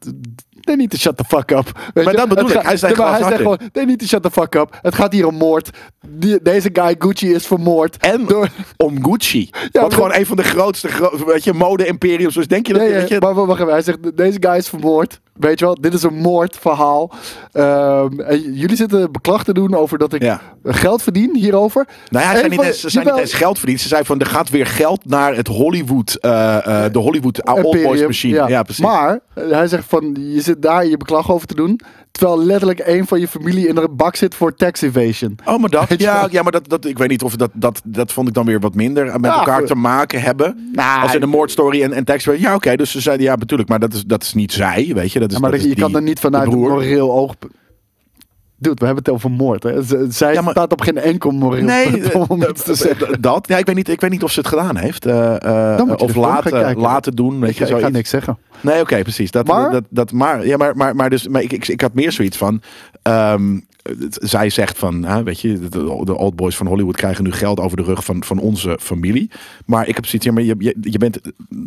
[SPEAKER 3] they need to shut the fuck up. Weet
[SPEAKER 2] Maar dat bedoel
[SPEAKER 3] Het
[SPEAKER 2] ik,
[SPEAKER 3] ga-
[SPEAKER 2] hij is daar
[SPEAKER 3] Nee, maar hij
[SPEAKER 2] glashard
[SPEAKER 3] zegt gewoon, they need to shut the fuck up. Het gaat hier om moord. Die- deze guy Gucci is vermoord.
[SPEAKER 2] En [laughs]
[SPEAKER 3] door,
[SPEAKER 2] om Gucci.
[SPEAKER 3] maar-
[SPEAKER 2] wat gewoon een van de grootste gro- weet je, mode-imperiums is. Denk je dat?
[SPEAKER 3] Nee,
[SPEAKER 2] weet
[SPEAKER 3] nee,
[SPEAKER 2] je,
[SPEAKER 3] maar wacht even. Hij zegt, deze guy is vermoord. Weet je wel, dit is een moordverhaal. Ehm, en j- jullie zitten beklag te doen over dat ik
[SPEAKER 2] Ja.
[SPEAKER 3] geld verdien hierover.
[SPEAKER 2] Nou ja, ze
[SPEAKER 3] Eén
[SPEAKER 2] zijn, niet
[SPEAKER 3] van-
[SPEAKER 2] eens, ze zijn niet
[SPEAKER 3] jawel,
[SPEAKER 2] eens geld verdiend. Ze zijn van, er gaat weer geld naar het Hollywood, eh, eh, de Hollywood Old
[SPEAKER 3] Imperium,
[SPEAKER 2] Boys machine. Ja, precies.
[SPEAKER 3] Maar eh, hij zegt van, je zit daar je beklag over te doen. Terwijl letterlijk één van je familie in een bak zit voor tax evasion.
[SPEAKER 2] Oh, maar dat.
[SPEAKER 3] Weet je
[SPEAKER 2] Ja,
[SPEAKER 3] wel?
[SPEAKER 2] ja maar dat, dat, ik weet niet of dat, dat, dat vond ik dan weer wat minder eh, met
[SPEAKER 3] Ja,
[SPEAKER 2] elkaar
[SPEAKER 3] goed.
[SPEAKER 2] te maken hebben.
[SPEAKER 3] Nou,
[SPEAKER 2] Als in de moordstory en, en tekst. Ja, oké, dus ze zeiden ja, natuurlijk. Maar dat is, dat is niet zij, weet je. Dat is,
[SPEAKER 3] Ja, maar
[SPEAKER 2] dat
[SPEAKER 3] dat-
[SPEAKER 2] is
[SPEAKER 3] je
[SPEAKER 2] die-
[SPEAKER 3] kan er niet vanuit
[SPEAKER 2] de
[SPEAKER 3] een
[SPEAKER 2] broer.
[SPEAKER 3] moreel oogpunt. Dude, we hebben het over moord. Hè. Z- Zij
[SPEAKER 2] Ja, maar-
[SPEAKER 3] staat op geen enkel moreel
[SPEAKER 2] Nee,
[SPEAKER 3] punt [laughs] om
[SPEAKER 2] eh,
[SPEAKER 3] iets te zeggen.
[SPEAKER 2] eh, dat. Ja, ik, weet niet, ik weet niet of ze het gedaan heeft. eh, eh,
[SPEAKER 3] Dan moet je
[SPEAKER 2] of
[SPEAKER 3] de film gaan
[SPEAKER 2] laten,
[SPEAKER 3] kijken.
[SPEAKER 2] laten doen. Weet
[SPEAKER 3] Ik,
[SPEAKER 2] je,
[SPEAKER 3] ik ga
[SPEAKER 2] zoiets.
[SPEAKER 3] niks zeggen.
[SPEAKER 2] Nee, oké, precies. Dat,
[SPEAKER 3] Maar?
[SPEAKER 2] Dat, dat, maar, ja, maar, maar, maar, dus, maar ik, ik, ik had meer zoiets van. ehm, het- zij zegt van, hè, weet je, de, de old boys van Hollywood krijgen nu geld over de rug van, van onze familie. Maar ik heb zoiets, ja, maar je, je, je bent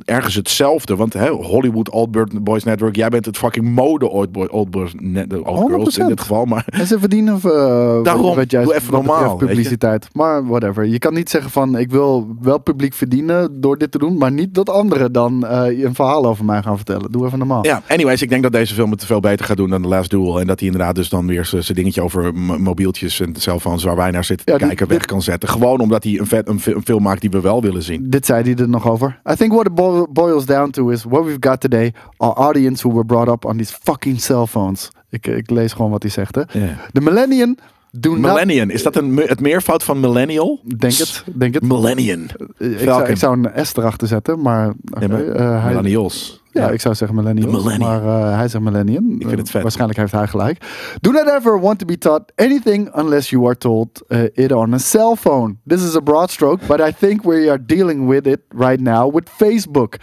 [SPEAKER 2] ergens hetzelfde. Want hè, Hollywood Old Bird- Boys Network, jij bent het fucking mode Old, boy, old Boys net, Old Girls in
[SPEAKER 3] 100%.
[SPEAKER 2] dit geval. Maar
[SPEAKER 3] En ze verdienen eh
[SPEAKER 2] Daarom,
[SPEAKER 3] wat jij-
[SPEAKER 2] doe even
[SPEAKER 3] wat betreft
[SPEAKER 2] normaal, weet je.
[SPEAKER 3] publiciteit. Maar whatever. Je kan niet zeggen van ik wil wel publiek verdienen door dit te doen, maar niet dat anderen dan eh, een verhaal over mij gaan vertellen. Doe even normaal.
[SPEAKER 2] Ja, anyways, ik denk dat deze film het veel beter gaat doen dan The Last Duel. En dat hij inderdaad dus dan weer zijn zijn dingetje over m- mobieltjes en cellphones waar wij naar zitten te
[SPEAKER 3] Ja, die-
[SPEAKER 2] kijken weg kan zetten. Gewoon omdat hij een, vet, een, fi- een film maakt die we wel willen zien.
[SPEAKER 3] Dit zei hij er nog over. I think what it bo- boils down to is what we've got today. Our audience who were brought up on these fucking cell phones. Ik, eh, ik lees gewoon wat hij zegt. Hè.
[SPEAKER 2] Ja.
[SPEAKER 3] De millennium do not...
[SPEAKER 2] Millennium, is dat een, me- het meervoud van millennial?
[SPEAKER 3] Denk het, Eh, denk het.
[SPEAKER 2] Millennium.
[SPEAKER 3] Ik zou,
[SPEAKER 2] Falcon.
[SPEAKER 3] ik zou een S erachter zetten, maar... oké,
[SPEAKER 2] Nee, maar
[SPEAKER 3] eh, hij-
[SPEAKER 2] millennials.
[SPEAKER 3] Ja, ik zou zeggen millennial.
[SPEAKER 2] De millennial.
[SPEAKER 3] Maar eh, hij zegt millennium. Ik
[SPEAKER 2] vind het vet.
[SPEAKER 3] waarschijnlijk heeft hij gelijk. Do not ever want to be taught anything unless you are told eh, it on a cell phone. This is a broad stroke, but I think we are dealing with it right now with Facebook.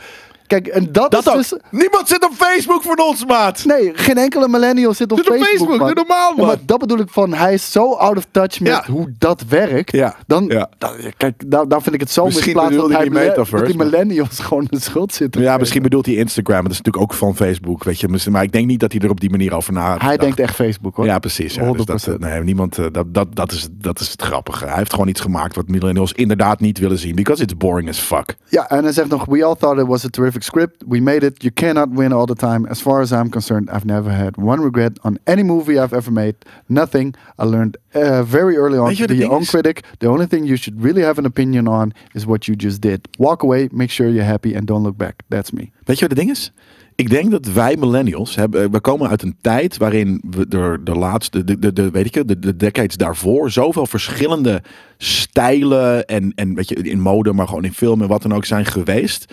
[SPEAKER 3] Kijk, en dat,
[SPEAKER 2] Dat
[SPEAKER 3] is
[SPEAKER 2] ook.
[SPEAKER 3] dus...
[SPEAKER 2] Niemand zit op Facebook voor ons, maat.
[SPEAKER 3] Nee, geen enkele millennial zit op
[SPEAKER 2] Doe op
[SPEAKER 3] Facebook.
[SPEAKER 2] Facebook,
[SPEAKER 3] man.
[SPEAKER 2] doe normaal,
[SPEAKER 3] Ja,
[SPEAKER 2] man.
[SPEAKER 3] maar dat bedoel ik van, hij is zo out of touch met
[SPEAKER 2] Ja.
[SPEAKER 3] hoe dat werkt.
[SPEAKER 2] Ja,
[SPEAKER 3] Dan,
[SPEAKER 2] ja.
[SPEAKER 3] dan- kijk, daar, daar vind ik het zo
[SPEAKER 2] Misschien
[SPEAKER 3] misplaatst dat,
[SPEAKER 2] bedoelde
[SPEAKER 3] hij
[SPEAKER 2] hij
[SPEAKER 3] mille-
[SPEAKER 2] metaverse,
[SPEAKER 3] dat die
[SPEAKER 2] maar-
[SPEAKER 3] millennials [laughs] gewoon de schuld zitten.
[SPEAKER 2] Ja, misschien bedoelt hij Instagram. maar Dat is natuurlijk ook van Facebook, weet je. Maar ik denk niet dat hij er op die manier over na.
[SPEAKER 3] Hij denkt echt Facebook hoor.
[SPEAKER 2] Ja, precies. Ja. Dus dat,
[SPEAKER 3] 100%.
[SPEAKER 2] eh, nee, niemand, eh, dat, dat, dat, is, dat is het grappige. Hij heeft gewoon iets gemaakt wat millennials inderdaad niet willen zien. Because it's boring as fuck.
[SPEAKER 3] Ja, en hij zegt nog: We all thought it was a terrific script. We made it. You cannot win all the time. As far as I'm concerned, I've never had one regret on any movie I've ever made. Nothing. I learned eh, very early on
[SPEAKER 2] Weet je wat
[SPEAKER 3] to be
[SPEAKER 2] het
[SPEAKER 3] your
[SPEAKER 2] ding
[SPEAKER 3] own
[SPEAKER 2] is?
[SPEAKER 3] critic. The only thing you should really have an opinion on is what you just did. Walk away, make sure you're happy, and don't look back. That's me.
[SPEAKER 2] Weet je wat het ding is? Ik denk dat wij millennials hebben. eh, We komen uit een tijd waarin we door de laatste, de, de, de, weet ik het, de, de decades daarvoor zoveel verschillende stijlen en, en weet je, in mode, maar gewoon in film en wat dan ook zijn geweest.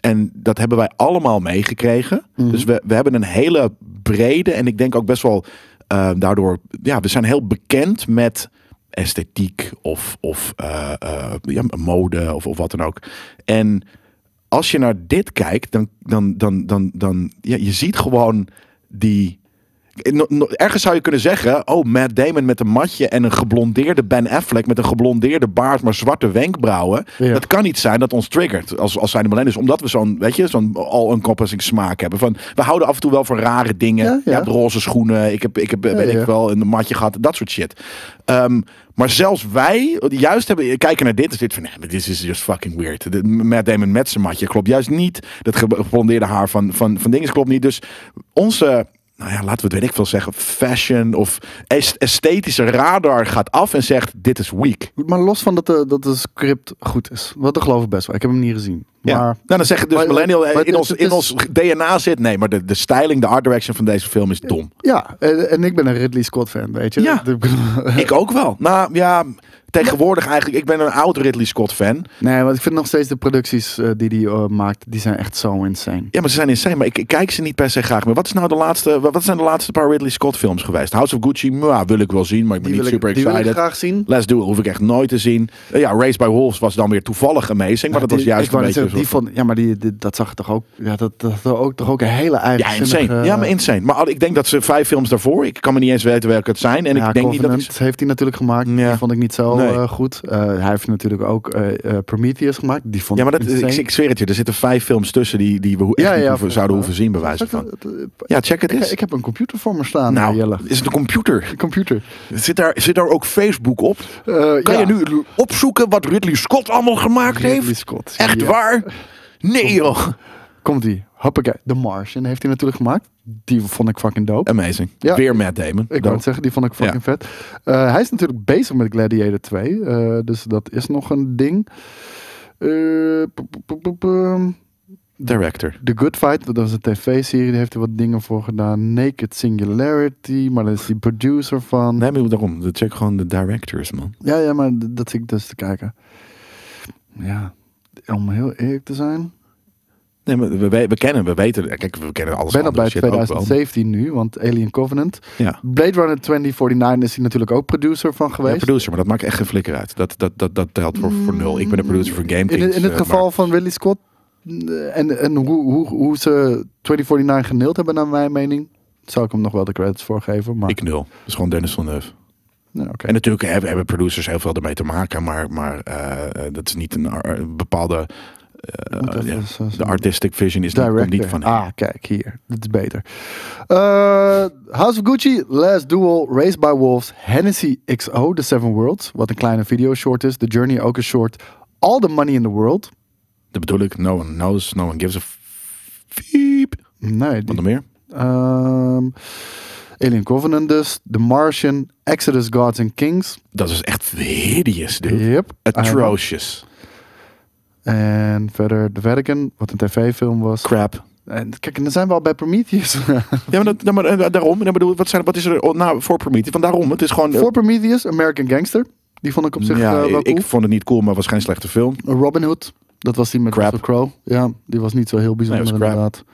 [SPEAKER 2] En dat hebben wij allemaal meegekregen. Dus we, we hebben een hele brede en ik denk ook best wel eh, daardoor, ja, we zijn heel bekend met esthetiek of, of eh, eh, ja, mode of, of wat dan ook. En als je naar dit kijkt, dan, dan, dan, dan, dan ja, je ziet gewoon die. Eh, no- no- Ergens zou je kunnen zeggen, oh, Matt Damon met een matje en een geblondeerde Ben Affleck met een geblondeerde baard, maar zwarte wenkbrauwen.
[SPEAKER 3] Ja.
[SPEAKER 2] Dat kan niet zijn dat ons triggert als, als zijn de millennials. Omdat we zo'n, weet je, zo'n all-encompassing smaak hebben. Van, we houden af en toe wel van rare dingen.
[SPEAKER 3] Ja, ja.
[SPEAKER 2] Je hebt roze schoenen, ik heb, ik heb weet
[SPEAKER 3] ja.
[SPEAKER 2] ik wel, een matje gehad, dat soort shit. Ehm, maar zelfs wij, die juist hebben, kijken naar dit, is dit van, nee, maar this is just fucking weird. De- Matt Damon met zijn matje klopt juist niet. Dat ge- geblondeerde haar van, van, van dingen klopt niet. Dus onze, nou ja, laten we het weet ik veel zeggen, fashion of est- esthetische radar gaat af en zegt, dit is weak.
[SPEAKER 3] Maar los van dat de, dat de script goed is, wat dat geloof ik best wel. Ik heb hem niet gezien.
[SPEAKER 2] Ja.
[SPEAKER 3] Maar
[SPEAKER 2] nou, dan zeggen dus
[SPEAKER 3] maar-
[SPEAKER 2] millennial eh,
[SPEAKER 3] maar
[SPEAKER 2] in,
[SPEAKER 3] het-
[SPEAKER 2] ons,
[SPEAKER 3] het
[SPEAKER 2] in
[SPEAKER 3] is-
[SPEAKER 2] ons DNA zit. Nee, maar de, de styling, de art direction van deze film is dom.
[SPEAKER 3] ja, en, en ik ben een Ridley Scott fan, weet je.
[SPEAKER 2] Ja.
[SPEAKER 3] Ik bedoel-
[SPEAKER 2] Ik ook wel. Nou ja, tegenwoordig eigenlijk. Ik ben een oud Ridley Scott fan.
[SPEAKER 3] Nee, want ik vind nog steeds de producties eh, die hij eh, maakt, die zijn echt zo insane.
[SPEAKER 2] Ja, maar ze zijn insane. Maar ik, ik kijk ze niet per se graag meer. Wat, is nou de laatste, wa- wat zijn de laatste paar Ridley Scott films geweest? House of Gucci, mwah, wil ik wel zien, maar ik ben
[SPEAKER 3] Die
[SPEAKER 2] niet
[SPEAKER 3] wil ik-
[SPEAKER 2] super
[SPEAKER 3] die wil ik
[SPEAKER 2] excited.
[SPEAKER 3] graag zien.
[SPEAKER 2] Let's Do It hoef ik echt nooit te zien. Eh, ja, Race by Wolves was dan weer toevallig amazing, maar dat was
[SPEAKER 3] Die-
[SPEAKER 2] juist
[SPEAKER 3] ik wou
[SPEAKER 2] een
[SPEAKER 3] net
[SPEAKER 2] beetje...
[SPEAKER 3] zeggen, die
[SPEAKER 2] een soort
[SPEAKER 3] van, ja, maar die, die- dat zag toch ook, ja, dat, dat, dat ook toch ook een hele eigen.
[SPEAKER 2] ja, insane. Ja, maar insane. Maar al- ik denk dat ze vijf films daarvoor, ik kan me niet eens weten welke het zijn. En ik denk niet dat ik... ze-
[SPEAKER 3] heeft hij natuurlijk gemaakt.
[SPEAKER 2] Ja.
[SPEAKER 3] Die vond ik niet zo
[SPEAKER 2] Nee.
[SPEAKER 3] eh, goed. Eh, hij heeft natuurlijk ook eh, eh, Prometheus gemaakt. Die vond
[SPEAKER 2] Ja, maar dat,
[SPEAKER 3] ik
[SPEAKER 2] ik,
[SPEAKER 3] insane.
[SPEAKER 2] ik zweer het je, er zitten vijf films tussen die, die we hoe- echt
[SPEAKER 3] Ja,
[SPEAKER 2] niet
[SPEAKER 3] ja,
[SPEAKER 2] hoeven- zouden hoeven zien, bij wijze van. Ja, check het
[SPEAKER 3] Ik,
[SPEAKER 2] eens.
[SPEAKER 3] ik heb een computer voor me staan, nou,
[SPEAKER 2] Nou,
[SPEAKER 3] Jelle.
[SPEAKER 2] is het een computer?
[SPEAKER 3] Computer.
[SPEAKER 2] Zit daar, zit daar ook Facebook op?
[SPEAKER 3] Eh,
[SPEAKER 2] Kan
[SPEAKER 3] ja.
[SPEAKER 2] je nu opzoeken wat Ridley Scott allemaal gemaakt
[SPEAKER 3] Ridley
[SPEAKER 2] heeft?
[SPEAKER 3] Scott,
[SPEAKER 2] Echt
[SPEAKER 3] ja.
[SPEAKER 2] waar? Nee joh.
[SPEAKER 3] Komt die? Hoppakee. The Martian heeft hij natuurlijk gemaakt. Die vond ik fucking dope.
[SPEAKER 2] Amazing.
[SPEAKER 3] Ja.
[SPEAKER 2] Weer Matt Damon.
[SPEAKER 3] Ik wou
[SPEAKER 2] Dan-
[SPEAKER 3] het zeggen, die vond ik fucking vet. Eh, hij is natuurlijk bezig met Gladiator 2. eh, dus dat is nog een ding. Eh, p- p- p- p- ehm,
[SPEAKER 2] Director.
[SPEAKER 3] The Good Fight, dat was een tv-serie. Daar heeft hij wat dingen voor gedaan. Naked Singularity, maar daar is hij producer van.
[SPEAKER 2] Nee, maar daarom. Check gewoon de directors, man.
[SPEAKER 3] Ja, ja, maar d- dat zit ik dus te kijken. Ja, om heel eerlijk te zijn.
[SPEAKER 2] Nee, maar we, we, we kennen, we weten. Kijk, we kennen alles
[SPEAKER 3] Ik ben al
[SPEAKER 2] andere
[SPEAKER 3] bij
[SPEAKER 2] shit ook wel.
[SPEAKER 3] 2017 nu, want Alien Covenant.
[SPEAKER 2] Ja.
[SPEAKER 3] Blade Runner 2049 is hij natuurlijk ook producer van
[SPEAKER 2] Ja,
[SPEAKER 3] geweest.
[SPEAKER 2] producer, maar dat maakt echt geen flikker uit. Dat, dat, dat, dat telt voor, voor nul. Ik ben de producer van Game
[SPEAKER 3] In,
[SPEAKER 2] Kings,
[SPEAKER 3] in het
[SPEAKER 2] eh,
[SPEAKER 3] geval
[SPEAKER 2] maar-
[SPEAKER 3] van Ridley Scott eh, en, en hoe, hoe, hoe ze 2049 geneeld hebben, naar mijn mening. zou ik hem nog wel de credits voor geven. Maar,
[SPEAKER 2] Ik nul. Dat is gewoon Dennis Villeneuve.
[SPEAKER 3] nou, oké.
[SPEAKER 2] En natuurlijk hebben, hebben producers heel veel ermee te maken, maar, maar eh, eh, dat is niet een, ar- een bepaalde. eh,
[SPEAKER 3] Moet even
[SPEAKER 2] ja,
[SPEAKER 3] eens, eh,
[SPEAKER 2] de artistic vision is niet, komt
[SPEAKER 3] Director.
[SPEAKER 2] niet van hem.
[SPEAKER 3] ah, kijk hier. Dit is beter. Eh, House of Gucci, Last Duel, Raised by Wolves, Hennessy XO, The Seven Worlds. Wat een kleine video short is. The Journey ook een short. All the Money in the World.
[SPEAKER 2] Dat bedoel ik. No one knows, no one gives a fiep.
[SPEAKER 3] Nee,
[SPEAKER 2] Wat
[SPEAKER 3] die,
[SPEAKER 2] nog meer?
[SPEAKER 3] ehm, Alien Covenant dus. The Martian, Exodus Gods and Kings.
[SPEAKER 2] Dat is echt hideous, dude.
[SPEAKER 3] Yep.
[SPEAKER 2] Atrocious.
[SPEAKER 3] En verder The Vatican, wat een tv-film was.
[SPEAKER 2] Crap.
[SPEAKER 3] En kijk, en dan zijn we al bij
[SPEAKER 2] [laughs]
[SPEAKER 3] Prometheus.
[SPEAKER 2] Ja, maar, dat, ja, maar eh, daarom. Ik bedoel, wat, zijn, wat is er oh, nou, voor Prometheus? Want daarom, het is gewoon... eh,
[SPEAKER 3] Voor Prometheus, American Gangster. Die vond ik op zich
[SPEAKER 2] ja,
[SPEAKER 3] eh, wel
[SPEAKER 2] ik,
[SPEAKER 3] cool.
[SPEAKER 2] vond het niet cool, maar was geen slechte film.
[SPEAKER 3] Robin Hood. Dat was die met
[SPEAKER 2] Crap.
[SPEAKER 3] Russell Crowe. Ja, die was niet zo heel bijzonder
[SPEAKER 2] Nee, was crap.
[SPEAKER 3] inderdaad.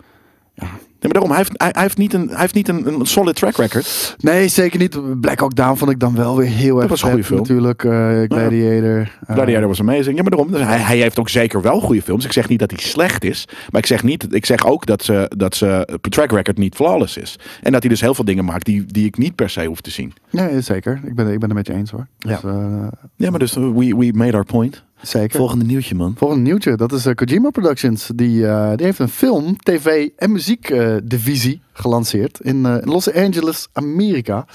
[SPEAKER 2] Nee, maar daarom, hij heeft, hij, hij heeft niet, een, hij heeft niet een, een solid track record.
[SPEAKER 3] Nee, zeker niet. Black Hawk Down vond ik dan wel weer heel erg
[SPEAKER 2] was een goede
[SPEAKER 3] vet,
[SPEAKER 2] film. Nou
[SPEAKER 3] Natuurlijk, eh, Gladiator. eh,
[SPEAKER 2] Gladiator was amazing. Ja, maar daarom, dus hij, hij heeft ook zeker wel goede films. Ik zeg niet dat hij slecht is, maar ik zeg, niet, ik zeg ook dat ze, dat ze track record niet flawless is. En dat hij dus heel veel dingen maakt die, die ik niet per se hoef te zien.
[SPEAKER 3] Nee, zeker. Ik ben, ik ben het met je eens hoor. Dus, eh,
[SPEAKER 2] Ja, maar dus we, we made our point.
[SPEAKER 3] zeker.
[SPEAKER 2] Volgende nieuwtje, man.
[SPEAKER 3] Volgende nieuwtje, dat is eh, Kojima Productions. Die, eh, die heeft een film, tv en muziek eh, divisie gelanceerd in eh, Los Angeles, Amerika.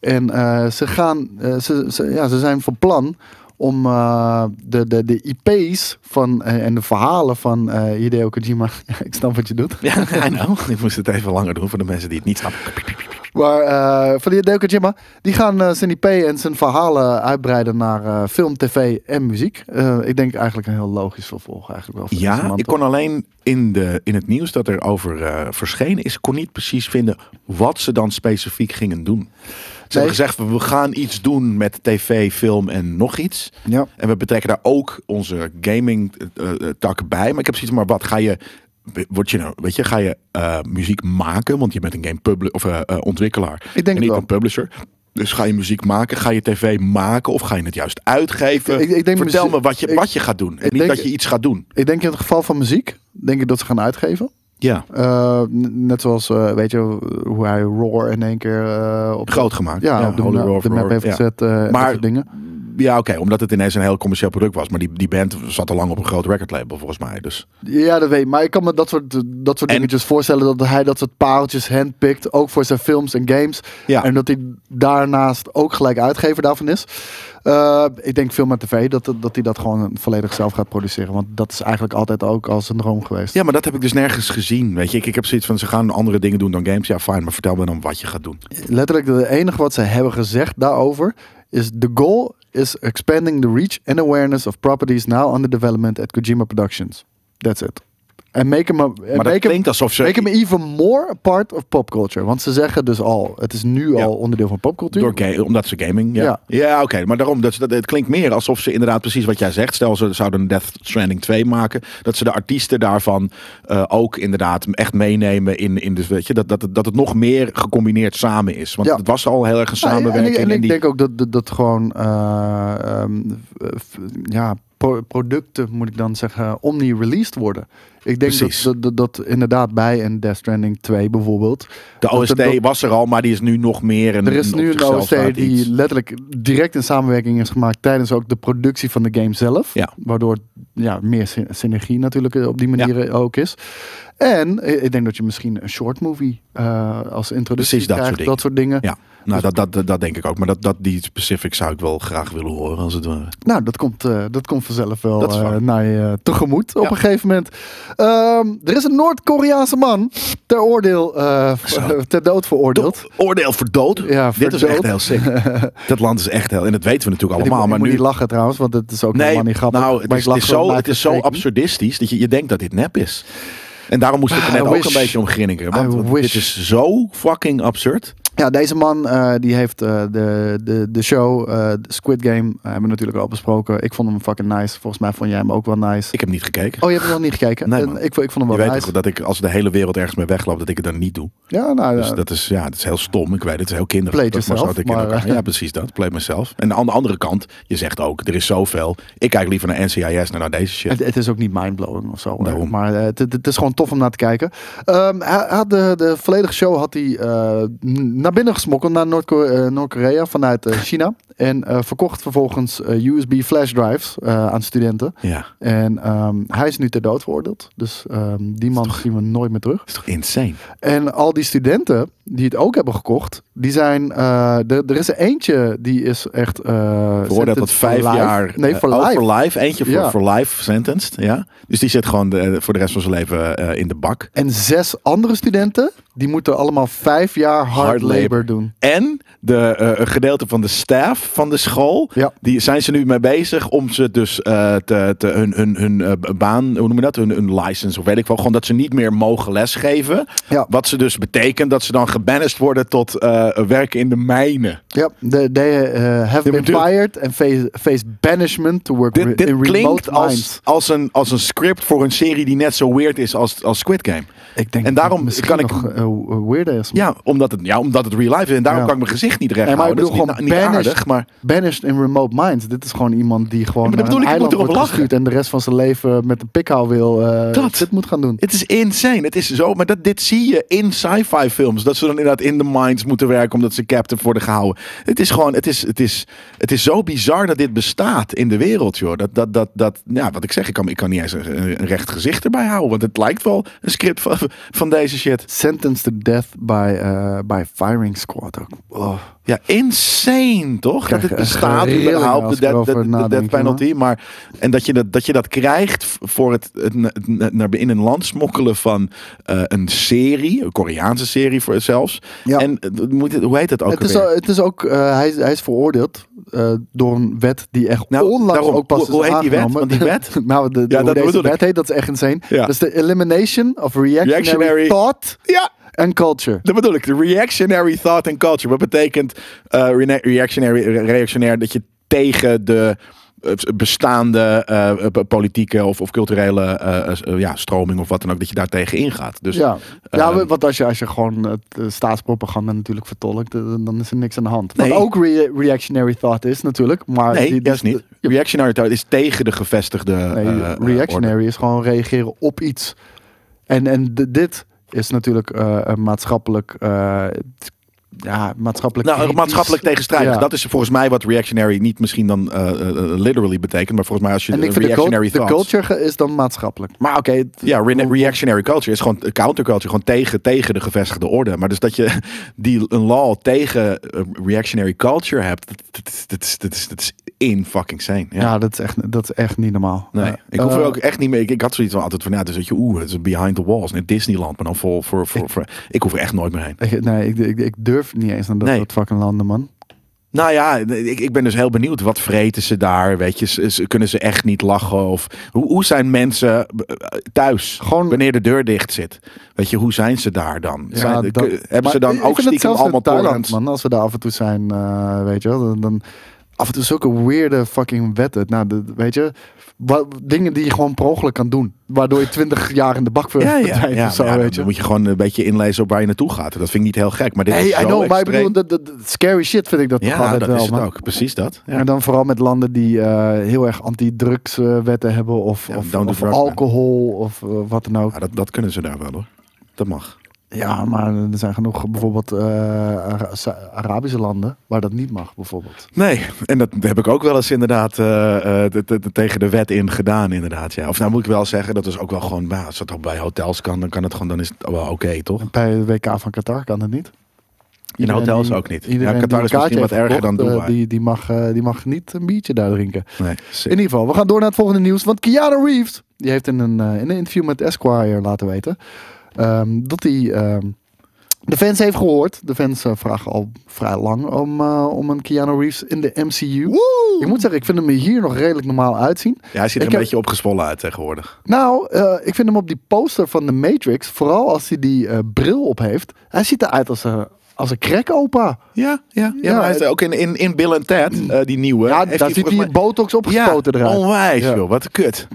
[SPEAKER 3] En eh, ze, gaan, eh, ze, ze- ja, ze zijn van plan om eh, de, de, de IP's van, eh, en de verhalen van eh Hideo Kojima... [laughs] Ja, ik snap wat je doet.
[SPEAKER 2] Ja, I know. [laughs] Ik moest het even langer doen voor de mensen die het niet snappen.
[SPEAKER 3] Maar eh, van die Hideo Kojima, die gaan eh, zijn IP en zijn verhalen uitbreiden naar eh, film, tv en muziek. Eh, ik denk eigenlijk een heel logisch vervolg eigenlijk wel. voor deze
[SPEAKER 2] Ja,
[SPEAKER 3] man,
[SPEAKER 2] ik
[SPEAKER 3] toch?
[SPEAKER 2] kon alleen in, de, in het nieuws dat er over eh, verschenen is, kon niet precies vinden wat ze dan specifiek gingen doen. Ze hebben gezegd, we- we gaan iets doen met tv, film en nog iets.
[SPEAKER 3] Ja.
[SPEAKER 2] En we betrekken daar ook onze gaming eh, eh, tak bij. Maar ik heb zoiets maar wat ga je... Word je nou, weet je, ga je eh, muziek maken? Want je bent een game publi- of, eh, eh, ontwikkelaar.
[SPEAKER 3] denk
[SPEAKER 2] en
[SPEAKER 3] het
[SPEAKER 2] niet
[SPEAKER 3] wel.
[SPEAKER 2] een publisher. Dus ga je muziek maken? Ga je tv maken? Of ga je het juist uitgeven?
[SPEAKER 3] Ik- ik denk
[SPEAKER 2] Vertel me
[SPEAKER 3] muziek-
[SPEAKER 2] wat je,
[SPEAKER 3] ik-
[SPEAKER 2] wat je gaat doen. En
[SPEAKER 3] ik
[SPEAKER 2] niet
[SPEAKER 3] denk-
[SPEAKER 2] dat je iets gaat doen.
[SPEAKER 3] Ik denk in het geval van muziek, denk ik dat ze gaan uitgeven.
[SPEAKER 2] Ja.
[SPEAKER 3] Eh, n- net zoals, eh, weet je, hoe hij Roar in één keer eh, op,
[SPEAKER 2] groot gemaakt.
[SPEAKER 3] ja, op de,
[SPEAKER 2] Holy
[SPEAKER 3] ma-
[SPEAKER 2] Roar
[SPEAKER 3] op de
[SPEAKER 2] of
[SPEAKER 3] map
[SPEAKER 2] Roar,
[SPEAKER 3] heeft
[SPEAKER 2] ja.
[SPEAKER 3] gezet. eh, en
[SPEAKER 2] Maar-
[SPEAKER 3] dat soort dingen.
[SPEAKER 2] Ja, oké, omdat het ineens een heel commercieel product was. Maar die, die band zat al lang op een groot recordlabel, volgens mij. Dus
[SPEAKER 3] Ja, dat weet ik. Maar ik kan me dat soort, dat soort
[SPEAKER 2] En-
[SPEAKER 3] dingetjes voorstellen. Dat hij dat soort pareltjes handpikt. Ook voor zijn films en games.
[SPEAKER 2] Ja.
[SPEAKER 3] En dat hij daarnaast ook gelijk uitgever daarvan is. Eh, ik denk film en tv. Dat, dat hij dat gewoon volledig zelf gaat produceren. Want dat is eigenlijk altijd ook al zijn droom geweest.
[SPEAKER 2] ja, maar dat heb ik dus nergens gezien. Weet je, ik, ik heb zoiets van ze gaan andere dingen doen dan games. Ja, fijn, maar vertel me dan wat je gaat
[SPEAKER 3] Eh,
[SPEAKER 2] doen.
[SPEAKER 3] letterlijk het enige wat ze hebben gezegd daarover is the goal is expanding the reach and awareness of properties now under development at Kojima Productions. That's it. En make him, a, en
[SPEAKER 2] Maar dat
[SPEAKER 3] make, him,
[SPEAKER 2] klinkt alsof ze
[SPEAKER 3] make him even more a part of pop culture. Want ze zeggen dus al, het is nu
[SPEAKER 2] Ja.
[SPEAKER 3] al onderdeel van popcultuur.
[SPEAKER 2] door ga- omdat ze gaming. Ja, ja.
[SPEAKER 3] Ja.
[SPEAKER 2] oké, maar daarom dat, dat het klinkt meer alsof ze inderdaad precies wat jij zegt. Stel ze zouden een Death Stranding 2 maken, dat ze de artiesten daarvan eh, ook inderdaad echt meenemen in, in de, weet je, dat, dat, het- dat het nog meer gecombineerd samen is. Want
[SPEAKER 3] Ja.
[SPEAKER 2] het was al heel erg een
[SPEAKER 3] Ja, en ik-
[SPEAKER 2] samenwerking.
[SPEAKER 3] En ik,
[SPEAKER 2] die-
[SPEAKER 3] denk ook dat, dat, dat gewoon eh, ehm, f- ja, pro- producten, moet ik dan zeggen, omni-released worden. Ik denk dat,
[SPEAKER 2] Precies.
[SPEAKER 3] dat, dat, dat inderdaad bij een Death Stranding 2 bijvoorbeeld.
[SPEAKER 2] De
[SPEAKER 3] dat er
[SPEAKER 2] OST
[SPEAKER 3] dat-
[SPEAKER 2] was er al, maar die is nu nog meer. Een,
[SPEAKER 3] Er is
[SPEAKER 2] op
[SPEAKER 3] nu een
[SPEAKER 2] zichzelf staand
[SPEAKER 3] OST die
[SPEAKER 2] iets.
[SPEAKER 3] letterlijk direct in samenwerking is gemaakt tijdens ook de productie van de game zelf.
[SPEAKER 2] Ja.
[SPEAKER 3] Waardoor ja, meer syn- synergie natuurlijk eh, op die manier eh, ook is. En eh, ik denk dat je misschien een short movie eh, als introductie
[SPEAKER 2] Precies dat soort
[SPEAKER 3] krijgt,
[SPEAKER 2] dingen.
[SPEAKER 3] dat soort dingen.
[SPEAKER 2] Ja, nou, dat, dat, dat, dat denk ik ook. Maar dat, dat, die specifics zou ik wel graag willen horen, als het ware.
[SPEAKER 3] Nou, dat komt, eh, dat komt vanzelf wel
[SPEAKER 2] Dat is
[SPEAKER 3] eh,
[SPEAKER 2] waar.
[SPEAKER 3] naar je tegemoet op
[SPEAKER 2] Ja.
[SPEAKER 3] een gegeven moment. Ehm, er is een Noord-Koreaanse man ter oordeel, eh,
[SPEAKER 2] Zo.
[SPEAKER 3] [laughs] ter dood veroordeeld.
[SPEAKER 2] Oordeel voor dood.
[SPEAKER 3] Ja,
[SPEAKER 2] Dit is echt
[SPEAKER 3] verdood.
[SPEAKER 2] heel
[SPEAKER 3] [laughs]
[SPEAKER 2] sick. dat land is echt heel. En dat weten we natuurlijk
[SPEAKER 3] Ik,
[SPEAKER 2] allemaal.
[SPEAKER 3] ik
[SPEAKER 2] maar
[SPEAKER 3] moet
[SPEAKER 2] nu.
[SPEAKER 3] niet lachen trouwens, want het is ook
[SPEAKER 2] Nee,
[SPEAKER 3] helemaal niet grappig.
[SPEAKER 2] nou, het
[SPEAKER 3] Maar
[SPEAKER 2] is,
[SPEAKER 3] ik
[SPEAKER 2] het is
[SPEAKER 3] lach
[SPEAKER 2] zo,
[SPEAKER 3] gewoon
[SPEAKER 2] het is zo
[SPEAKER 3] uit versteking.
[SPEAKER 2] absurdistisch dat je, je denkt dat dit nep is. En daarom moest ik er
[SPEAKER 3] I
[SPEAKER 2] net ook
[SPEAKER 3] wish.
[SPEAKER 2] een beetje om grinniken. Want,
[SPEAKER 3] I
[SPEAKER 2] want
[SPEAKER 3] wish.
[SPEAKER 2] dit is zo fucking absurd.
[SPEAKER 3] Ja, deze man eh, die heeft eh, de, de, de show, eh, de Squid Game, eh, hebben we natuurlijk al besproken. Ik vond hem fucking nice. Volgens mij vond jij hem ook wel nice.
[SPEAKER 2] Ik heb niet gekeken.
[SPEAKER 3] Oh, je hebt hem nog niet gekeken?
[SPEAKER 2] Nee,
[SPEAKER 3] Eh,
[SPEAKER 2] man.
[SPEAKER 3] ik, vond- ik vond
[SPEAKER 2] je
[SPEAKER 3] hem wel
[SPEAKER 2] weet
[SPEAKER 3] nice.
[SPEAKER 2] toch dat ik, als de hele wereld ergens mee wegloop, dat ik het dan niet doe.
[SPEAKER 3] Ja, nou,
[SPEAKER 2] Dus
[SPEAKER 3] ja.
[SPEAKER 2] dat is, ja, dat is heel stom. Ik weet het, het is heel kinderlijk.
[SPEAKER 3] Play
[SPEAKER 2] Dat is maar zo
[SPEAKER 3] yourself,
[SPEAKER 2] dat ik in
[SPEAKER 3] maar,
[SPEAKER 2] elkaar-
[SPEAKER 3] eh,
[SPEAKER 2] Ja, precies dat. Play myself. En aan de andere kant, je zegt ook, er is zoveel. Ik kijk liever naar NCIS dan naar deze shit.
[SPEAKER 3] Het, het is ook niet mindblowing of zo. hoor.
[SPEAKER 2] Daarom.
[SPEAKER 3] Maar eh, het, het- het is gewoon tof om naar te kijken. Ehm, hij hij had de, de volledige show had hij eh, n- naar binnen gesmokkeld naar Noord-Ko- eh, Noord-Korea vanuit eh, China. En eh, verkocht vervolgens eh, USB flash drives eh, aan studenten.
[SPEAKER 2] Ja, dat
[SPEAKER 3] En ehm, hij is nu ter dood veroordeeld. Dus ehm, die man zien we nooit meer terug.
[SPEAKER 2] is toch insane?
[SPEAKER 3] En al die studenten die het ook hebben gekocht, die zijn. eh, er- er is er eentje die is echt. eh
[SPEAKER 2] Veroordeeld
[SPEAKER 3] sentenced
[SPEAKER 2] tot vijf
[SPEAKER 3] for life.
[SPEAKER 2] jaar.
[SPEAKER 3] Nee,
[SPEAKER 2] eh,
[SPEAKER 3] voor
[SPEAKER 2] oh,
[SPEAKER 3] life.
[SPEAKER 2] voor life. Eentje voor,
[SPEAKER 3] Ja.
[SPEAKER 2] voor life sentenced. Ja. Dus die zit gewoon de- voor de rest van zijn leven eh, in de bak.
[SPEAKER 3] En zes andere studenten, die moeten allemaal vijf jaar hard,
[SPEAKER 2] Hard labor.
[SPEAKER 3] labor. doen.
[SPEAKER 2] En de, eh, een gedeelte van de staff van de school.
[SPEAKER 3] Ja.
[SPEAKER 2] Die zijn ze nu mee bezig om ze dus eh, te, te, hun, hun, hun eh, b- baan, hoe noem je dat? Hun, hun license of weet ik wel. Gewoon dat ze niet meer mogen lesgeven.
[SPEAKER 3] Ja.
[SPEAKER 2] Wat ze dus betekent dat ze dan gebannest worden tot eh, werken in de mijnen.
[SPEAKER 3] Ja, they, they, eh, have
[SPEAKER 2] Dit
[SPEAKER 3] been
[SPEAKER 2] bedoel-
[SPEAKER 3] fired and face, face banishment to work re-
[SPEAKER 2] Dit, dit
[SPEAKER 3] in remote
[SPEAKER 2] klinkt als,
[SPEAKER 3] mines.
[SPEAKER 2] als, een, als een script voor een serie die net zo weird is als, als Squid Game.
[SPEAKER 3] Ik denk
[SPEAKER 2] en daarom
[SPEAKER 3] misschien
[SPEAKER 2] kan ik-
[SPEAKER 3] nog eh, weirder is.
[SPEAKER 2] Ja, omdat het, ja, omdat het real life is. En daarom
[SPEAKER 3] Ja.
[SPEAKER 2] kan ik mijn gezicht niet recht
[SPEAKER 3] Nee, maar ik
[SPEAKER 2] houden.
[SPEAKER 3] bedoel
[SPEAKER 2] dat
[SPEAKER 3] gewoon
[SPEAKER 2] is niet, niet
[SPEAKER 3] banished,
[SPEAKER 2] aardig, maar...
[SPEAKER 3] banished in remote mines. Dit is gewoon iemand die gewoon
[SPEAKER 2] Ja, maar dat
[SPEAKER 3] naar een
[SPEAKER 2] bedoel ik, je moet
[SPEAKER 3] eiland
[SPEAKER 2] erop
[SPEAKER 3] wordt
[SPEAKER 2] lachen.
[SPEAKER 3] gestuurd en de rest van zijn leven met een pikhouw wil eh,
[SPEAKER 2] Dat.
[SPEAKER 3] dit moet gaan doen.
[SPEAKER 2] Het is insane. Het is zo. Maar dat, dit zie je in sci-fi films. Dat ze dan inderdaad in de mines moeten werken omdat ze captain worden gehouden. Het is gewoon, het is, het is, het is zo bizar dat dit bestaat in de wereld, joh. Dat, dat, dat, dat, ja, wat ik zeg, ik kan, ik kan niet eens een, een recht gezicht erbij houden. Want het lijkt wel een script van, van deze shit.
[SPEAKER 3] Sentenced to death by, eh, by firing squad. ook. Oh.
[SPEAKER 2] Ja, insane toch? Dat
[SPEAKER 3] Krijg
[SPEAKER 2] het
[SPEAKER 3] je
[SPEAKER 2] bestaat
[SPEAKER 3] echt rillingen
[SPEAKER 2] überhaupt,
[SPEAKER 3] als
[SPEAKER 2] de
[SPEAKER 3] ik
[SPEAKER 2] death,
[SPEAKER 3] erover
[SPEAKER 2] de- de death
[SPEAKER 3] nadenk,
[SPEAKER 2] penalty. Maar, en dat je dat, dat je dat krijgt v- voor het, het na- na- naar in een land smokkelen van eh, een serie, een Koreaanse serie voor zelfs.
[SPEAKER 3] Ja.
[SPEAKER 2] En eh, dat moet, het- hoe heet dat ook
[SPEAKER 3] Het is,
[SPEAKER 2] alweer?
[SPEAKER 3] al- het is ook, eh, hij, is- hij is veroordeeld eh, door een wet die echt
[SPEAKER 2] Nou,
[SPEAKER 3] onlangs
[SPEAKER 2] daarom.
[SPEAKER 3] ook pas
[SPEAKER 2] Hoe- hoe
[SPEAKER 3] is
[SPEAKER 2] heet die wet?
[SPEAKER 3] aangenomen.
[SPEAKER 2] Want die wet-
[SPEAKER 3] [laughs] nou, de, de-
[SPEAKER 2] Ja,
[SPEAKER 3] hoe
[SPEAKER 2] dat
[SPEAKER 3] deze
[SPEAKER 2] bedoel ik.
[SPEAKER 3] wet heet, dat is echt insane.
[SPEAKER 2] Ja.
[SPEAKER 3] Dus de elimination of reactionary,
[SPEAKER 2] Reactionary.
[SPEAKER 3] thought
[SPEAKER 2] ja,
[SPEAKER 3] and culture.
[SPEAKER 2] dat bedoel ik. De reactionary thought and culture. Wat betekent eh, rene- reactionary, re- reactionair dat je tegen de eh, bestaande eh, eh, politieke of, of culturele eh, eh, ja, stroming of wat dan ook, dat je daar tegen ingaat. Dus
[SPEAKER 3] ja, ja
[SPEAKER 2] ehm,
[SPEAKER 3] want als je, als je gewoon het eh, staatspropaganda natuurlijk vertolkt, eh, dan is er niks aan de hand.
[SPEAKER 2] Nee.
[SPEAKER 3] Wat ook re- reactionary thought is natuurlijk, maar...
[SPEAKER 2] Nee,
[SPEAKER 3] die-
[SPEAKER 2] dat is niet.
[SPEAKER 3] Ja,
[SPEAKER 2] Reactionary thought is tegen de gevestigde.
[SPEAKER 3] nee,
[SPEAKER 2] eh, eh,
[SPEAKER 3] reactionary
[SPEAKER 2] orde.
[SPEAKER 3] is gewoon reageren op iets. En, en d- dit is natuurlijk eh, een maatschappelijk... eh, t- ja, maatschappelijk
[SPEAKER 2] Nou,
[SPEAKER 3] kritisch-
[SPEAKER 2] maatschappelijk tegenstrijdig.
[SPEAKER 3] Ja.
[SPEAKER 2] Dat is volgens mij wat reactionary niet misschien dan eh, eh, literally betekent, maar volgens mij als je
[SPEAKER 3] En
[SPEAKER 2] de
[SPEAKER 3] ik vind de, cult-
[SPEAKER 2] reactionary
[SPEAKER 3] de
[SPEAKER 2] thought.
[SPEAKER 3] culture ge- is dan maatschappelijk. Maar oké, het-
[SPEAKER 2] Ja, re- reactionary culture is gewoon counterculture, gewoon tegen, tegen de gevestigde orde. Maar dus dat je [laughs] die een law tegen eh, reactionary culture hebt, dat, dat, dat, is- dat, is, dat is in fucking sane. Ja.
[SPEAKER 3] ja. dat, is echt, dat is echt niet normaal.
[SPEAKER 2] Nee,
[SPEAKER 3] Ja.
[SPEAKER 2] ik hoef
[SPEAKER 3] Eh,
[SPEAKER 2] er ook echt niet mee. Ik, ik had zoiets van altijd van, ja, dus dat je, oeh, het is behind the walls, net Disneyland, maar dan vol voor, voor, voor. Ik hoef er echt nooit meer heen.
[SPEAKER 3] ik, nee, ik, ik, ik durf niet eens naar dat,
[SPEAKER 2] Nee.
[SPEAKER 3] dat fucking landen, man.
[SPEAKER 2] Nou ja, ik, ik ben dus heel benieuwd. Wat vreten ze daar? Weet je, Ze- ze- kunnen ze echt niet lachen? Of hoe, hoe zijn mensen eh, thuis?
[SPEAKER 3] Gewoon-
[SPEAKER 2] wanneer de deur dikt zit. Weet je, hoe zijn ze daar dan? Zijn-
[SPEAKER 3] dat-
[SPEAKER 2] kun- hebben ze
[SPEAKER 3] maar
[SPEAKER 2] dan
[SPEAKER 3] ik
[SPEAKER 2] ook
[SPEAKER 3] vind het
[SPEAKER 2] stiekem
[SPEAKER 3] zelfs in
[SPEAKER 2] allemaal
[SPEAKER 3] Thailand,
[SPEAKER 2] Thailand?
[SPEAKER 3] man. Als we daar af en toe zijn, eh, weet je wel, dan, dan af en toe zulke weirde fucking wetten. Nou, de- weet je, wat, dingen die je gewoon per ongeluk kan doen, waardoor je twintig [laughs] jaar in de bak
[SPEAKER 2] Ja, ja,
[SPEAKER 3] [laughs]
[SPEAKER 2] ja,
[SPEAKER 3] verdwijnt of zo,
[SPEAKER 2] maar ja,
[SPEAKER 3] weet
[SPEAKER 2] dan
[SPEAKER 3] je.
[SPEAKER 2] moet je gewoon een beetje inlezen op waar je naartoe gaat. Dat vind ik niet heel gek, maar dit
[SPEAKER 3] Hey,
[SPEAKER 2] is
[SPEAKER 3] I
[SPEAKER 2] zo
[SPEAKER 3] know, maar ik
[SPEAKER 2] extreem.
[SPEAKER 3] bedoel, dat, dat- dat scary shit vind ik dat toch
[SPEAKER 2] ja,
[SPEAKER 3] altijd
[SPEAKER 2] dat
[SPEAKER 3] wel,
[SPEAKER 2] is het
[SPEAKER 3] man.
[SPEAKER 2] ook. Precies dat. Ja.
[SPEAKER 3] En dan vooral met landen die eh, heel erg anti-drugswetten hebben of,
[SPEAKER 2] Ja,
[SPEAKER 3] of,
[SPEAKER 2] don't do
[SPEAKER 3] of
[SPEAKER 2] drugs,
[SPEAKER 3] alcohol of eh, wat dan ook.
[SPEAKER 2] Ja, dat, dat kunnen ze daar wel hoor. Dat mag.
[SPEAKER 3] Ja, maar er zijn genoeg bijvoorbeeld eh, Ara- Sa- Arabische landen waar dat niet mag bijvoorbeeld.
[SPEAKER 2] Nee, en dat heb ik ook wel eens inderdaad eh, eh, te- te- te- tegen de wet in gedaan, inderdaad. Ja. Of nou moet ik wel zeggen, dat is ook wel gewoon, nou, als dat ook bij hotels kan, dan kan het gewoon, dan is het wel oké, toch?
[SPEAKER 3] Bij de WK van Qatar kan dat niet.
[SPEAKER 2] In
[SPEAKER 3] Iedereen
[SPEAKER 2] hotels
[SPEAKER 3] die-
[SPEAKER 2] ook niet.
[SPEAKER 3] iedereen
[SPEAKER 2] Ja,
[SPEAKER 3] die
[SPEAKER 2] Qatar
[SPEAKER 3] een
[SPEAKER 2] is misschien
[SPEAKER 3] kaartje
[SPEAKER 2] wat
[SPEAKER 3] heeft
[SPEAKER 2] erger dan
[SPEAKER 3] gekocht, eh,
[SPEAKER 2] Dubai.
[SPEAKER 3] die, die, mag, eh, die mag niet een biertje daar drinken.
[SPEAKER 2] Nee,
[SPEAKER 3] In ieder geval, we gaan door naar het volgende nieuws. Want Keanu Reeves, die heeft in een, eh, in een interview met Esquire laten weten... ehm, dat hij ehm, de fans heeft gehoord. De fans eh, vragen al vrij lang om, eh, om een Keanu Reeves in de MCU. Ik moet zeggen, ik vind hem er hier nog redelijk normaal uitzien.
[SPEAKER 2] ja, hij ziet er
[SPEAKER 3] Ik
[SPEAKER 2] een
[SPEAKER 3] heb-
[SPEAKER 2] beetje opgezwollen uit tegenwoordig.
[SPEAKER 3] Nou, eh, ik vind hem op die poster van The Matrix, vooral als hij die eh, bril op heeft. Hij ziet eruit als, eh, als een
[SPEAKER 2] Ah,
[SPEAKER 3] crack-opa.
[SPEAKER 2] Ja, ja, ja.
[SPEAKER 3] Ja,
[SPEAKER 2] maar hij is
[SPEAKER 3] het-
[SPEAKER 2] ook in, in, in Bill and Ted, eh, die nieuwe.
[SPEAKER 3] Ja,
[SPEAKER 2] heeft
[SPEAKER 3] daar zit
[SPEAKER 2] volgens
[SPEAKER 3] hij
[SPEAKER 2] mij-
[SPEAKER 3] botox
[SPEAKER 2] Ja,
[SPEAKER 3] opgespoten eruit.
[SPEAKER 2] onwijs
[SPEAKER 3] Ja.
[SPEAKER 2] joh, wat een kut.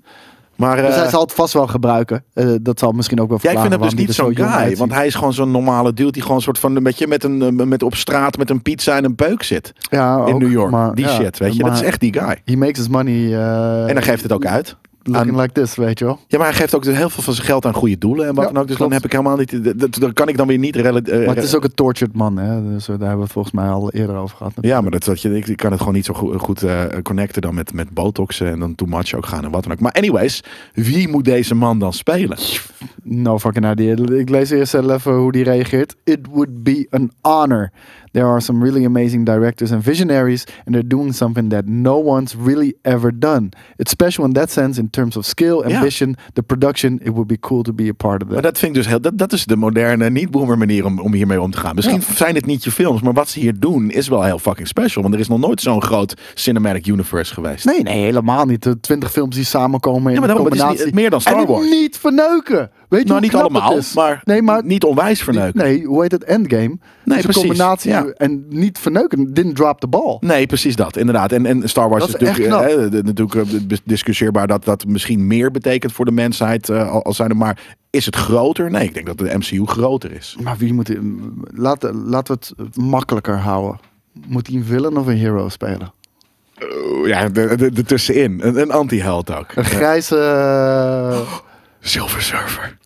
[SPEAKER 2] Maar eh,
[SPEAKER 3] Dus hij zal het vast wel gebruiken. Eh, dat zal misschien ook wel
[SPEAKER 2] ja, ik
[SPEAKER 3] verklaren
[SPEAKER 2] vind hem dus
[SPEAKER 3] waarom
[SPEAKER 2] niet
[SPEAKER 3] hij
[SPEAKER 2] zo'n
[SPEAKER 3] er zo jong
[SPEAKER 2] guy.
[SPEAKER 3] uitziet.
[SPEAKER 2] Want hij is gewoon zo'n normale dude die gewoon een soort van een beetje met een eh, met op straat met een pizza en een peuk zit
[SPEAKER 3] ja,
[SPEAKER 2] in
[SPEAKER 3] ook,
[SPEAKER 2] New York.
[SPEAKER 3] maar-
[SPEAKER 2] die
[SPEAKER 3] ja,
[SPEAKER 2] shit, weet je. dat
[SPEAKER 3] maar
[SPEAKER 2] is echt die guy.
[SPEAKER 3] He makes his money eh,
[SPEAKER 2] En dan geeft het ook uit.
[SPEAKER 3] looking like this, weet je wel.
[SPEAKER 2] Ja, maar hij geeft ook dus heel veel van zijn geld aan goede doelen en wat
[SPEAKER 3] Ja,
[SPEAKER 2] dan ook. Dus dan
[SPEAKER 3] klopt.
[SPEAKER 2] heb ik helemaal niet. dat- Dat, dat kan ik dan weer niet. rela- eh,
[SPEAKER 3] Maar het is ook een tortured man, hè? Dus eh, daar hebben we het volgens mij al eerder over gehad.
[SPEAKER 2] Ja, maar dat, dat je, ik, ik kan het gewoon niet zo goed, goed eh, connecten dan met, met botoxen en dan too much ook gaan en wat dan ook. Maar anyways, wie moet deze man dan spelen?
[SPEAKER 3] No fucking idea. Ik lees eerst wel even hoe die reageert. It would be an honor. There are some really amazing directors and visionaries, and they're doing something that no one's really ever done. It's special in that sense, in terms of skill,
[SPEAKER 2] Ja.
[SPEAKER 3] ambition, the production. It would be cool to be a part of
[SPEAKER 2] Maar
[SPEAKER 3] that.
[SPEAKER 2] dat vind ik dus heel. Dat, dat is de moderne niet-boomer manier om, om hiermee om te gaan. Misschien zijn het niet je films, maar wat ze hier doen is wel heel fucking special. Want er is nog nooit zo'n groot cinematic universe geweest.
[SPEAKER 3] Nee, nee, helemaal niet. De twintig films die samenkomen in
[SPEAKER 2] Ja, maar
[SPEAKER 3] een
[SPEAKER 2] daarom, het is
[SPEAKER 3] combinatie.
[SPEAKER 2] niet- meer dan Star
[SPEAKER 3] en het
[SPEAKER 2] Wars.
[SPEAKER 3] niet verneuken. Weet je
[SPEAKER 2] nou,
[SPEAKER 3] hoe
[SPEAKER 2] niet
[SPEAKER 3] knap het
[SPEAKER 2] allemaal,
[SPEAKER 3] is?
[SPEAKER 2] maar,
[SPEAKER 3] nee, maar
[SPEAKER 2] niet onwijs verneuken. Nee.
[SPEAKER 3] Nee, hoe heet het? Endgame. Dus een
[SPEAKER 2] precies,
[SPEAKER 3] combinatie
[SPEAKER 2] ja.
[SPEAKER 3] en niet verneuken. Didn't drop the ball.
[SPEAKER 2] precies dat, inderdaad. En, en Star Wars is
[SPEAKER 3] Dat is
[SPEAKER 2] natuurlijk,
[SPEAKER 3] echt
[SPEAKER 2] eh, eh, natuurlijk eh, bes- discussieerbaar dat dat misschien meer betekent voor de mensheid eh, al- als zijn er maar. Is het groter? Nee, ik denk dat de MCU groter is.
[SPEAKER 3] Maar wie moet... Laten, laten we het makkelijker houden. Moet hij een villain of een hero spelen?
[SPEAKER 2] Oh, ja, de, de, de tussenin. Een, een anti-held ook.
[SPEAKER 3] Een grijze... eh,
[SPEAKER 2] Silver Surfer.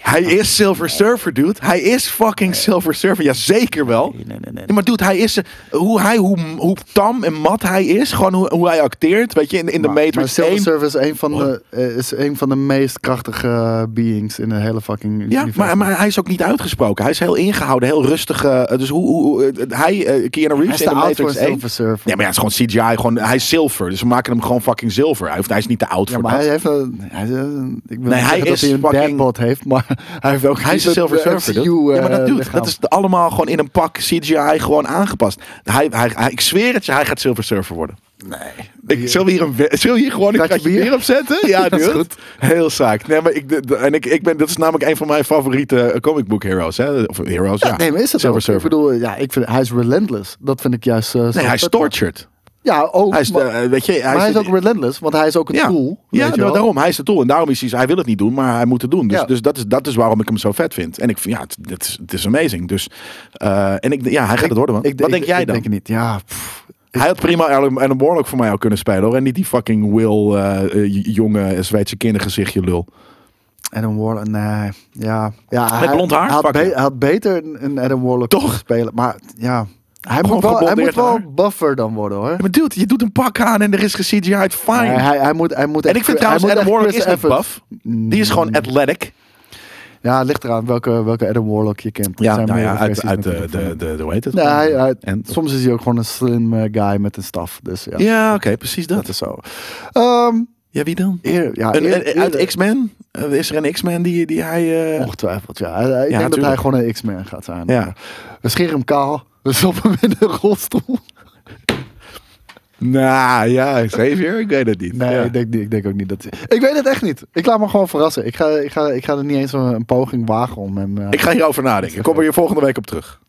[SPEAKER 2] Hij is Silver Surfer, dude. Hij is fucking Silver Surfer. Ja, zeker wel.
[SPEAKER 3] nee, nee, nee, nee.
[SPEAKER 2] Ja, maar dude, hij is... eh, Hoe, hij, hoe, hoe tam en mat hij is. Gewoon hoe, hoe hij acteert. Weet je, in, in de
[SPEAKER 3] maar- Maar
[SPEAKER 2] Matrix
[SPEAKER 3] Silver
[SPEAKER 2] 1.
[SPEAKER 3] Surfer is een, van de, eh, is een van de meest krachtige beings in de hele fucking
[SPEAKER 2] Ja,
[SPEAKER 3] universum.
[SPEAKER 2] maar, maar hij is ook niet uitgesproken. Hij is heel ingehouden, heel rustig. eh, dus hoe, hoe- hoe, eh, hij, eh Keanu
[SPEAKER 3] hij
[SPEAKER 2] Reeves
[SPEAKER 3] is
[SPEAKER 2] in
[SPEAKER 3] de
[SPEAKER 2] de
[SPEAKER 3] oud voor
[SPEAKER 2] Matrix 1.
[SPEAKER 3] een Silver Surfer.
[SPEAKER 2] Nee, maar ja, het is gewoon CGI. Gewoon, hij is zilver. Dus we maken hem gewoon fucking zilver. Hij, hoeft- hij is niet te oud
[SPEAKER 3] Ja,
[SPEAKER 2] voor
[SPEAKER 3] maar
[SPEAKER 2] dat.
[SPEAKER 3] hij heeft een... Hij is een- ik wil
[SPEAKER 2] Nee, hij
[SPEAKER 3] niet zeggen dat
[SPEAKER 2] is
[SPEAKER 3] hij een
[SPEAKER 2] fucking-
[SPEAKER 3] deadbot heeft, maar [laughs] hij heeft ook... eh,
[SPEAKER 2] Hij is een eh, Silver Surfer.
[SPEAKER 3] dus.
[SPEAKER 2] dude. ja, maar dat, dude, dat is allemaal gewoon in een pak CGI gewoon aangepast. Hij, hij, hij- ik zweer het je, hij gaat Silver Surfer worden. Nee. Ik, zullen, we hier een, we- zullen we hier gewoon een
[SPEAKER 3] Kratje
[SPEAKER 2] kratje
[SPEAKER 3] bier?
[SPEAKER 2] bier op
[SPEAKER 3] [laughs]
[SPEAKER 2] zetten? Ja,
[SPEAKER 3] Dat
[SPEAKER 2] dude.
[SPEAKER 3] is goed.
[SPEAKER 2] Heel zaak. Nee, maar ik, de- de- en ik, ik ben, dat is namelijk een van mijn favoriete eh, comic book heroes. Hè? Of heroes, ja.
[SPEAKER 3] Nee, maar is dat
[SPEAKER 2] Silver
[SPEAKER 3] ook? Ik
[SPEAKER 2] Surfer.
[SPEAKER 3] bedoel, ja, ik vind, hij is relentless. Dat vind ik juist... eh, zo
[SPEAKER 2] Nee, hij is
[SPEAKER 3] vet.
[SPEAKER 2] tortured.
[SPEAKER 3] Ja, ook.
[SPEAKER 2] Hij is,
[SPEAKER 3] maar-
[SPEAKER 2] eh, weet je, hij
[SPEAKER 3] maar hij is
[SPEAKER 2] de-
[SPEAKER 3] ook relentless, want hij is ook een
[SPEAKER 2] ja,
[SPEAKER 3] tool.
[SPEAKER 2] ja
[SPEAKER 3] weet je wel.
[SPEAKER 2] daarom. Hij is de tool. En daarom is hij, hij wil het niet doen, maar hij moet het doen. Dus,
[SPEAKER 3] Ja.
[SPEAKER 2] dus dat, is, dat is waarom ik hem zo vet vind. En ik vind, ja, het, het is, het is amazing. Dus, eh, en ik, ja, hij gaat het worden, man. Wat denk jij
[SPEAKER 3] ik
[SPEAKER 2] dan?
[SPEAKER 3] denk het niet. Ja, pff.
[SPEAKER 2] Hij had prima Alan, Alan Warlock voor mij ook kunnen spelen hoor. En niet die fucking Will, eh, eh, j- jonge Zweedse kindergezichtje lul.
[SPEAKER 3] Adam Warlock, nee. Ja, ja
[SPEAKER 2] Met
[SPEAKER 3] hij-
[SPEAKER 2] blond haar?
[SPEAKER 3] Hij had,
[SPEAKER 2] Fuck
[SPEAKER 3] be-
[SPEAKER 2] hem.
[SPEAKER 3] hij had beter een, een Adam Warlock
[SPEAKER 2] Toch?
[SPEAKER 3] kunnen spelen. Maar ja, hij
[SPEAKER 2] Gewoon
[SPEAKER 3] moet wel, hij moet
[SPEAKER 2] geblondeerd
[SPEAKER 3] wel
[SPEAKER 2] haar.
[SPEAKER 3] buffer dan worden hoor.
[SPEAKER 2] Ja, maar dude, je doet een pak aan en er is ge-CGI'd, fine.
[SPEAKER 3] Nee, hij, hij moet, hij moet
[SPEAKER 2] en
[SPEAKER 3] echt-
[SPEAKER 2] ik vind
[SPEAKER 3] hij
[SPEAKER 2] trouwens,
[SPEAKER 3] moet
[SPEAKER 2] Adam
[SPEAKER 3] echt
[SPEAKER 2] Warlock
[SPEAKER 3] Chris
[SPEAKER 2] is niet
[SPEAKER 3] Evans-
[SPEAKER 2] buff. Mm. Die is gewoon athletic.
[SPEAKER 3] Ja, het ligt eraan welke, welke Adam Warlock je kent. Er
[SPEAKER 2] Ja,
[SPEAKER 3] zijn
[SPEAKER 2] nou ja,
[SPEAKER 3] meerdere
[SPEAKER 2] uit,
[SPEAKER 3] versies
[SPEAKER 2] uit de,
[SPEAKER 3] natuurlijk van
[SPEAKER 2] de,
[SPEAKER 3] hem.
[SPEAKER 2] de, de, hoe heet het? Eh,
[SPEAKER 3] Nee, hij- hij-
[SPEAKER 2] en,
[SPEAKER 3] soms is hij ook gewoon een slim eh, guy met een staf. Dus ja,
[SPEAKER 2] ja, oké, precies dat.
[SPEAKER 3] dat is zo. Ehm,
[SPEAKER 2] Ja, wie dan?
[SPEAKER 3] eer- ja,
[SPEAKER 2] Een-
[SPEAKER 3] eer-
[SPEAKER 2] een- uit
[SPEAKER 3] eerder-
[SPEAKER 2] X-Men? Eh, Is er een X-Men die, die hij... eh,
[SPEAKER 3] Ongetwijfeld, ja. Ik denk dat hij
[SPEAKER 2] tuurlijk.
[SPEAKER 3] gewoon een X-Man gaat zijn.
[SPEAKER 2] Ja.
[SPEAKER 3] We scheren hem kaal. We stoppen hem in een rolstoel.
[SPEAKER 2] Nou ja, Xavier, ik weet het niet.
[SPEAKER 3] Nee,
[SPEAKER 2] Ja.
[SPEAKER 3] ik, denk, niet- ik denk ook niet dat... Ik weet het echt niet. Ik laat me gewoon verrassen. Ik ga, ik ga, ik ga er niet eens een, een poging wagen om hem... eh,
[SPEAKER 2] Ik ga hierover nadenken. Ik kom er hier volgende week op terug.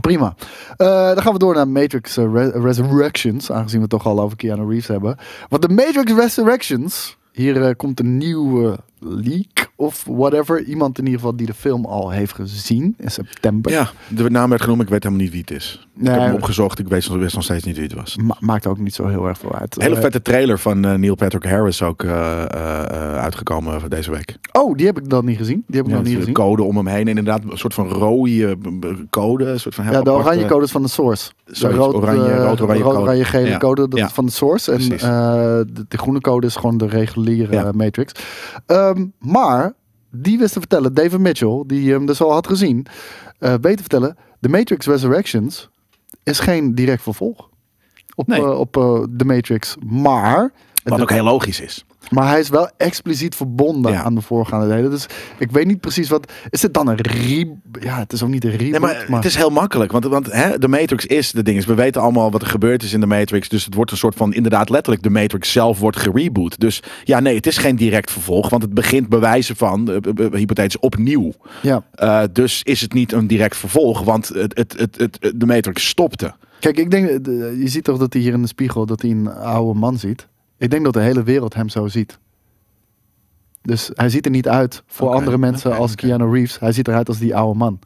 [SPEAKER 3] Prima. Eh, dan gaan we door naar Matrix eh, Re- Resurrections. Aangezien we het toch al over Keanu Reeves hebben. Want de Matrix Resurrections... Hier eh, komt een nieuwe leak of whatever. Iemand in ieder geval die de film al heeft gezien in september.
[SPEAKER 2] Ja, de naam werd genoemd, ik weet helemaal niet wie het is. Ik
[SPEAKER 3] Nee.
[SPEAKER 2] heb hem opgezocht, ik weet nog- wist nog steeds niet wie het was.
[SPEAKER 3] Ma- maakt ook niet zo heel erg veel uit.
[SPEAKER 2] Een hele
[SPEAKER 3] Eh,
[SPEAKER 2] vette trailer van eh, Neil Patrick Harris ook eh, eh, eh, uitgekomen voor deze week.
[SPEAKER 3] Oh, die heb ik dan niet gezien. Die heb ik
[SPEAKER 2] Ja,
[SPEAKER 3] nog niet
[SPEAKER 2] dus de
[SPEAKER 3] gezien.
[SPEAKER 2] code om hem heen. En inderdaad, een soort van rode eh, b- b- code. Een soort van heel
[SPEAKER 3] Ja, de
[SPEAKER 2] aparte-
[SPEAKER 3] oranje codes van de source. De
[SPEAKER 2] Zoiets, oranje,
[SPEAKER 3] eh,
[SPEAKER 2] rood, oranje
[SPEAKER 3] rood,
[SPEAKER 2] code.
[SPEAKER 3] oranje, gele
[SPEAKER 2] Ja.
[SPEAKER 3] code dat
[SPEAKER 2] Ja.
[SPEAKER 3] is van de source. En
[SPEAKER 2] Precies.
[SPEAKER 3] eh, de, de groene code is gewoon de reguliere
[SPEAKER 2] Ja.
[SPEAKER 3] eh, matrix. Ehm, maar die wist te vertellen, David Mitchell, die hem dus al had gezien, eh weet te vertellen, de Matrix Resurrections is geen direct vervolg op,
[SPEAKER 2] Nee.
[SPEAKER 3] eh, op eh, de Matrix. Maar
[SPEAKER 2] Wat ook heel logisch is.
[SPEAKER 3] Maar hij is wel expliciet verbonden
[SPEAKER 2] Ja.
[SPEAKER 3] aan de voorgaande delen. Dus ik weet niet precies wat. Is het dan een re? Ja, het is ook niet een reboot.
[SPEAKER 2] Nee, maar het is heel makkelijk. Want, want hè, de Matrix is de ding. is. We weten allemaal wat er gebeurd is in de Matrix. Dus het wordt een soort van, inderdaad letterlijk, de Matrix zelf wordt gereboot. Dus ja, nee, het is geen direct vervolg. Want het begint bewijzen van, eh, eh, eh, hypothetisch, opnieuw.
[SPEAKER 3] ja.
[SPEAKER 2] Eh, dus is het niet een direct vervolg, want het, het, het, het, het- de Matrix stopte.
[SPEAKER 3] Kijk, ik denk, de- je ziet toch dat hij hier in de spiegel dat hij een oude man ziet. Ik denk dat de hele wereld hem zo ziet. Dus hij ziet er niet uit voor
[SPEAKER 2] Oké,
[SPEAKER 3] andere mensen
[SPEAKER 2] oké,
[SPEAKER 3] als
[SPEAKER 2] oké.
[SPEAKER 3] Keanu Reeves. Hij ziet eruit als die oude man.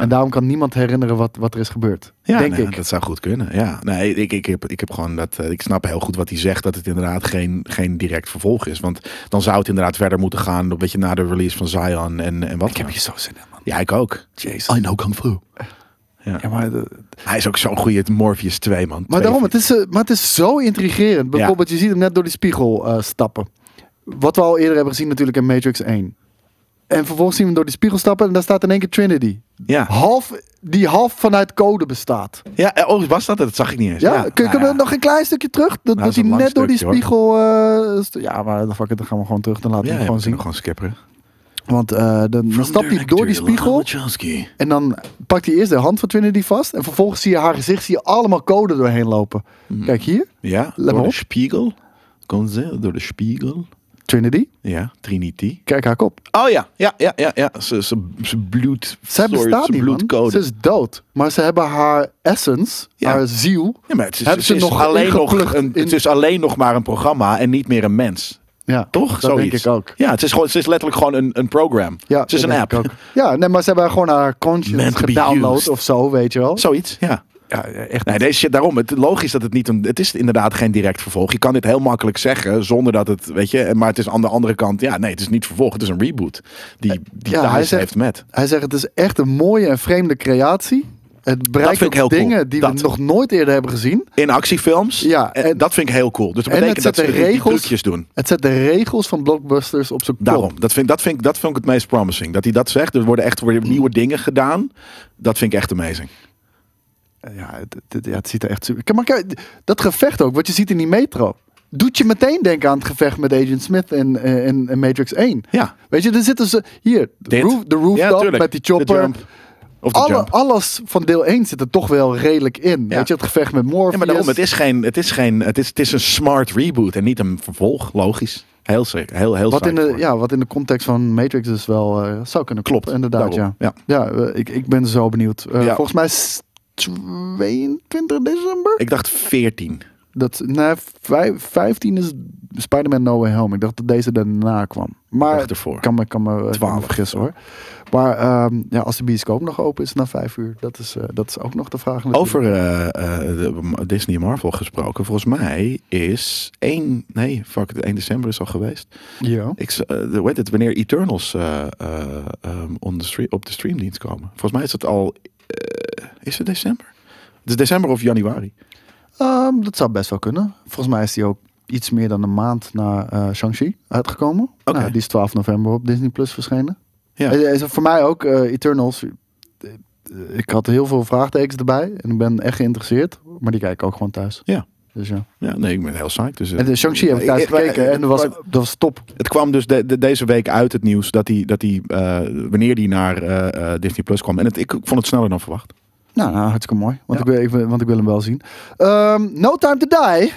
[SPEAKER 3] En daarom kan niemand herinneren wat, wat er is gebeurd.
[SPEAKER 2] Ja,
[SPEAKER 3] denk
[SPEAKER 2] nee,
[SPEAKER 3] ik.
[SPEAKER 2] dat zou goed kunnen. Ja, nee, ik, ik, heb, ik heb gewoon dat. eh, Ik snap heel goed wat hij zegt. Dat het inderdaad geen, geen direct vervolg is. Want dan zou het inderdaad verder moeten gaan. Een beetje na de release van Zion en, en wat. dan.
[SPEAKER 3] zo zin in, man.
[SPEAKER 2] Ja, ik ook.
[SPEAKER 3] Jezus.
[SPEAKER 2] know Kung Fu.
[SPEAKER 3] Ja, maar de-
[SPEAKER 2] Hij is ook zo'n goede Morpheus 2, man.
[SPEAKER 3] Maar
[SPEAKER 2] Twee-
[SPEAKER 3] daarom, het is, eh, maar het is zo intrigerend. Bijvoorbeeld, je ziet hem net door die spiegel eh, stappen. Wat we al eerder hebben gezien natuurlijk in Matrix 1. En vervolgens zien we hem door die spiegel stappen en daar staat in één keer Trinity.
[SPEAKER 2] Ja.
[SPEAKER 3] Half, die half vanuit code bestaat.
[SPEAKER 2] ja, eh, oh, was dat het? Dat zag ik niet eens.
[SPEAKER 3] Ja, kun,
[SPEAKER 2] nou
[SPEAKER 3] kunnen we
[SPEAKER 2] ja. Nou,
[SPEAKER 3] nog een klein stukje terug? Dat,
[SPEAKER 2] dat
[SPEAKER 3] dat
[SPEAKER 2] is
[SPEAKER 3] hij
[SPEAKER 2] een
[SPEAKER 3] net
[SPEAKER 2] lang
[SPEAKER 3] door die
[SPEAKER 2] stukje,
[SPEAKER 3] spiegel... eh, st- ja, maar dan fuck it, dan gaan we gewoon terug. Dan laten
[SPEAKER 2] Ja,
[SPEAKER 3] we
[SPEAKER 2] ja,
[SPEAKER 3] hem
[SPEAKER 2] we
[SPEAKER 3] gewoon zien.
[SPEAKER 2] kunnen gewoon skipperen.
[SPEAKER 3] Want eh, dan stapt hij door die spiegel en dan pakt hij eerst de hand van Trinity vast. En vervolgens zie je haar gezicht, zie je allemaal code doorheen lopen.
[SPEAKER 2] Mhm.
[SPEAKER 3] Kijk hier,
[SPEAKER 2] Ja,
[SPEAKER 3] maar
[SPEAKER 2] door de
[SPEAKER 3] op.
[SPEAKER 2] spiegel. Kon ze door de spiegel.
[SPEAKER 3] Trinity.
[SPEAKER 2] Ja, Trinity.
[SPEAKER 3] Kijk haar kop.
[SPEAKER 2] Oh ja, ja, ja, ja, ja. Ze, ze, ze bloed.
[SPEAKER 3] Zij
[SPEAKER 2] sorry,
[SPEAKER 3] bestaat
[SPEAKER 2] ze
[SPEAKER 3] niet, man.
[SPEAKER 2] bloedcode.
[SPEAKER 3] Ze is dood. Maar ze hebben haar essence,
[SPEAKER 2] Ja.
[SPEAKER 3] haar ziel.
[SPEAKER 2] Ja, maar het is,
[SPEAKER 3] Hebben
[SPEAKER 2] het is
[SPEAKER 3] ze nog
[SPEAKER 2] alleen nog
[SPEAKER 3] ingeplukt
[SPEAKER 2] een,
[SPEAKER 3] in-
[SPEAKER 2] het is alleen nog maar een programma en niet meer een mens.
[SPEAKER 3] Ja,
[SPEAKER 2] Toch?
[SPEAKER 3] Dat
[SPEAKER 2] Zoiets.
[SPEAKER 3] denk ik ook.
[SPEAKER 2] Ja, het is, gewoon, het is letterlijk gewoon een, een program.
[SPEAKER 3] Ja,
[SPEAKER 2] het is
[SPEAKER 3] dat
[SPEAKER 2] een
[SPEAKER 3] denk
[SPEAKER 2] app.
[SPEAKER 3] ik ook. Ja, nee, maar ze hebben gewoon haar conscience
[SPEAKER 2] Meant to be
[SPEAKER 3] gedownload
[SPEAKER 2] used.
[SPEAKER 3] of zo, weet je wel.
[SPEAKER 2] Zoiets, ja.
[SPEAKER 3] Ja, echt.
[SPEAKER 2] Nee, deze shit, daarom. Het, logisch dat het niet een. Het is inderdaad geen direct vervolg. Je kan dit heel makkelijk zeggen zonder dat het. Weet je, maar het is aan de andere kant. Ja, nee, het is niet vervolg. Het is een reboot. Die, die
[SPEAKER 3] Ja,
[SPEAKER 2] thuis
[SPEAKER 3] hij zegt-
[SPEAKER 2] heeft met.
[SPEAKER 3] Hij zegt het is echt een mooie en vreemde creatie. Het bereikt
[SPEAKER 2] vind ik heel
[SPEAKER 3] ook
[SPEAKER 2] cool.
[SPEAKER 3] dingen die
[SPEAKER 2] Dat.
[SPEAKER 3] we nog nooit eerder hebben gezien.
[SPEAKER 2] In actiefilms.
[SPEAKER 3] Ja,
[SPEAKER 2] En,
[SPEAKER 3] en-
[SPEAKER 2] dat vind ik heel cool. Dus dat
[SPEAKER 3] en het
[SPEAKER 2] betekent dat ze
[SPEAKER 3] zet de
[SPEAKER 2] die- die
[SPEAKER 3] regels-
[SPEAKER 2] trucjes doen.
[SPEAKER 3] Het zet de regels van blockbusters op zijn kop.
[SPEAKER 2] Daarom. Dat vind, dat, vind, ik- dat vind ik het meest promising. Dat hij dat zegt. Er worden echt worden
[SPEAKER 3] Mm.
[SPEAKER 2] nieuwe dingen gedaan. Dat vind ik echt amazing.
[SPEAKER 3] Ja, het, het- ja, het ziet er echt super... Kijk, Maar kijk, dat gevecht ook, wat je ziet in die metro... doet je meteen denken aan het gevecht met Agent Smith in, eh, in, in Matrix 1.
[SPEAKER 2] Ja.
[SPEAKER 3] Weet je, er zitten ze... Hier, de,
[SPEAKER 2] Dit.
[SPEAKER 3] roof, de
[SPEAKER 2] ja,
[SPEAKER 3] rooftop
[SPEAKER 2] tuurlijk.
[SPEAKER 3] met die
[SPEAKER 2] De
[SPEAKER 3] chopper.
[SPEAKER 2] jump. Of de
[SPEAKER 3] Alle,
[SPEAKER 2] jump.
[SPEAKER 3] alles van deel 1 zit er toch wel redelijk in.
[SPEAKER 2] Ja.
[SPEAKER 3] Weet je, het gevecht met Morpheus.
[SPEAKER 2] Ja, maar daarom, het is geen, het is geen, het is, het is een smart reboot en niet een vervolg, logisch. Heel zeker, heel, heel
[SPEAKER 3] wat in,
[SPEAKER 2] zeker
[SPEAKER 3] de,
[SPEAKER 2] voor.
[SPEAKER 3] ja, wat in de context van Matrix dus wel eh, zou kunnen
[SPEAKER 2] Klopt,
[SPEAKER 3] kloppen, Inderdaad,
[SPEAKER 2] daarom.
[SPEAKER 3] ja. Ja, eh, ik, ik ben zo benieuwd. Eh,
[SPEAKER 2] Ja.
[SPEAKER 3] Volgens mij is 22 december?
[SPEAKER 2] Ik dacht 14.
[SPEAKER 3] Dat, nee, vijf- 15 is Spider-Man No Way Home. Ik dacht dat deze daarna kwam. Maar
[SPEAKER 2] Echt ervoor.
[SPEAKER 3] kan me, kan me, kan
[SPEAKER 2] 12.
[SPEAKER 3] me vergissen hoor. Maar ehm, ja, als de bioscoop nog open is na vijf uur, dat is, eh, dat is ook nog de vraag. natuurlijk.
[SPEAKER 2] Over eh, eh, de- Disney en Marvel gesproken, volgens mij is 1, nee, fuck, het 1 december is al geweest.
[SPEAKER 3] Ja.
[SPEAKER 2] Ik, z- eh, de- hoe heet het, wanneer Eternals eh, eh, ehm, on the stre- op de streamdienst komen. Volgens mij is dat al, eh, is het december? Het is december of januari.
[SPEAKER 3] Ehm, dat zou best wel kunnen. Volgens mij is die ook iets meer dan een maand na eh Shang-Chi uitgekomen.
[SPEAKER 2] Oké.
[SPEAKER 3] Nou, die is 12 november op Disney Plus verschenen.
[SPEAKER 2] Ja.
[SPEAKER 3] Eh, eh, voor mij ook eh, Eternals. Eh, eh, Ik had heel veel vraagtekens erbij en ik ben echt geïnteresseerd, maar die kijk ik ook gewoon thuis.
[SPEAKER 2] Ja.
[SPEAKER 3] Dus ja.
[SPEAKER 2] Ja, nee, ik ben heel psyched. Dus, eh,
[SPEAKER 3] En de Shang-Chi heb ik thuis
[SPEAKER 2] maar-
[SPEAKER 3] gekeken en dat was, dat was top.
[SPEAKER 2] Het kwam dus de- de- deze week uit het nieuws dat hij, dat hij eh, wanneer die naar eh, eh, Disney Plus kwam. En het, ik vond het sneller dan verwacht.
[SPEAKER 3] Nou, nou, hartstikke mooi. Want,
[SPEAKER 2] Ja.
[SPEAKER 3] ik, wil- ik, wil- want ik wil hem wel zien. Ehm, no Time to Die.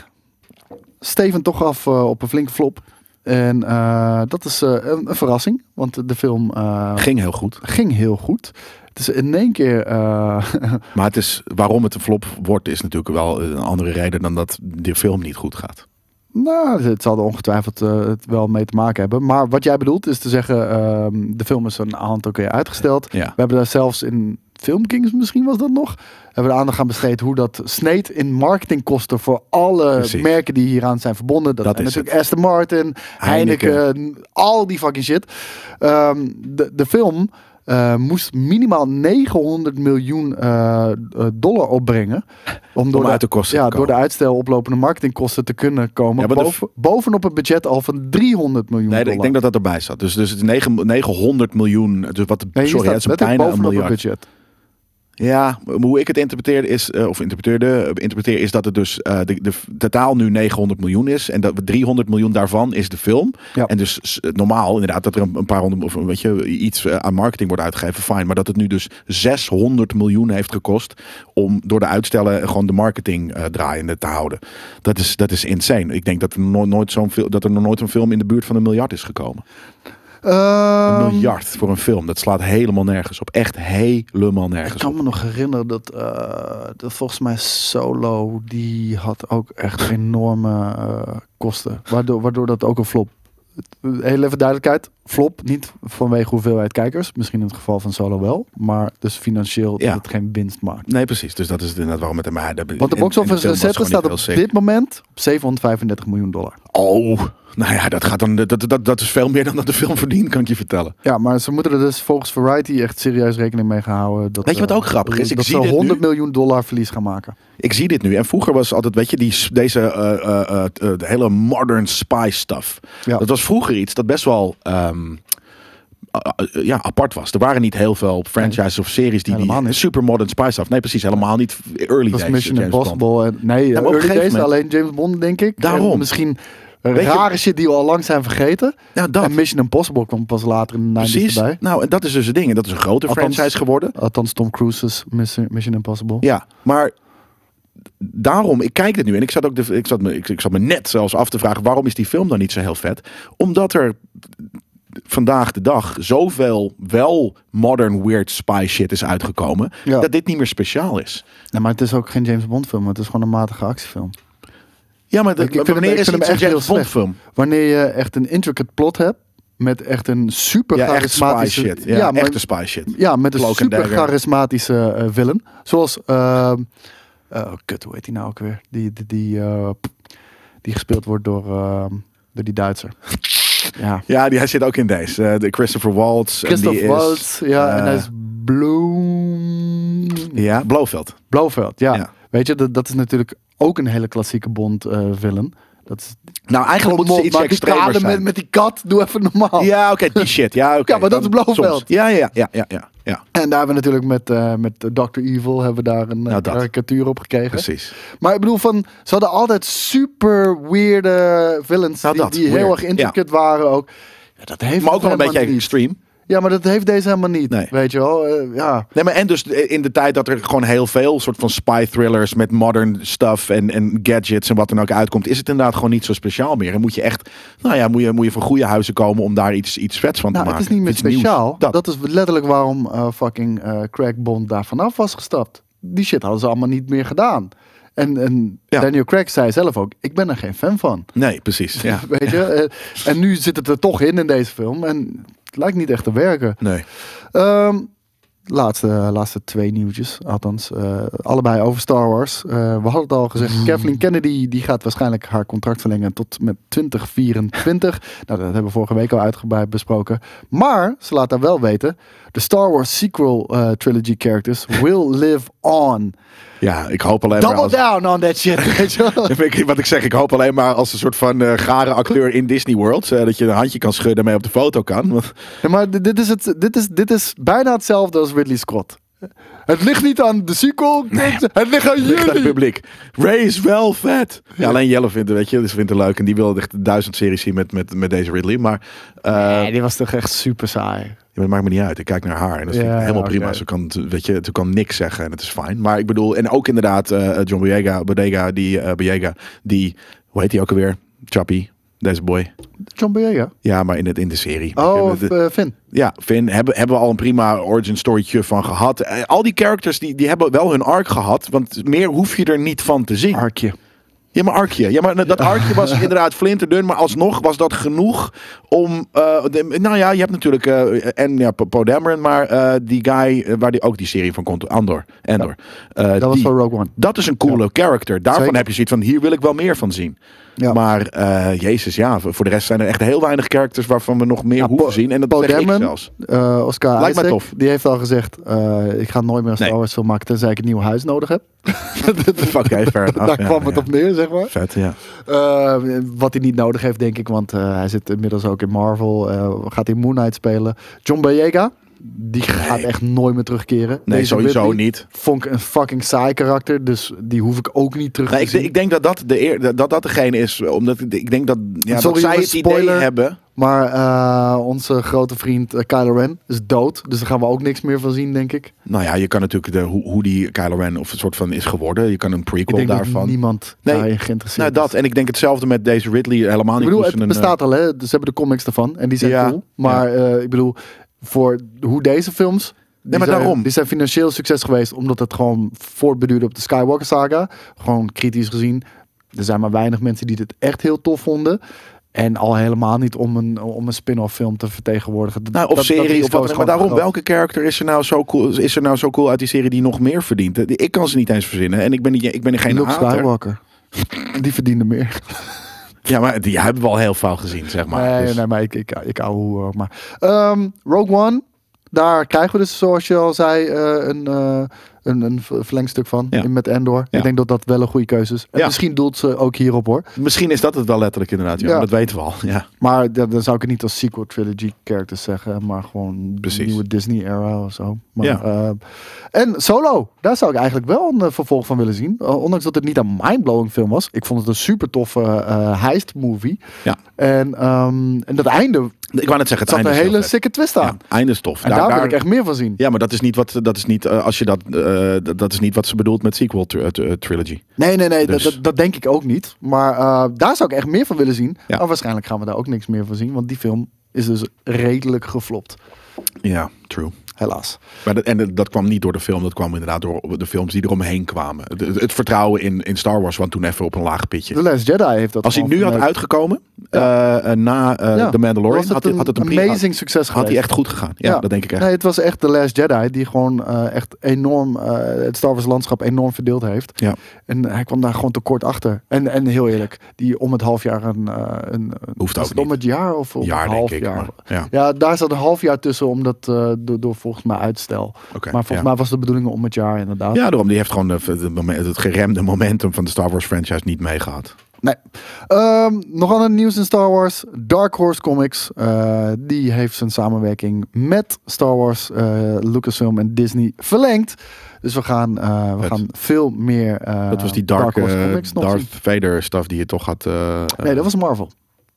[SPEAKER 3] Steven toch af eh, op een flinke flop. En eh, dat is eh, een, een verrassing. Want de film eh,
[SPEAKER 2] Ging heel goed.
[SPEAKER 3] ging heel goed. Het is in één keer... eh, [laughs]
[SPEAKER 2] Maar het is, waarom het een flop wordt, is natuurlijk wel een andere reden dan dat de film niet goed gaat.
[SPEAKER 3] nou, het zal er ongetwijfeld eh, het wel mee te maken hebben. Maar wat jij bedoelt is te zeggen... ehm, de film is een aantal keer uitgesteld.
[SPEAKER 2] Ja.
[SPEAKER 3] We hebben daar zelfs in Filmkings misschien was dat nog. Hebben we er aandacht aan besteed hoe dat sneed in marketingkosten voor alle
[SPEAKER 2] Precies.
[SPEAKER 3] merken die hieraan zijn verbonden. Dat,
[SPEAKER 2] Dat
[SPEAKER 3] zijn
[SPEAKER 2] is
[SPEAKER 3] natuurlijk Aston Martin,
[SPEAKER 2] Heineken.
[SPEAKER 3] Heineken, al die fucking shit. Ehm, de, de film eh, moest minimaal 900 miljoen eh, eh, dollar
[SPEAKER 2] [laughs]
[SPEAKER 3] opbrengen. Om, door
[SPEAKER 2] uit de kosten
[SPEAKER 3] ja,
[SPEAKER 2] te komen.
[SPEAKER 3] door de uitstel oplopende marketingkosten te kunnen komen.
[SPEAKER 2] Ja, maar de
[SPEAKER 3] boven- bovenop het budget al van 300 miljoen
[SPEAKER 2] Nee,
[SPEAKER 3] dollar.
[SPEAKER 2] ik denk dat dat erbij zat. Dus, dus het is negen- 900 miljoen. Dus wat,
[SPEAKER 3] nee, hier
[SPEAKER 2] sorry,
[SPEAKER 3] staat
[SPEAKER 2] het is
[SPEAKER 3] letterlijk
[SPEAKER 2] bijna een
[SPEAKER 3] bovenop het
[SPEAKER 2] miljard.
[SPEAKER 3] budget.
[SPEAKER 2] Ja, maar hoe ik het interpreteerde is, eh, of interpreteerde, eh, interpreteer is dat het dus eh, de, de, de taal nu 900 miljoen is. En dat we 300 miljoen daarvan is de film.
[SPEAKER 3] Ja.
[SPEAKER 2] En dus s- normaal inderdaad dat er een, een paar honderd, of weet je, iets eh, aan marketing wordt uitgegeven, fijn. Maar dat het nu dus 600 miljoen heeft gekost om door de uitstellen gewoon de marketing eh, draaiende te houden. Dat is, dat is insane. Ik denk dat er, no- nooit zo'n fil- dat er nog nooit een film in de buurt van een miljard is gekomen. Een
[SPEAKER 3] Ehm,
[SPEAKER 2] miljard voor een film. Dat slaat helemaal nergens op. Echt helemaal nergens
[SPEAKER 3] Ik
[SPEAKER 2] op.
[SPEAKER 3] kan me nog herinneren dat, eh, dat volgens mij Solo, die had ook echt enorme eh, kosten. Waardoor, waardoor dat ook een flop. Heel even duidelijkheid, flop. Niet vanwege hoeveelheid kijkers. Misschien in het geval van Solo wel. Maar dus financieel
[SPEAKER 2] Ja.
[SPEAKER 3] dat het geen winst maakt.
[SPEAKER 2] Nee, precies. Dus dat is inderdaad waarom het... Maar dat,
[SPEAKER 3] Want de box
[SPEAKER 2] en- en
[SPEAKER 3] office
[SPEAKER 2] film was
[SPEAKER 3] recette
[SPEAKER 2] gewoon
[SPEAKER 3] staat
[SPEAKER 2] niet
[SPEAKER 3] op
[SPEAKER 2] heel sick.
[SPEAKER 3] dit moment op 735 miljoen dollar.
[SPEAKER 2] Oh, nou ja, dat, gaat dan, dat, dat- dat, dat is veel meer dan dat de film verdient, kan ik je vertellen.
[SPEAKER 3] Ja, maar ze moeten er dus volgens Variety echt serieus rekening mee gaan houden. Dat,
[SPEAKER 2] Weet je wat
[SPEAKER 3] eh,
[SPEAKER 2] ook grappig is? Ik
[SPEAKER 3] dat
[SPEAKER 2] zie
[SPEAKER 3] ze
[SPEAKER 2] dit
[SPEAKER 3] 100
[SPEAKER 2] nu.
[SPEAKER 3] miljoen dollar verlies gaan maken.
[SPEAKER 2] Ik zie dit nu. En vroeger was altijd, weet je, die, s- deze eh, eh, eh, t- eh, de hele modern spy stuff.
[SPEAKER 3] Ja.
[SPEAKER 2] Dat was vroeger iets dat best wel... ehm, a- a- ja, apart was. Er waren niet heel veel franchises of series die,
[SPEAKER 3] Helemaal
[SPEAKER 2] die
[SPEAKER 3] niet.
[SPEAKER 2] super modern spy stuff. Nee, precies, helemaal niet early
[SPEAKER 3] Dat was
[SPEAKER 2] days.
[SPEAKER 3] Mission
[SPEAKER 2] James Bond.
[SPEAKER 3] Impossible. En, nee,
[SPEAKER 2] maar op een
[SPEAKER 3] early
[SPEAKER 2] gegeven
[SPEAKER 3] days
[SPEAKER 2] moment-
[SPEAKER 3] alleen James Bond, denk ik.
[SPEAKER 2] Daarom.
[SPEAKER 3] En misschien
[SPEAKER 2] je-
[SPEAKER 3] rare shit die we al lang zijn vergeten.
[SPEAKER 2] Ja, dat.
[SPEAKER 3] En Mission Impossible kwam pas later in de 90's
[SPEAKER 2] Precies.
[SPEAKER 3] erbij.
[SPEAKER 2] Nou, en dat is dus het ding. En dat is een grote
[SPEAKER 3] Althans-
[SPEAKER 2] franchise geworden.
[SPEAKER 3] Althans Tom Cruise's Mission, Mission Impossible.
[SPEAKER 2] Ja, maar daarom, ik kijk dit nu en ik zat, ook de, ik, zat me, ik, ik zat me net zelfs af te vragen waarom is die film dan niet zo heel vet? Omdat er vandaag de dag zoveel wel modern weird spy shit is uitgekomen,
[SPEAKER 3] Ja.
[SPEAKER 2] dat dit niet meer speciaal is.
[SPEAKER 3] Nee, maar het is ook geen James Bond film. Het is gewoon een matige actiefilm.
[SPEAKER 2] Ja, maar dat-
[SPEAKER 3] Ik- ik vind hem-
[SPEAKER 2] wanneer
[SPEAKER 3] ik
[SPEAKER 2] is
[SPEAKER 3] vind
[SPEAKER 2] het
[SPEAKER 3] hem
[SPEAKER 2] een
[SPEAKER 3] echt heel
[SPEAKER 2] James Bond
[SPEAKER 3] slecht.
[SPEAKER 2] film?
[SPEAKER 3] Wanneer je echt een intricate plot hebt. Met echt een super
[SPEAKER 2] Ja, echt spy
[SPEAKER 3] charismatische...
[SPEAKER 2] shit. Ja,
[SPEAKER 3] maar-
[SPEAKER 2] echte spy shit.
[SPEAKER 3] Ja, met een
[SPEAKER 2] Cloak and
[SPEAKER 3] super
[SPEAKER 2] Dagger.
[SPEAKER 3] charismatische eh, villain. Zoals. ehm, eh, oh, kut, hoe heet die nou ook weer? Die, die, die, eh, die gespeeld wordt door, ehm, door die Duitser. Ja.
[SPEAKER 2] Ja, die, hij zit ook in deze. Eh, de Christopher Waltz. en die
[SPEAKER 3] Christoph
[SPEAKER 2] is,
[SPEAKER 3] Waltz, ja, en
[SPEAKER 2] eh,
[SPEAKER 3] hij is Bloem.
[SPEAKER 2] Ja, Blofeld.
[SPEAKER 3] Blofeld, ja.
[SPEAKER 2] Ja.
[SPEAKER 3] Weet je, dat, dat is natuurlijk ook een hele klassieke Bond eh villain. Dat is
[SPEAKER 2] Nou, eigenlijk moeten ze iets
[SPEAKER 3] maar die
[SPEAKER 2] extremer
[SPEAKER 3] kale
[SPEAKER 2] zijn.
[SPEAKER 3] met, met die kat, doe even normaal.
[SPEAKER 2] Ja, oké, die shit. Ja, oké.
[SPEAKER 3] Oh. [laughs] Ja, maar dat
[SPEAKER 2] Dan
[SPEAKER 3] is Blofeld.
[SPEAKER 2] soms. Ja, ja, ja, ja, ja, ja.
[SPEAKER 3] En daar hebben we natuurlijk met, eh, met Dr. Evil hebben we daar een eh,
[SPEAKER 2] Nou, dat.
[SPEAKER 3] karikatuur op gekregen.
[SPEAKER 2] Precies.
[SPEAKER 3] Maar ik bedoel, van, ze hadden altijd super weirde villains
[SPEAKER 2] Nou,
[SPEAKER 3] die,
[SPEAKER 2] dat,
[SPEAKER 3] die heel
[SPEAKER 2] weird.
[SPEAKER 3] erg intricate waren ook. Ja, dat heeft
[SPEAKER 2] Maar ook wel een
[SPEAKER 3] helemaal
[SPEAKER 2] beetje
[SPEAKER 3] niet.
[SPEAKER 2] extreem.
[SPEAKER 3] Ja, maar dat heeft deze helemaal niet,
[SPEAKER 2] Nee.
[SPEAKER 3] weet je wel. Eh, ja.
[SPEAKER 2] Nee, maar en dus in de tijd dat er gewoon heel veel soort van spy thrillers met modern stuff en, en gadgets en wat dan ook uitkomt, is het inderdaad gewoon niet zo speciaal meer. En moet je echt, nou ja, moet je, moet je van goede huizen komen om daar iets, iets vets van
[SPEAKER 3] Nou,
[SPEAKER 2] te
[SPEAKER 3] het
[SPEAKER 2] maken.
[SPEAKER 3] is niet meer
[SPEAKER 2] Iets nieuws.
[SPEAKER 3] speciaal.
[SPEAKER 2] Dat.
[SPEAKER 3] Dat. is letterlijk waarom eh, fucking eh Craig Bond daar vanaf was gestapt. Die shit hadden ze allemaal niet meer gedaan. En, en
[SPEAKER 2] Ja.
[SPEAKER 3] Daniel Craig zei zelf ook, ik ben er geen fan van.
[SPEAKER 2] Nee,
[SPEAKER 3] [laughs]
[SPEAKER 2] precies. Ja.
[SPEAKER 3] Weet je? Eh, en nu zit het er toch in in deze film. En het lijkt niet echt te werken.
[SPEAKER 2] Nee.
[SPEAKER 3] Ehm, laatste, laatste twee nieuwtjes, althans. Eh, allebei over Star Wars. Eh, we hadden het al gezegd, Kathleen Kennedy die gaat waarschijnlijk haar contract verlengen tot met 2024. [laughs] nou, dat hebben we vorige week al uitgebreid besproken. Maar, ze laat daar wel weten, de Star Wars sequel eh, trilogy characters will live on.
[SPEAKER 2] Ja, ik hoop alleen maar.
[SPEAKER 3] Double
[SPEAKER 2] Als,
[SPEAKER 3] down on that shit, weet je [laughs]
[SPEAKER 2] [laughs]
[SPEAKER 3] wel.
[SPEAKER 2] Ik- wat ik zeg, ik hoop alleen maar als een soort van eh, gare acteur in Disney World. eh, dat je een handje kan schudden en mee op de foto kan. Want
[SPEAKER 3] Ja, maar dit- dit is, het, dit, is, dit is bijna hetzelfde als Ridley Scott. Het ligt niet aan de sequel, kids. het ligt aan
[SPEAKER 2] Ligt aan het
[SPEAKER 3] jullie.
[SPEAKER 2] public. Ray is wel vet. Ja, alleen Jelle vindt het, weet je, dus vindt het leuk. En die wil echt duizend series zien met, met, met deze Ridley. Maar eh,
[SPEAKER 3] Nee, die was toch echt super saai.
[SPEAKER 2] Ja, maar het maakt me niet uit. Ik kijk naar haar en dat vind ik
[SPEAKER 3] Ja,
[SPEAKER 2] helemaal
[SPEAKER 3] oké.
[SPEAKER 2] prima. Ze kan, weet je, ze kan niks zeggen en het is fijn. Maar ik bedoel, en ook inderdaad eh, John Boyega, Bodega, die, eh Boyega, die, hoe heet die ook alweer? Chappie, deze boy.
[SPEAKER 3] John Boyega.
[SPEAKER 2] Ja, maar in, het, in de serie.
[SPEAKER 3] Oh,
[SPEAKER 2] Weet je, de-
[SPEAKER 3] eh, Finn.
[SPEAKER 2] ja, Finn, hebben, hebben we al een prima origin storytje van gehad. Eh, al die characters, die, die hebben wel hun arc gehad. Want meer hoef je er niet van te zien.
[SPEAKER 3] Arkje.
[SPEAKER 2] Ja, maar arkje. Ja, maar dat arkje
[SPEAKER 3] [laughs]
[SPEAKER 2] was inderdaad flinterdun. Maar alsnog was dat genoeg om... eh, de- nou ja, je hebt natuurlijk... eh, en ja, Po- Poe Dameron, maar eh, die guy eh, waar die ook die serie van komt. Andor. Andor. Eh,
[SPEAKER 3] Dat was
[SPEAKER 2] die-
[SPEAKER 3] van Rogue One.
[SPEAKER 2] dat is een coole character. Daarvan
[SPEAKER 3] Zeker.
[SPEAKER 2] heb je zoiets van, hier wil ik wel meer van zien.
[SPEAKER 3] Ja.
[SPEAKER 2] Maar eh, jezus, ja, voor voor de rest zijn er echt heel weinig characters waarvan we nog meer hoeven
[SPEAKER 3] Po-
[SPEAKER 2] zien. En dat
[SPEAKER 3] Poe
[SPEAKER 2] zeg ik
[SPEAKER 3] Dameron,
[SPEAKER 2] zelfs.
[SPEAKER 3] eh, Oscar
[SPEAKER 2] Lijkt mij
[SPEAKER 3] Isaac,
[SPEAKER 2] tof.
[SPEAKER 3] die heeft al gezegd, eh, ik ga nooit meer een
[SPEAKER 2] Nee.
[SPEAKER 3] Star Wars film maken tenzij ik een nieuw huis nodig heb.
[SPEAKER 2] [laughs] Fuck, hey, fair enough.
[SPEAKER 3] [laughs] Daar
[SPEAKER 2] Ja,
[SPEAKER 3] kwam het
[SPEAKER 2] ja.
[SPEAKER 3] op neer, zeg maar.
[SPEAKER 2] Vet, ja.
[SPEAKER 3] Eh, wat hij niet nodig heeft, denk ik, want eh, hij zit inmiddels ook in Marvel. eh, gaat in Moon Knight spelen. John Boyega, die gaat echt nooit meer terugkeren.
[SPEAKER 2] Nee,
[SPEAKER 3] Deze
[SPEAKER 2] sowieso
[SPEAKER 3] Whitley
[SPEAKER 2] niet.
[SPEAKER 3] Vond ik een fucking saai karakter, dus die hoef ik ook niet terug
[SPEAKER 2] Nee,
[SPEAKER 3] te
[SPEAKER 2] ik,
[SPEAKER 3] zien.
[SPEAKER 2] denk- ik denk dat dat, de eer, dat dat dat degene is, omdat ik, ik denk dat, ja,
[SPEAKER 3] Sorry,
[SPEAKER 2] dat zij het
[SPEAKER 3] jongens, spoiler.
[SPEAKER 2] idee hebben.
[SPEAKER 3] Maar eh, onze grote vriend eh, Kylo Ren is dood, dus daar gaan we ook niks meer van zien, denk ik.
[SPEAKER 2] Nou ja, je kan natuurlijk de, hoe, hoe die Kylo Ren of een soort van is geworden. Je kan een
[SPEAKER 3] Ik
[SPEAKER 2] prequel
[SPEAKER 3] denk dat
[SPEAKER 2] daarvan.
[SPEAKER 3] niemand
[SPEAKER 2] Nee.
[SPEAKER 3] daarin geïnteresseerd
[SPEAKER 2] nou,
[SPEAKER 3] is.
[SPEAKER 2] dat. En ik denk hetzelfde met deze Ridley. Helemaal niet.
[SPEAKER 3] Ik bedoel,
[SPEAKER 2] hoe
[SPEAKER 3] het
[SPEAKER 2] ze een, eh,
[SPEAKER 3] bestaat al, hè? Dus Ze hebben de comics ervan en die zijn
[SPEAKER 2] Ja,
[SPEAKER 3] cool. Maar eh, ik bedoel, voor hoe deze films. Die
[SPEAKER 2] maar
[SPEAKER 3] zijn,
[SPEAKER 2] daarom.
[SPEAKER 3] Die zijn financieel succes geweest omdat het gewoon voortbeduurde op de Skywalker saga. Gewoon kritisch gezien. Er zijn maar weinig mensen die dit echt heel tof vonden. En al helemaal niet om een, om een spin-off film te vertegenwoordigen. Dat-
[SPEAKER 2] Nou, of
[SPEAKER 3] dat- dat
[SPEAKER 2] serie
[SPEAKER 3] risico
[SPEAKER 2] of wat
[SPEAKER 3] is
[SPEAKER 2] dan ook.
[SPEAKER 3] gewoon
[SPEAKER 2] Maar daarom,
[SPEAKER 3] te groot.
[SPEAKER 2] welke character is er, nou zo cool, is er nou zo cool uit die serie die nog meer verdient? Eh, Ik kan ze niet eens verzinnen. En ik ben, niet- ik ben geen
[SPEAKER 3] Luke
[SPEAKER 2] hater.
[SPEAKER 3] Skywalker. Die verdiende meer.
[SPEAKER 2] Ja, maar die hebben we al heel veel gezien, zeg maar.
[SPEAKER 3] nee,
[SPEAKER 2] Dus-
[SPEAKER 3] nee, maar ik, ik, ik ouwe hoer ook maar. Ehm, Rogue One, daar krijgen we dus, zoals je al zei, eh, een, eh, een, een ver- verlengstuk van
[SPEAKER 2] Ja.
[SPEAKER 3] in- met Endor.
[SPEAKER 2] Ja.
[SPEAKER 3] Ik denk dat dat wel een goede keuze is. En
[SPEAKER 2] Ja.
[SPEAKER 3] misschien doelt ze ook hierop hoor.
[SPEAKER 2] Misschien is dat het wel letterlijk inderdaad. Ja,
[SPEAKER 3] Ja.
[SPEAKER 2] maar Dat weten we al. Ja.
[SPEAKER 3] Maar da- dan zou ik het niet als sequel trilogy characters zeggen, maar gewoon de
[SPEAKER 2] Precies.
[SPEAKER 3] nieuwe Disney era of zo. Maar,
[SPEAKER 2] Ja.
[SPEAKER 3] eh, en Solo, daar zou ik eigenlijk wel een eh, vervolg van willen zien. Eh, ondanks dat het niet een mindblowing film was. Ik vond het een super toffe eh, heist movie.
[SPEAKER 2] Ja.
[SPEAKER 3] En, ehm, en dat einde
[SPEAKER 2] Ik wou net zeggen, het
[SPEAKER 3] zat
[SPEAKER 2] einde
[SPEAKER 3] een
[SPEAKER 2] is heel
[SPEAKER 3] hele
[SPEAKER 2] vet.
[SPEAKER 3] sikke twist aan.
[SPEAKER 2] Ja, einde is tof.
[SPEAKER 3] En daar, wil ik echt meer van zien.
[SPEAKER 2] Ja, maar dat is niet wat, dat is niet, eh, als je dat, eh, dat- dat is niet wat ze bedoelt met sequel tr- eh, tr- eh, trilogy.
[SPEAKER 3] Nee, nee, nee,
[SPEAKER 2] Dus-
[SPEAKER 3] dat, dat, dat denk ik ook niet. Maar eh, daar zou ik echt meer van willen zien.
[SPEAKER 2] Ja.
[SPEAKER 3] Maar waarschijnlijk gaan we daar ook niks meer van zien. Want die film is dus redelijk geflopt.
[SPEAKER 2] Ja, true.
[SPEAKER 3] Helaas.
[SPEAKER 2] Maar dat, en dat- dat kwam niet door de film, dat kwam inderdaad door de films die eromheen kwamen. Het- het vertrouwen in, in Star Wars, want toen even op een laag pitje.
[SPEAKER 3] The Last Jedi heeft dat
[SPEAKER 2] Als hij
[SPEAKER 3] gewoon
[SPEAKER 2] nu had
[SPEAKER 3] vanuit-
[SPEAKER 2] uitgekomen, eh, eh, na eh,
[SPEAKER 3] Ja,
[SPEAKER 2] The
[SPEAKER 3] was
[SPEAKER 2] Mandalorian,
[SPEAKER 3] het
[SPEAKER 2] had, hij- had het een
[SPEAKER 3] een
[SPEAKER 2] prima-
[SPEAKER 3] amazing succes
[SPEAKER 2] Had hij
[SPEAKER 3] geweest.
[SPEAKER 2] echt goed gegaan. Ja, dat denk ik echt.
[SPEAKER 3] Nee, het was echt The Last Jedi die gewoon eh, echt enorm eh, het Star Wars landschap enorm verdeeld heeft.
[SPEAKER 2] Ja.
[SPEAKER 3] En hij kwam daar gewoon tekort achter. En, en heel eerlijk, die om het half jaar een, eh, een
[SPEAKER 2] Hoeft
[SPEAKER 3] was
[SPEAKER 2] ook
[SPEAKER 3] het om
[SPEAKER 2] niet.
[SPEAKER 3] het jaar of om
[SPEAKER 2] Jaar,
[SPEAKER 3] een
[SPEAKER 2] denk
[SPEAKER 3] half
[SPEAKER 2] ik,
[SPEAKER 3] jaar.
[SPEAKER 2] maar, ja.
[SPEAKER 3] daar zat een half jaar tussen omdat eh, door, door volgens mij uitstel.
[SPEAKER 2] Oké,
[SPEAKER 3] maar volgens
[SPEAKER 2] ja.
[SPEAKER 3] mij was de bedoeling om het jaar inderdaad.
[SPEAKER 2] Ja, daarom. Die heeft gewoon de, de momen- het geremde momentum van de Star Wars franchise niet meegehad.
[SPEAKER 3] Nee. Ehm, nog ander nieuws in Star Wars. Dark Horse Comics. eh, die heeft zijn samenwerking met Star Wars, eh, Lucasfilm en Disney verlengd. Dus we gaan, eh, we
[SPEAKER 2] Vet.
[SPEAKER 3] gaan veel meer. eh,
[SPEAKER 2] dat was die dark,
[SPEAKER 3] Horse
[SPEAKER 2] eh,
[SPEAKER 3] Comics nog
[SPEAKER 2] Darth
[SPEAKER 3] zien.
[SPEAKER 2] Vader stuff die je toch had. eh,
[SPEAKER 3] Nee, dat was Marvel.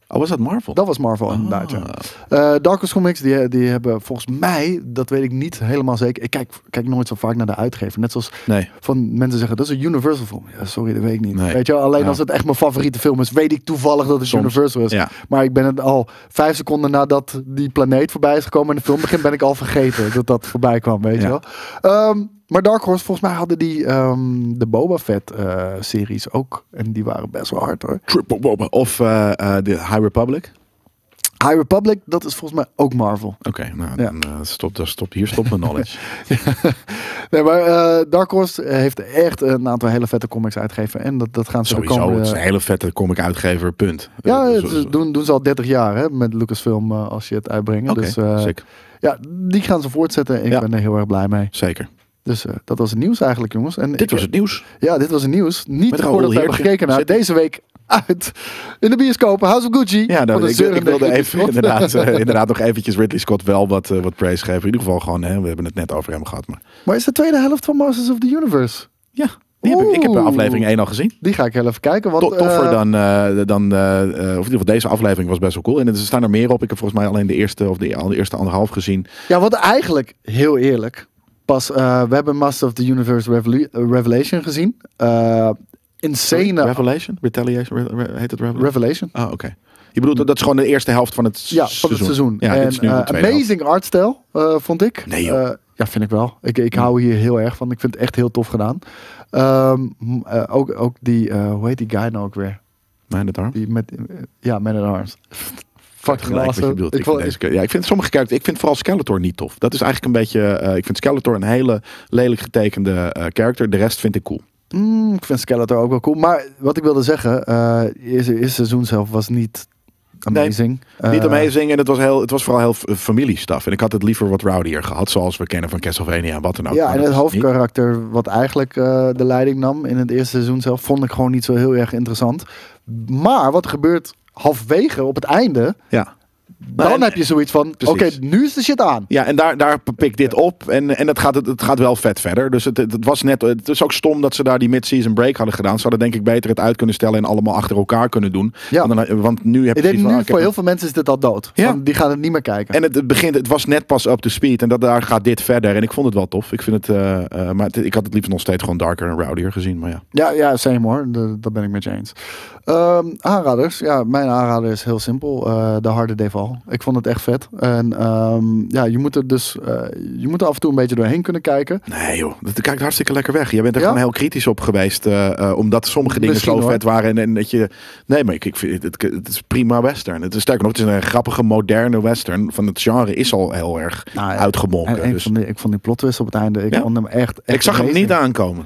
[SPEAKER 2] Oh, was dat Marvel?
[SPEAKER 3] Dat was Marvel
[SPEAKER 2] Ah.
[SPEAKER 3] inderdaad. Ja. Eh, Dark Horse Comics, die, die hebben volgens mij, dat weet ik niet helemaal zeker. Ik kijk, kijk nooit zo vaak naar de uitgever. Net zoals
[SPEAKER 2] Nee.
[SPEAKER 3] van mensen zeggen, dat is een Universal film. Ja, sorry, dat weet ik niet.
[SPEAKER 2] Nee.
[SPEAKER 3] Weet je, wel, alleen
[SPEAKER 2] Ja.
[SPEAKER 3] als het echt mijn favoriete film is, weet ik toevallig dat het
[SPEAKER 2] Soms.
[SPEAKER 3] Universal is.
[SPEAKER 2] Ja.
[SPEAKER 3] Maar ik ben het al vijf seconden nadat die planeet voorbij is gekomen en de film begint, ben ik al vergeten dat dat voorbij kwam, weet
[SPEAKER 2] Ja.
[SPEAKER 3] je wel. Ehm, maar Dark Horse, volgens mij hadden die ehm, de Boba Fett eh, series ook. En die waren best wel hard hoor.
[SPEAKER 2] Triple Boba. Of eh, eh, de High Republic.
[SPEAKER 3] High Republic, dat is volgens mij ook Marvel.
[SPEAKER 2] Oké, nou,
[SPEAKER 3] Ja.
[SPEAKER 2] dan, eh, stop, dan stop, hier stopt mijn [laughs] knowledge.
[SPEAKER 3] Nee, maar eh, Dark Horse heeft echt een aantal hele vette comics uitgegeven. En dat, dat gaan ze de
[SPEAKER 2] Sowieso,
[SPEAKER 3] komende...
[SPEAKER 2] het is een hele vette comic-uitgever, punt.
[SPEAKER 3] Ja,
[SPEAKER 2] Eh,
[SPEAKER 3] het
[SPEAKER 2] zo-
[SPEAKER 3] is-
[SPEAKER 2] zo-
[SPEAKER 3] doen, doen ze al 30 jaar hè, met Lucasfilm eh, als je het uitbrengt.
[SPEAKER 2] Oké,
[SPEAKER 3] dus eh,
[SPEAKER 2] sick.
[SPEAKER 3] ja, die gaan ze voortzetten. Ik
[SPEAKER 2] Ja.
[SPEAKER 3] ben er heel erg blij mee.
[SPEAKER 2] zeker.
[SPEAKER 3] Dus eh, dat was het nieuws eigenlijk, jongens. En ik-
[SPEAKER 2] Dit was het nieuws.
[SPEAKER 3] Ja, dit was het nieuws. Niet
[SPEAKER 2] Met
[SPEAKER 3] voordat we
[SPEAKER 2] Raoul
[SPEAKER 3] hebben
[SPEAKER 2] Heertje.
[SPEAKER 3] gekeken naar
[SPEAKER 2] Zit-
[SPEAKER 3] deze week uit in de bioscopen House of Gucci.
[SPEAKER 2] Ja,
[SPEAKER 3] Wat
[SPEAKER 2] nou,
[SPEAKER 3] een
[SPEAKER 2] ik, ik
[SPEAKER 3] zeurende
[SPEAKER 2] wilde
[SPEAKER 3] Ridley
[SPEAKER 2] even [laughs]
[SPEAKER 3] Scott.
[SPEAKER 2] inderdaad, eh, inderdaad nog eventjes Ridley Scott wel wat, eh, wat praise geven. In ieder geval gewoon, hè, we hebben het net over hem gehad. Maar
[SPEAKER 3] [laughs] Maar is de tweede helft van Masters of the Universe?
[SPEAKER 2] ja, die heb ik, ik heb eh,
[SPEAKER 3] Oeh.
[SPEAKER 2] aflevering 1 al gezien.
[SPEAKER 3] Die ga ik heel even kijken. Want,
[SPEAKER 2] Tot toffer
[SPEAKER 3] eh,
[SPEAKER 2] dan, eh, dan eh, eh, of in ieder geval deze aflevering was best wel cool. En er staan er meer op. Ik heb volgens mij alleen de eerste of de, al de eerste anderhalf gezien.
[SPEAKER 3] Ja, want eigenlijk, heel eerlijk, pas eh, we hebben Master of the Universe Revelu- eh, Revelation gezien. Eh insane eh,
[SPEAKER 2] Revelation? Retaliation? Re- re- heet het Revelation?
[SPEAKER 3] Revelation.
[SPEAKER 2] ah, oké. Je bedoelt, dat- dat is gewoon de eerste helft van het
[SPEAKER 3] Ja,
[SPEAKER 2] seizoen.
[SPEAKER 3] van het seizoen.
[SPEAKER 2] Ja,
[SPEAKER 3] en,
[SPEAKER 2] dit is nu de
[SPEAKER 3] eh,
[SPEAKER 2] tweede helft.
[SPEAKER 3] amazing artstijl, eh, vond ik.
[SPEAKER 2] Nee, joh.
[SPEAKER 3] Eh, ja, vind ik wel. Ik, ik hou hier heel erg van. Ik vind het echt heel tof gedaan. Ehm, m- eh, ook, ook die, eh, hoe heet die guy nou ook weer?
[SPEAKER 2] Mijn het arm.
[SPEAKER 3] Die met, eh, ja, Man at Arms. Fucking
[SPEAKER 2] Gelijk wat je
[SPEAKER 3] awesome.
[SPEAKER 2] bedoelt.
[SPEAKER 3] Ik
[SPEAKER 2] Ik vind
[SPEAKER 3] vond-
[SPEAKER 2] deze- ja, ik vind sommige characters, ik vind vooral Skeletor niet tof. Dat is eigenlijk een beetje, eh, ik vind Skeletor een hele lelijk getekende eh, character. De rest vind ik cool.
[SPEAKER 3] Mm, ik vind Skeletor ook wel cool. Maar wat ik wilde zeggen, eh eerste, eerste seizoen zelf was niet amazing.
[SPEAKER 2] niet
[SPEAKER 3] Eh,
[SPEAKER 2] amazing en het was, heel, het was vooral heel f- familiestaf. En ik had het liever wat rowdier gehad, zoals we kennen van Castlevania en wat dan ook.
[SPEAKER 3] ja,
[SPEAKER 2] Maar
[SPEAKER 3] en
[SPEAKER 2] Oh, nou, dat is
[SPEAKER 3] het
[SPEAKER 2] niet.
[SPEAKER 3] hoofdkarakter wat eigenlijk eh, de leiding nam in het eerste seizoen zelf, vond ik gewoon niet zo heel erg interessant. Maar wat gebeurt halverwege op het einde,
[SPEAKER 2] Ja.
[SPEAKER 3] dan
[SPEAKER 2] en-
[SPEAKER 3] heb je zoiets van, oké,
[SPEAKER 2] Precies.
[SPEAKER 3] nu is de shit aan.
[SPEAKER 2] Ja, en daar, daar pik dit op. En, en het, gaat, het, het gaat wel vet verder. Dus het, het, het was net, het is ook stom dat ze daar die mid-season break hadden gedaan. Ze hadden denk ik beter het uit kunnen stellen en allemaal achter elkaar kunnen doen.
[SPEAKER 3] Ja.
[SPEAKER 2] Want, dan- want nu heb je
[SPEAKER 3] Ik denk
[SPEAKER 2] zoiets van, ah,
[SPEAKER 3] nu,
[SPEAKER 2] ik heb
[SPEAKER 3] voor
[SPEAKER 2] een-
[SPEAKER 3] heel veel mensen is dit al dood.
[SPEAKER 2] Ja.
[SPEAKER 3] Van, die gaan het niet meer kijken.
[SPEAKER 2] En het, het begint, het was net pas up to speed. En dat, daar gaat dit verder. En ik vond het wel tof. Ik vind het, eh, eh, maar het- ik had het liever nog steeds gewoon darker en rowdier gezien. Maar ja.
[SPEAKER 3] Ja, ja, same hoor. De- dat ben ik met je eens. Ehm, aanraders. Ja, mijn aanrader is heel simpel. Eh, de harde Deval. Ik vond het echt vet. En ehm, ja, je moet er dus eh, je moet er af en toe een beetje doorheen kunnen kijken.
[SPEAKER 2] Nee joh, dat kijkt hartstikke lekker weg. Jij bent er
[SPEAKER 3] Ja?
[SPEAKER 2] gewoon heel kritisch op geweest. eh, eh, omdat sommige dingen
[SPEAKER 3] Misschien,
[SPEAKER 2] zo
[SPEAKER 3] hoor.
[SPEAKER 2] vet waren. En, en dat je... Nee, maar ik, ik vind, het, het, het is prima western. Het is sterker nog, het is een grappige moderne western. Van het genre is al heel erg
[SPEAKER 3] Nou ja,
[SPEAKER 2] uitgemonken.
[SPEAKER 3] En, en
[SPEAKER 2] dus-
[SPEAKER 3] van die, ik vond die plot twist op het einde. Ik
[SPEAKER 2] Ja?
[SPEAKER 3] vond hem echt, echt
[SPEAKER 2] ik zag hem
[SPEAKER 3] amazing.
[SPEAKER 2] niet aankomen.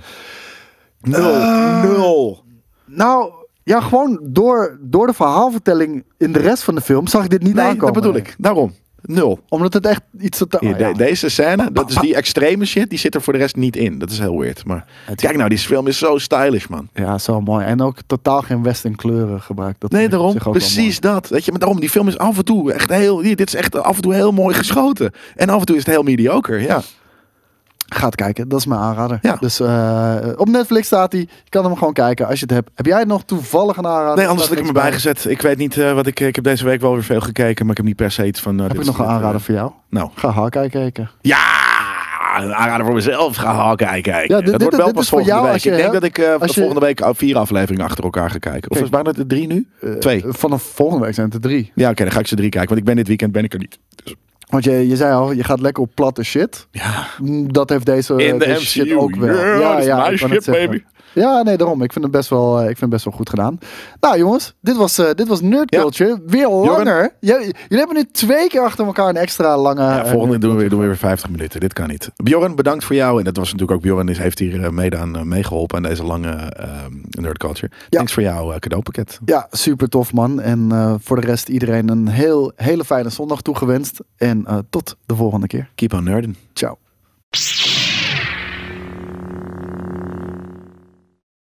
[SPEAKER 2] Nul.
[SPEAKER 3] Eh.
[SPEAKER 2] Nul.
[SPEAKER 3] Nou, ja, gewoon door, door de verhaalvertelling in de rest van de film zag ik dit niet
[SPEAKER 2] Nee, dat
[SPEAKER 3] aankomen.
[SPEAKER 2] bedoel ik. Daarom. Nul.
[SPEAKER 3] Omdat het echt iets te...
[SPEAKER 2] Hier,
[SPEAKER 3] oh, ja.
[SPEAKER 2] de- deze scène, dat is die extreme shit, die zit er voor de rest niet in. Dat is heel weird. Maar kijk nou, die film is zo stylish, man.
[SPEAKER 3] Ja, zo mooi. En ook totaal geen western kleuren gebruikt. Dat
[SPEAKER 2] Nee,
[SPEAKER 3] vind ik op
[SPEAKER 2] daarom.
[SPEAKER 3] zich ook wel mooi.
[SPEAKER 2] Precies dat. Weet je, maar daarom, die film is af en toe echt heel. hier, Dit is echt af en toe heel mooi geschoten. En af en toe is het heel mediocre. Ja.
[SPEAKER 3] Gaat kijken, dat is mijn aanrader.
[SPEAKER 2] Ja.
[SPEAKER 3] Dus eh, op Netflix staat hij. Je kan hem gewoon kijken als je het hebt. Heb jij nog toevallig een aanrader?
[SPEAKER 2] Nee, anders had
[SPEAKER 3] Staat
[SPEAKER 2] ik hem
[SPEAKER 3] niks
[SPEAKER 2] erbij gezet. Ik weet niet eh, wat ik. Ik heb deze week wel weer veel gekeken, maar ik heb niet per se iets van. eh,
[SPEAKER 3] Heb
[SPEAKER 2] dit
[SPEAKER 3] ik
[SPEAKER 2] is-
[SPEAKER 3] nog een
[SPEAKER 2] dit, eh,
[SPEAKER 3] aanrader voor jou?
[SPEAKER 2] Nou.
[SPEAKER 3] Ga Hawkeye kijken.
[SPEAKER 2] Ja! Een aanrader voor mezelf. Ga haal kijken.
[SPEAKER 3] dit-
[SPEAKER 2] dat
[SPEAKER 3] dit-
[SPEAKER 2] wordt wel
[SPEAKER 3] dit
[SPEAKER 2] pas
[SPEAKER 3] is voor
[SPEAKER 2] volgende
[SPEAKER 3] jou
[SPEAKER 2] week.
[SPEAKER 3] als je
[SPEAKER 2] ik denk
[SPEAKER 3] hebt-
[SPEAKER 2] dat ik eh,
[SPEAKER 3] als je-
[SPEAKER 2] volgende week al vier afleveringen achter elkaar ga kijken. Of
[SPEAKER 3] Kijk.
[SPEAKER 2] waren het er drie nu? Twee.
[SPEAKER 3] Eh, vanaf volgende week zijn het er drie.
[SPEAKER 2] Ja, oké, dan ga ik ze drie kijken, want ik ben dit weekend ben ik er niet. Dus-
[SPEAKER 3] Want je, je zei al, je gaat lekker op platte shit.
[SPEAKER 2] Ja.
[SPEAKER 3] Mm, Dat heeft deze,
[SPEAKER 2] In de
[SPEAKER 3] deze shit
[SPEAKER 2] MCU.
[SPEAKER 3] ook wel.
[SPEAKER 2] Ja, dat is
[SPEAKER 3] ik
[SPEAKER 2] my
[SPEAKER 3] wou net
[SPEAKER 2] shit,
[SPEAKER 3] zeggen.
[SPEAKER 2] baby.
[SPEAKER 3] Ja, nee, daarom. Ik vind het best wel, eh, ik vind het best wel goed gedaan. Nou jongens, dit was, eh, dit was Nerd
[SPEAKER 2] Ja.
[SPEAKER 3] Culture. Weer langer. J- jullie hebben nu twee keer achter elkaar een extra lange...
[SPEAKER 2] Ja,
[SPEAKER 3] eh,
[SPEAKER 2] volgende doen we, weer, doen we weer 50 minuten. Dit kan niet. Bjorn, bedankt voor jou. En dat was natuurlijk ook Bjorn, is, heeft hier eh, mede aan eh, meegeholpen aan deze lange ehm nerd culture. Thanks voor jouw eh, cadeaupakket.
[SPEAKER 3] Ja, super tof man. En eh, voor de rest iedereen een heel, hele fijne zondag toegewenst. En eh, tot de volgende keer.
[SPEAKER 2] Keep on nerden.
[SPEAKER 3] Ciao.